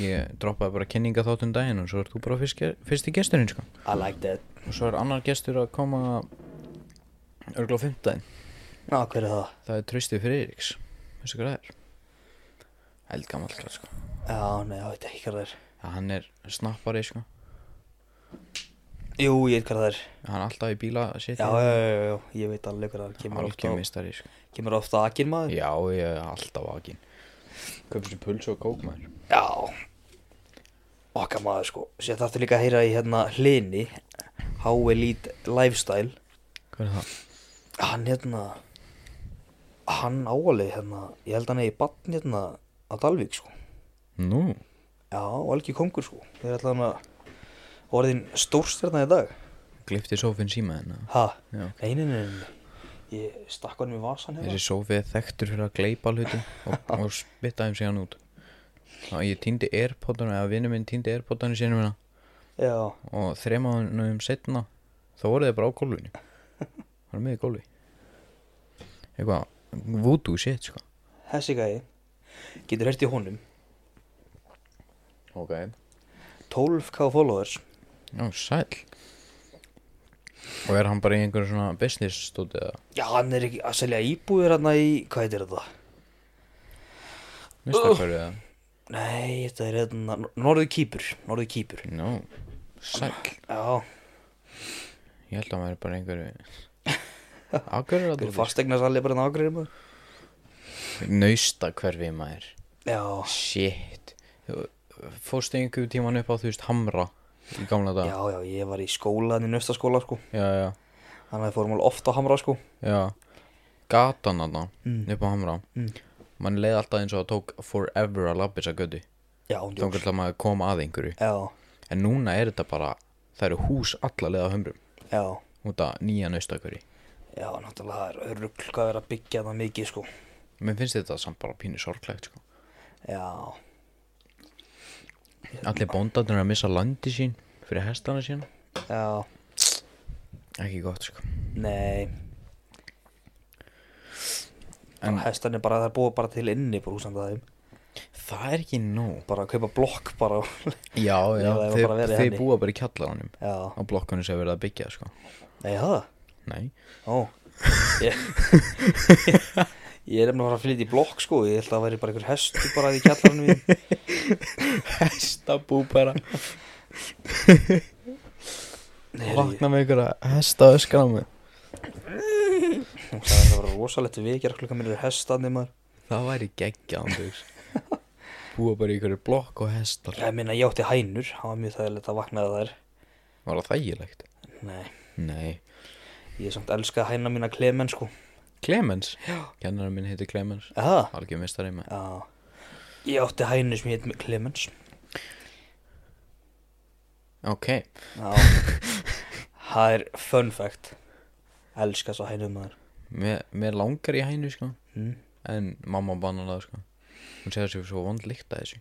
Speaker 2: ég droppaði bara kynninga þáttum daginn Og svo ert þú bara fyrst, fyrsti gesturinn sko
Speaker 1: I like that
Speaker 2: Og svo er annar gestur að koma örgla á fimmtudaginn.
Speaker 1: Já, hver er það?
Speaker 2: Það er Trausti Friðriks. Veistu hvað það er? Eldgamall, kall, sko.
Speaker 1: Já, nei, ég veit ekki hvað það er
Speaker 2: Já, hann er snappari, sko.
Speaker 1: Jú, ég veit hvað það er
Speaker 2: Hann er alltaf í bíla að
Speaker 1: Já,
Speaker 2: sitja.
Speaker 1: já, já, já, já, ég veit alveg hvað það er Kemur ofta,
Speaker 2: Algjör mistari, sko.
Speaker 1: kemur ofta akin maður
Speaker 2: Já, ég er alltaf akin. Kaupir sér pulsu og kók, maður.
Speaker 1: Já Okkar maður sko Sér þarftu líka að heyra í hérna hlini How Elite Lifestyle
Speaker 2: Hvað er það?
Speaker 1: Hann hérna Hann áalið hérna Ég held hann eigi bann hérna á Dalvík sko
Speaker 2: Nú,
Speaker 1: Já, og algjör kongur sko Þeir ætla hann að Orðin stórst hérna í dag
Speaker 2: glifti sófinn síma hérna. hennar.
Speaker 1: Ha?
Speaker 2: Já.
Speaker 1: Nei, nei, nei, nei Ég stakk honum í vasan hérna
Speaker 2: Þessi sófi er þekktur fyrir að gleipa hluti og, og spitta þeim síðan út. Já, ég týndi airpodunum, eða vinnu minn týndi airpodunum sínum hennar.
Speaker 1: Já,
Speaker 2: og þremaðunum setna þá voru þeir bara á gólfinu það var með í gólfi eitthvað voodoo shit sko
Speaker 1: þessi gæi Getur hert í honum
Speaker 2: ok
Speaker 1: 12k followers
Speaker 2: já sæl og er hann bara í einhverjum svona business stóti eða
Speaker 1: Já, hann er ekki að selja íbúður hérna í, hvað heitir þetta?
Speaker 2: mistakverfi eða
Speaker 1: Nei, þetta er hérna, Norðu Kýpur, Norðu Kýpur.
Speaker 2: no sæl
Speaker 1: Já,
Speaker 2: ég held að hann væri bara í einhverju ákverður að
Speaker 1: það er
Speaker 2: þú
Speaker 1: fastegna salið bara hérna ágreifir maður.
Speaker 2: naustakverfi maður
Speaker 1: Já,
Speaker 2: shit Þú- fórstu einhverjum tíman upp á þú veist hamra í gamla dag
Speaker 1: já, já, ég var í skóla, hann í nöstaskóla, sko.
Speaker 2: já já
Speaker 1: Þannig að við fórum alveg oft á hamra, sko.
Speaker 2: Já, gatan þarna
Speaker 1: Mm.
Speaker 2: upp á hamra
Speaker 1: Mm.
Speaker 2: mann leið alltaf eins og það tók forever að lappa þessa götu
Speaker 1: Já, hún
Speaker 2: þá
Speaker 1: djóks.
Speaker 2: kannski að maður kom að einhverju
Speaker 1: Já,
Speaker 2: en núna er þetta bara, það eru hús alla leið á hömrum
Speaker 1: já,
Speaker 2: út af nýja naustakveri
Speaker 1: já, náttúrulega, það er örugl hvað er að byggja það mikið, sko.
Speaker 2: mér finnst þetta samt bara pínu sorglegt sko.
Speaker 1: Já,
Speaker 2: allir bóndarnir eru að missa landi sín fyrir hestana sína
Speaker 1: já,
Speaker 2: ekki gott sko
Speaker 1: nei. En
Speaker 2: En-
Speaker 1: hestan er bara, það er búið bara til inni, bara húsandaðum.
Speaker 2: það er ekki nóg
Speaker 1: Bara að kaupa blokk, bara.
Speaker 2: já, já,
Speaker 1: það er bara
Speaker 2: þeir,
Speaker 1: verið
Speaker 2: þeir
Speaker 1: henni.
Speaker 2: búa bara í kjallaranum
Speaker 1: já,
Speaker 2: á blokkunum sem er verið að byggja sko.
Speaker 1: nei, það.
Speaker 2: nei,
Speaker 1: Ó Ég, ég er nefnilega að fara að flytja í blokk sko Ég held að það væri bara einhver hestu bara í kjallarinn minn
Speaker 2: hestabú bara
Speaker 1: Heyrðu,
Speaker 2: Vakna með einhverja hesta öskar á mig
Speaker 1: hún sagði að það var rosalegt vikjar klukka minn er hestandi maður
Speaker 2: Það væri geggja andryggs Búa bara í einhverju blokk og hestar
Speaker 1: ég minna ég átti hænur, það var mjög þægilegt að vaknaði þær
Speaker 2: Var það þægilegt?
Speaker 1: nei,
Speaker 2: Nei
Speaker 1: ég samt elska hæna mína klemen sko
Speaker 2: Clemens? Kennarinn minn heitir Clemens
Speaker 1: eða,
Speaker 2: Algjör mistari með
Speaker 1: já ég átti hænu sem heit Clemens
Speaker 2: Ok
Speaker 1: já það er fun fact elska svo hænu maður
Speaker 2: Mér, mér langar í hænu sko
Speaker 1: Mm.
Speaker 2: En mamma bannar það sko Hún segir sér svo vond líkt að þessu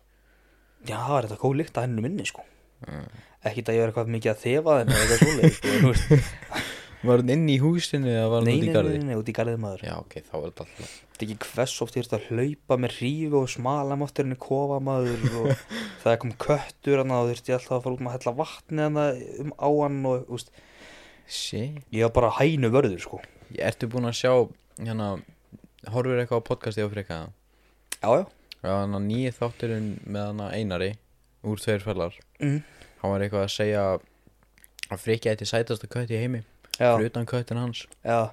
Speaker 1: já, það var þetta góð líkt að hænu minni sko
Speaker 2: Mm.
Speaker 1: ekkit að ég er eitthvað mikið að þefa þeim eða eitthvað svoleið sko, en þú veist
Speaker 2: Var hann inni í húsinu eða var hann
Speaker 1: Nei, nei,
Speaker 2: út í
Speaker 1: nei,
Speaker 2: garði?
Speaker 1: nei, nei, út í garðið maður
Speaker 2: Já ok, þá er þetta alltaf
Speaker 1: Þetta ekki hvers oft ég ert að hlaupa með hrífi og smala máttir henni kofa maður og það kom köttur hann og þurfti ég alltaf að fara út með að hella vatni hann um á hann og úst,
Speaker 2: Shit
Speaker 1: ég var bara hænu vörður sko
Speaker 2: Ertu búin að sjá hérna Horfur eitthvað á podcasti á freka
Speaker 1: Já, já,
Speaker 2: Já, hann að nýju þátturinn með hann Einari Úr tveir fellar
Speaker 1: Mhm.
Speaker 2: Hann var eitthvað að segja Að freka eitt í sætasta kött í heimi Fyrir
Speaker 1: já,
Speaker 2: utan köttin hans
Speaker 1: já,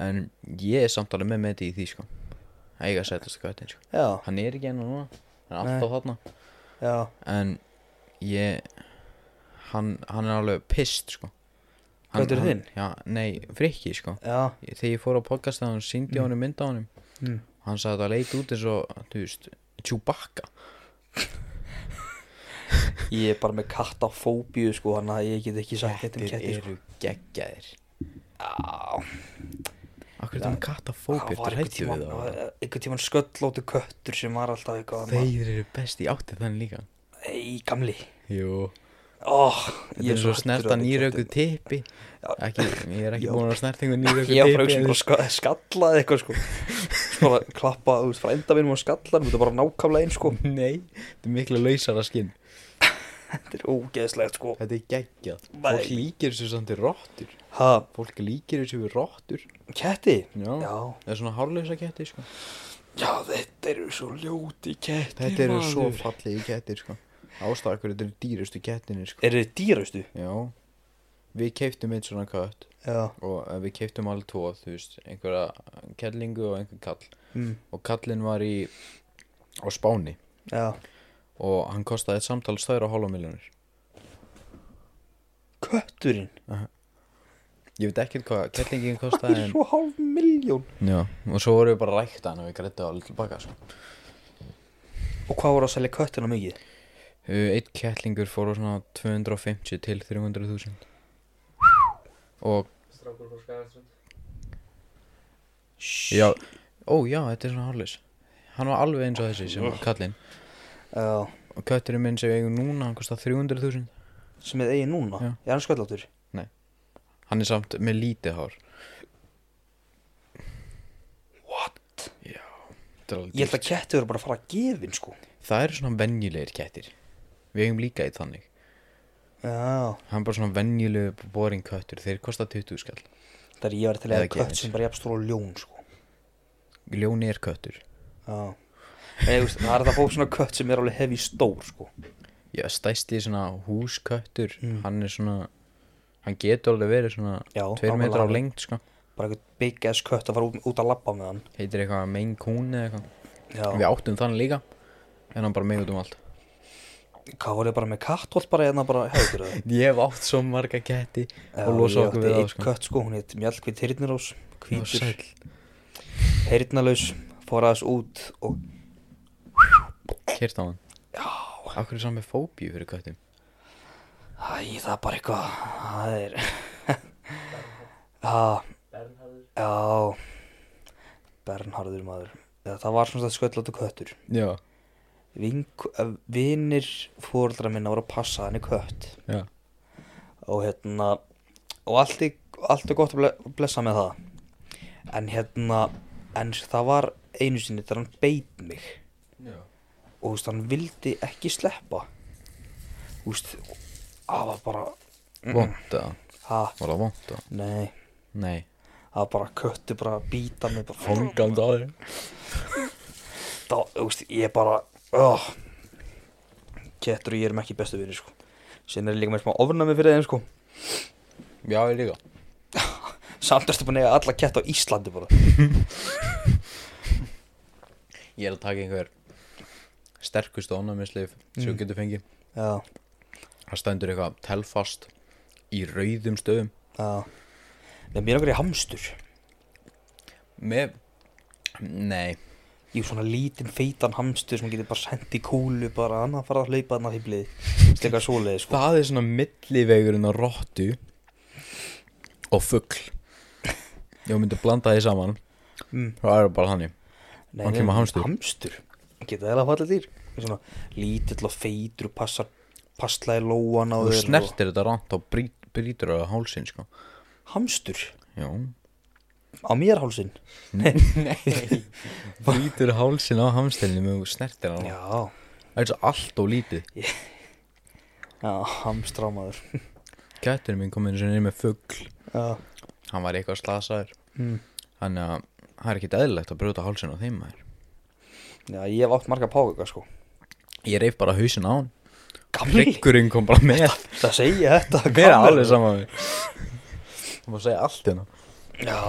Speaker 2: En ég er samt alveg með með þetta í því sko Æga sætasta köttin sko
Speaker 1: já,
Speaker 2: Hann er ekki enn núna Hann er
Speaker 1: Nei.
Speaker 2: alltaf þarna
Speaker 1: já,
Speaker 2: en ég hann, hann er alveg pist sko Hann-
Speaker 1: Köttur
Speaker 2: hann-
Speaker 1: þinn?
Speaker 2: Já, nei, frikki sko
Speaker 1: já,
Speaker 2: Ég- þegar ég fór á podcastið hann síndi á hann mynd á hann
Speaker 1: Mm.
Speaker 2: hann sagði að það leit út eins og þú veist, Chewbacca
Speaker 1: ég er bara með kattafóbíu sko hann að ég get ekki sagt þetta um ketti sko
Speaker 2: eru geggjaðir
Speaker 1: Já,
Speaker 2: Akkur er það með kattafóbjör,
Speaker 1: það var
Speaker 2: það
Speaker 1: einhvern
Speaker 2: hættu við
Speaker 1: tímann,
Speaker 2: það
Speaker 1: einhvern tímann sköllótu köttur sem var alltaf eitthvað Þeir...
Speaker 2: Þeir eru best í átti þannig líka
Speaker 1: Ei, gamli
Speaker 2: Jú,
Speaker 1: oh,
Speaker 2: þetta er svo snerta
Speaker 1: um
Speaker 2: nýröku tippi ekki, Ég er ekki
Speaker 1: Já.
Speaker 2: búin að snerta einhver nýröku tippi
Speaker 1: ég var ekki svona ska skallaði eitthvað sko bara klappa þú veist frænda mínum og skalla hann þetta er bara nákvæmlega eins sko
Speaker 2: Nei, þetta er miklu lausara skinn
Speaker 1: þetta er ógeðslegt sko
Speaker 2: Þetta er geggjað
Speaker 1: Nei.
Speaker 2: Fólk líkir þessu samt í róttur
Speaker 1: ha
Speaker 2: Fólk líkir þessu við róttur
Speaker 1: ketti
Speaker 2: Já.
Speaker 1: já
Speaker 2: Það er svona hárlausa ketti sko
Speaker 1: já þetta eru svo ljóti ketti
Speaker 2: Þetta eru svo
Speaker 1: maður.
Speaker 2: fallegi kettir sko Ástakur þetta eru dýrustu kettinir sko
Speaker 1: eru þið dýrastu
Speaker 2: Já Við keiftum einn svona kött
Speaker 1: já
Speaker 2: Og eh, við keiftum alveg tvo Þú veist Einhverja kellingu og einhver kall
Speaker 1: mm.
Speaker 2: Og kallinn var í Á Spáni
Speaker 1: já
Speaker 2: Og hann kostaði eitt samtal stöður á hálfa miljónir
Speaker 1: kötturinn
Speaker 2: Ég veit ekkert hvað kellingin
Speaker 1: það
Speaker 2: kostaði
Speaker 1: er
Speaker 2: en...
Speaker 1: svo hálf miljón
Speaker 2: Já Og svo vorum við bara að rækta hann Og við grættu á litlu baka sko
Speaker 1: og hvað voru að selja köttina mikið
Speaker 2: Uh, Einn kettlingur fór á svona 250 til 300.000 Og,
Speaker 3: Strákur frá Skagaströnd.
Speaker 2: já, ó já, þetta er svona hálfis Hann var alveg eins og þessi sem var kallinn
Speaker 1: já
Speaker 2: Og kötturinn minn sem við eigum núna, hann kostar 300.000
Speaker 1: sem þið eigi núna
Speaker 2: Já.
Speaker 1: er hann sköllóttur
Speaker 2: Hann er samt með lítið hár
Speaker 1: what
Speaker 2: Já, þetta er alveg
Speaker 1: ég held að
Speaker 2: dýrt.
Speaker 1: ketti voru bara að fara að gefin sko
Speaker 2: Það eru svona venjulegir kettir Við eigum líka eitt þannig
Speaker 1: já
Speaker 2: Hann er bara svona venjulegur boring köttur, þeir kosta 20 skall
Speaker 1: það er ég var til að
Speaker 2: Eða
Speaker 1: eiga kött
Speaker 2: gefins.
Speaker 1: sem bara jafnst og ljón sko
Speaker 2: Ljóni er köttur
Speaker 1: Já Nei, þú veist, það er það fólk svona kött sem er alveg hefi stór sko.
Speaker 2: Já, stæsti svona húsköttur, hann er svona Hann getur alveg verið svona
Speaker 1: Já,
Speaker 2: 2 metrar á
Speaker 1: nákvæmlega.
Speaker 2: lengt sko
Speaker 1: bara eitthvað big ass kött að fara út, út að labba með hann
Speaker 2: heitir eitthvað Maine Coon eða eitthvað
Speaker 1: Já,
Speaker 2: við áttum þann líka en hann bara með út um allt
Speaker 1: hvað voru bara með kattholt bara hérna bara hefur þau
Speaker 2: ég hef átt svo marga ketti og losa okkur við það
Speaker 1: eitt
Speaker 2: sko
Speaker 1: kött sko, hún heit Mjallkvít Hirnirós
Speaker 2: Já,
Speaker 1: hvítur,
Speaker 2: sæll.
Speaker 1: heyrnalaus fór aðeins út og
Speaker 2: kert á hann akkur er saman með fóbíu fyrir köttum
Speaker 1: æ, það er bara eitthvað það er Já,
Speaker 3: Bernharður.
Speaker 1: já Bernharður maður Já, það var svona þetta sköllóttu köttur
Speaker 2: já,
Speaker 1: Vink, eh, vinir fóreldra minna voru að passa hann í kött
Speaker 2: já,
Speaker 1: og hérna og allt, í, allt er gott að ble- blessa með það en hérna en það var einu sinni þegar hann beit mig
Speaker 2: já.
Speaker 1: og þú veist hann vildi ekki sleppa þú veist það var bara
Speaker 2: vond að
Speaker 1: ha,
Speaker 2: var það vond að
Speaker 1: nei
Speaker 2: nei
Speaker 1: það var bara köttu bara að býta mig bara
Speaker 2: hongan það er
Speaker 1: þá, ah. þú veist, ég bara oh. Kettur og ég erum ekki bestu vinir sko Sinn er ég líka með smá ofnami fyrir þeim sko
Speaker 2: Já, ég líka
Speaker 1: Samt erstu búin að eiga alla kett á Íslandi bara
Speaker 2: Ég er að taka einhver sterkustu ónæmisleif sem þú getur fengið
Speaker 1: Já,
Speaker 2: Það stendur eitthvað telfast í rauðum stöðum
Speaker 1: já Nei, mér okkar í hamstur
Speaker 2: með Nei,
Speaker 1: Ég er svona lítinn feitan hamstur sem getur bara sendt í kúlu bara annað fara að hlaupa þarna fýblið Stekka svoleiði sko
Speaker 2: það er svona millivegurinn á rottu og fuggl Ég myndi að blanda því saman
Speaker 1: Mm.
Speaker 2: Það er það bara þannig
Speaker 1: Nei,
Speaker 2: Hann
Speaker 1: nei,
Speaker 2: kemur hamstur.
Speaker 1: Hamstur Geta það að falla dýr Ég er Svona lítill og feitur og passar Passlæði lóan á
Speaker 2: Þú
Speaker 1: þér og-
Speaker 2: snertir þetta rámt og brýt- brýtur það á hálsinn sko
Speaker 1: Hamstur
Speaker 2: Já
Speaker 1: Á mér hálsinn
Speaker 2: Nei Brýtur hálsinn á hamstelinu með þú snertir hann
Speaker 1: Já
Speaker 2: Það er svo allt og lítið
Speaker 1: Já, hamstrámaður
Speaker 2: Gætturinn minn kom einu sinni inn með fuggl
Speaker 1: Já
Speaker 2: Hann var eitthvað slasaður
Speaker 1: Mm.
Speaker 2: Þannig að það er ekkit eðlilegt að brjóta hálsinn á þeim maður
Speaker 1: Já, ég hef átt marga pákaka sko
Speaker 2: Ég reif bara hausinn á hann
Speaker 1: Gamli
Speaker 2: Riggurinn kom bara með
Speaker 1: Það segja þetta
Speaker 2: Mér er
Speaker 1: gamli.
Speaker 2: alveg saman við Það má segja allt hérna
Speaker 1: Já,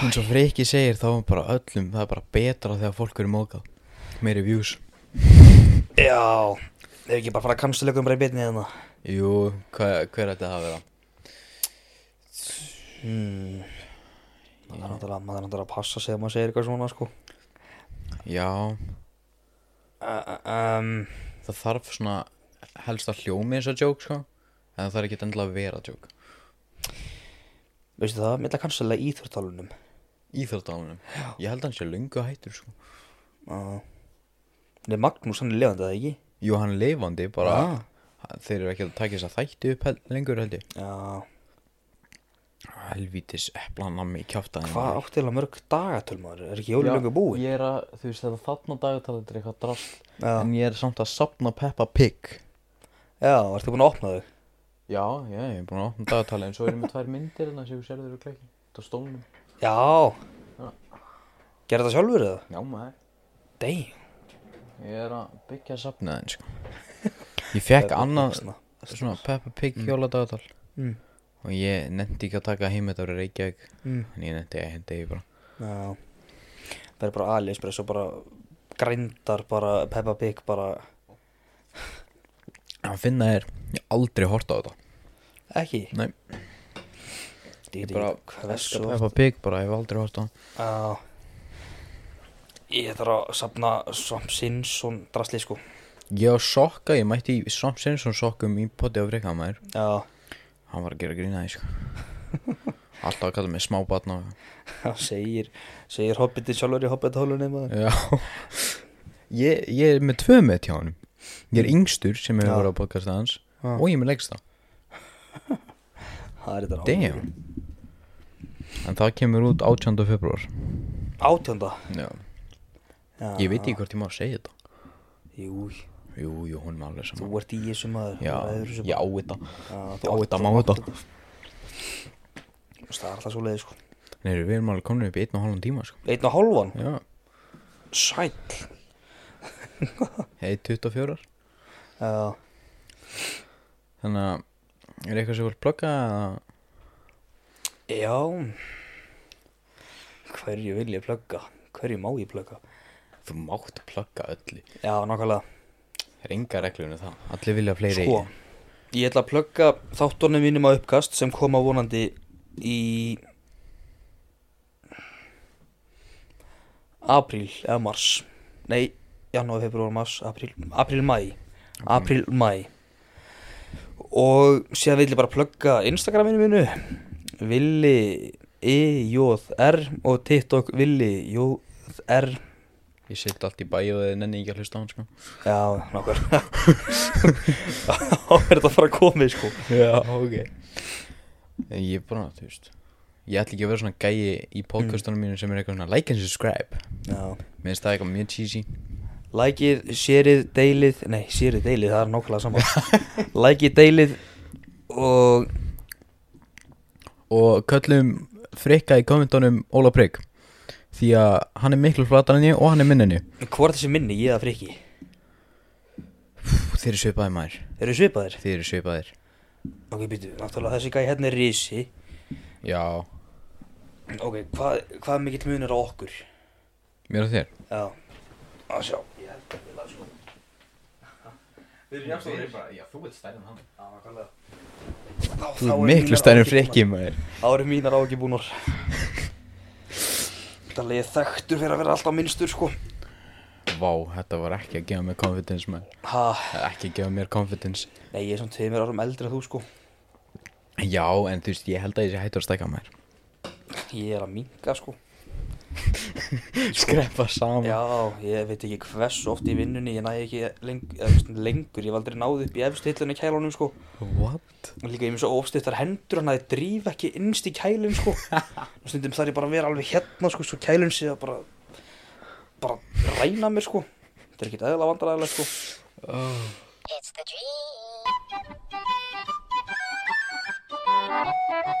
Speaker 2: Hún svo freki segir þá er bara öllum Það er bara betra þegar fólk eru mókað Meiri views
Speaker 1: já Ef ekki bara fara að kannstöleikum bara í beinni hérna? þarna
Speaker 2: Jú, hver, hver ætti það að vera?
Speaker 1: hmm. Maður er náttúrulega- maður er náttúrulega að passa sig að maður segir eitthvað svona sko
Speaker 2: Já,
Speaker 1: uh, um,
Speaker 2: það þarf svona helst að hljómi eins og joke sko En það þarf ekki endilega að vera joke
Speaker 1: Veistu það, mitt að kannstilega íþjórtalunum
Speaker 2: Íþjóðdánunum Ég held að hann sé löngu hættur sko
Speaker 1: uh. Nei, Magnús hann er lefandi það ekki
Speaker 2: Jú, hann er leifandi bara
Speaker 1: Ah.
Speaker 2: Þeir eru ekki að taka þess að þætti upp hel, lengur held ég
Speaker 1: Já,
Speaker 2: Helvítis eplanammi kjáftaði
Speaker 1: hvað átti eiginlega mörg dagatöl maður Er ekki jólum lengur búin?
Speaker 2: Ég er að, þú veist, þetta þarna dagatalið er eitthvað drast
Speaker 1: Já.
Speaker 2: En ég er samt að sapna Peppa Pig
Speaker 1: Já, ertu búin að opna þau?
Speaker 2: Já, já, ég er búin að opna dagatalið En svo erum við tvær myndir en það séu sérður og klækki Það stónum
Speaker 1: Já
Speaker 2: Já.
Speaker 1: Gerðu það sjálfur eða?
Speaker 2: Já, maður
Speaker 1: Damn
Speaker 2: Ég er að byggja sapnið þeim, sko Ég fekk
Speaker 1: Peppa
Speaker 2: annað
Speaker 1: Pig,
Speaker 2: svona Peppa Pig mm. jóladagatal
Speaker 1: Mm.
Speaker 2: Og ég nefndi ekki að taka heim þetta voru Reykjavík
Speaker 1: Mm.
Speaker 2: En ég nefndi að hendi ég bara
Speaker 1: Já Það er bara AliExpress og bara grændar bara Peppa Pig bara
Speaker 2: Að finna er, ég hef aldrei horta á þetta
Speaker 1: ekki
Speaker 2: Nei.
Speaker 1: Ég
Speaker 2: Ég bara
Speaker 1: hversu oft-
Speaker 2: Peppa Pig bara, ég hef aldrei horta á það
Speaker 1: Já Ég þarf að safna Svamp Sinsson drasli sko
Speaker 2: Ég á sokka, ég mætti í Svamp Sinsson sokkum í poti á Freikamæður
Speaker 1: Já
Speaker 2: Hann var að gera grína því sko Alltaf að kalla mig smábatn og
Speaker 1: Það segir segir Hobbitinn sjálfur í Hobbit-hólunni maður
Speaker 2: Já Mm. ég, ég er með tvö með hjá honum Ég er yngstur sem hefur verið á podcasta hans
Speaker 1: Já.
Speaker 2: Og ég er með leggsta
Speaker 1: Það er þetta
Speaker 2: Damn En það kemur út 18. februar
Speaker 1: Átjönda
Speaker 2: Já
Speaker 1: Já.
Speaker 2: Ég veit ekki hvort ég má segja þetta
Speaker 1: Jú,
Speaker 2: Jú, jú, hún er alveg
Speaker 1: þú
Speaker 2: saman
Speaker 1: ert í þessu maður
Speaker 2: Já,
Speaker 1: þú ræður þessu
Speaker 2: ég á
Speaker 1: bara.
Speaker 2: þetta
Speaker 1: Já,
Speaker 2: Ég á
Speaker 1: átt-
Speaker 2: þetta,
Speaker 1: þú
Speaker 2: má
Speaker 1: átt
Speaker 2: þetta
Speaker 1: Það er alltaf svo leiði sko
Speaker 2: Nei, við erum alveg komin upp í einn og halvan tíma sko
Speaker 1: Einn og hálfan
Speaker 2: Já
Speaker 1: Sæll
Speaker 2: Hei, 24
Speaker 1: Já
Speaker 2: Þannig að Er eitthvað sem vil plugga eða
Speaker 1: Já Hverju vil ég plugga? Hverju má ég plugga?
Speaker 2: Þú mátt plugga öllu
Speaker 1: Já, nákvæmlega
Speaker 2: Það er enga reglunum það Allir vilja fleiri
Speaker 1: Sko, ég ætla að plugga þáttunum mínum að uppkast sem koma vonandi í Apríl eða mars Nei, janúar, februar, mars, apríl Apríl, mæ Apríl, mæ Og síðan vil ég bara plugga Instagraminu mínu Villi E-J-R og TikTok Villi J-R
Speaker 2: Ég sitt allt í bæi og þið nenni ekki að hlusta á hann sko
Speaker 1: Já, nokkur Þá er þetta bara komið sko
Speaker 2: Já, ok Ég er bara, þú veist Ég ætla ekki að vera svona gæi í podcastunum mínu sem er eitthvað svona like and subscribe
Speaker 1: Já
Speaker 2: Mér finnst það eitthvað mjög cheesy
Speaker 1: Lækið, sérið, deilið Nei, sérið, deilið, það er nákvæmlega saman Lækið, deilið Og
Speaker 2: Og köllum frikka í kommentunum Óla Prygg Því að hann er miklu flatar en ég og hann er minni en ég
Speaker 1: hvað er þessi minni, ég eða friki?
Speaker 2: þeir eru svipaðir maður
Speaker 1: Þeir eru svipaðir
Speaker 2: Þeir eru svipaðir
Speaker 1: Ok, býtu, náttúrulega þessi gæði hérna er risi
Speaker 2: Já
Speaker 1: Ok, hvað, hvað er mikill munur á okkur?
Speaker 2: Mér og þér
Speaker 1: Já Að sjá Ég held að við það sko Við erum jafnstóðir
Speaker 2: Já, þú ert stærn en hann
Speaker 1: Já, nákvæmlega Þá- þá
Speaker 2: Þú
Speaker 1: eru
Speaker 2: ert miklu
Speaker 1: mínar
Speaker 2: stærn en
Speaker 1: áhyggjur
Speaker 2: frikki
Speaker 1: búnar.
Speaker 2: maður
Speaker 1: Þá eru mínar ágibúnar Þannig ég er þekktur fyrir að vera alltaf minnstur sko
Speaker 2: Vá, þetta var ekki að gefa mér confidence maður
Speaker 1: Ha,
Speaker 2: Ekki að gefa mér confidence
Speaker 1: nei ég er svona tveimur árum eldri en þú sko
Speaker 2: Já, en þú veist, ég held að ég sé hættur að stækka maður
Speaker 1: Ég er að minka sko
Speaker 2: Sko. Skreppa saman
Speaker 1: Já, ég veit ekki hversu oft í vinnunni Ég næði ekki leng, eða, þú veist, lengur Ég hef aldrei náð upp í efstu hillunni í kælunum sko
Speaker 2: What?
Speaker 1: Og Líka ég er með svo ofstuttar hendur Þannig að ég dríf ekki innst í kælum sko Og stundum þarf ég bara að vera alveg hérna sko Svo kælun sé að bara Bara ræna mér sko Þetta er ekki eðla vandaræðilega sko
Speaker 5: It's the dream.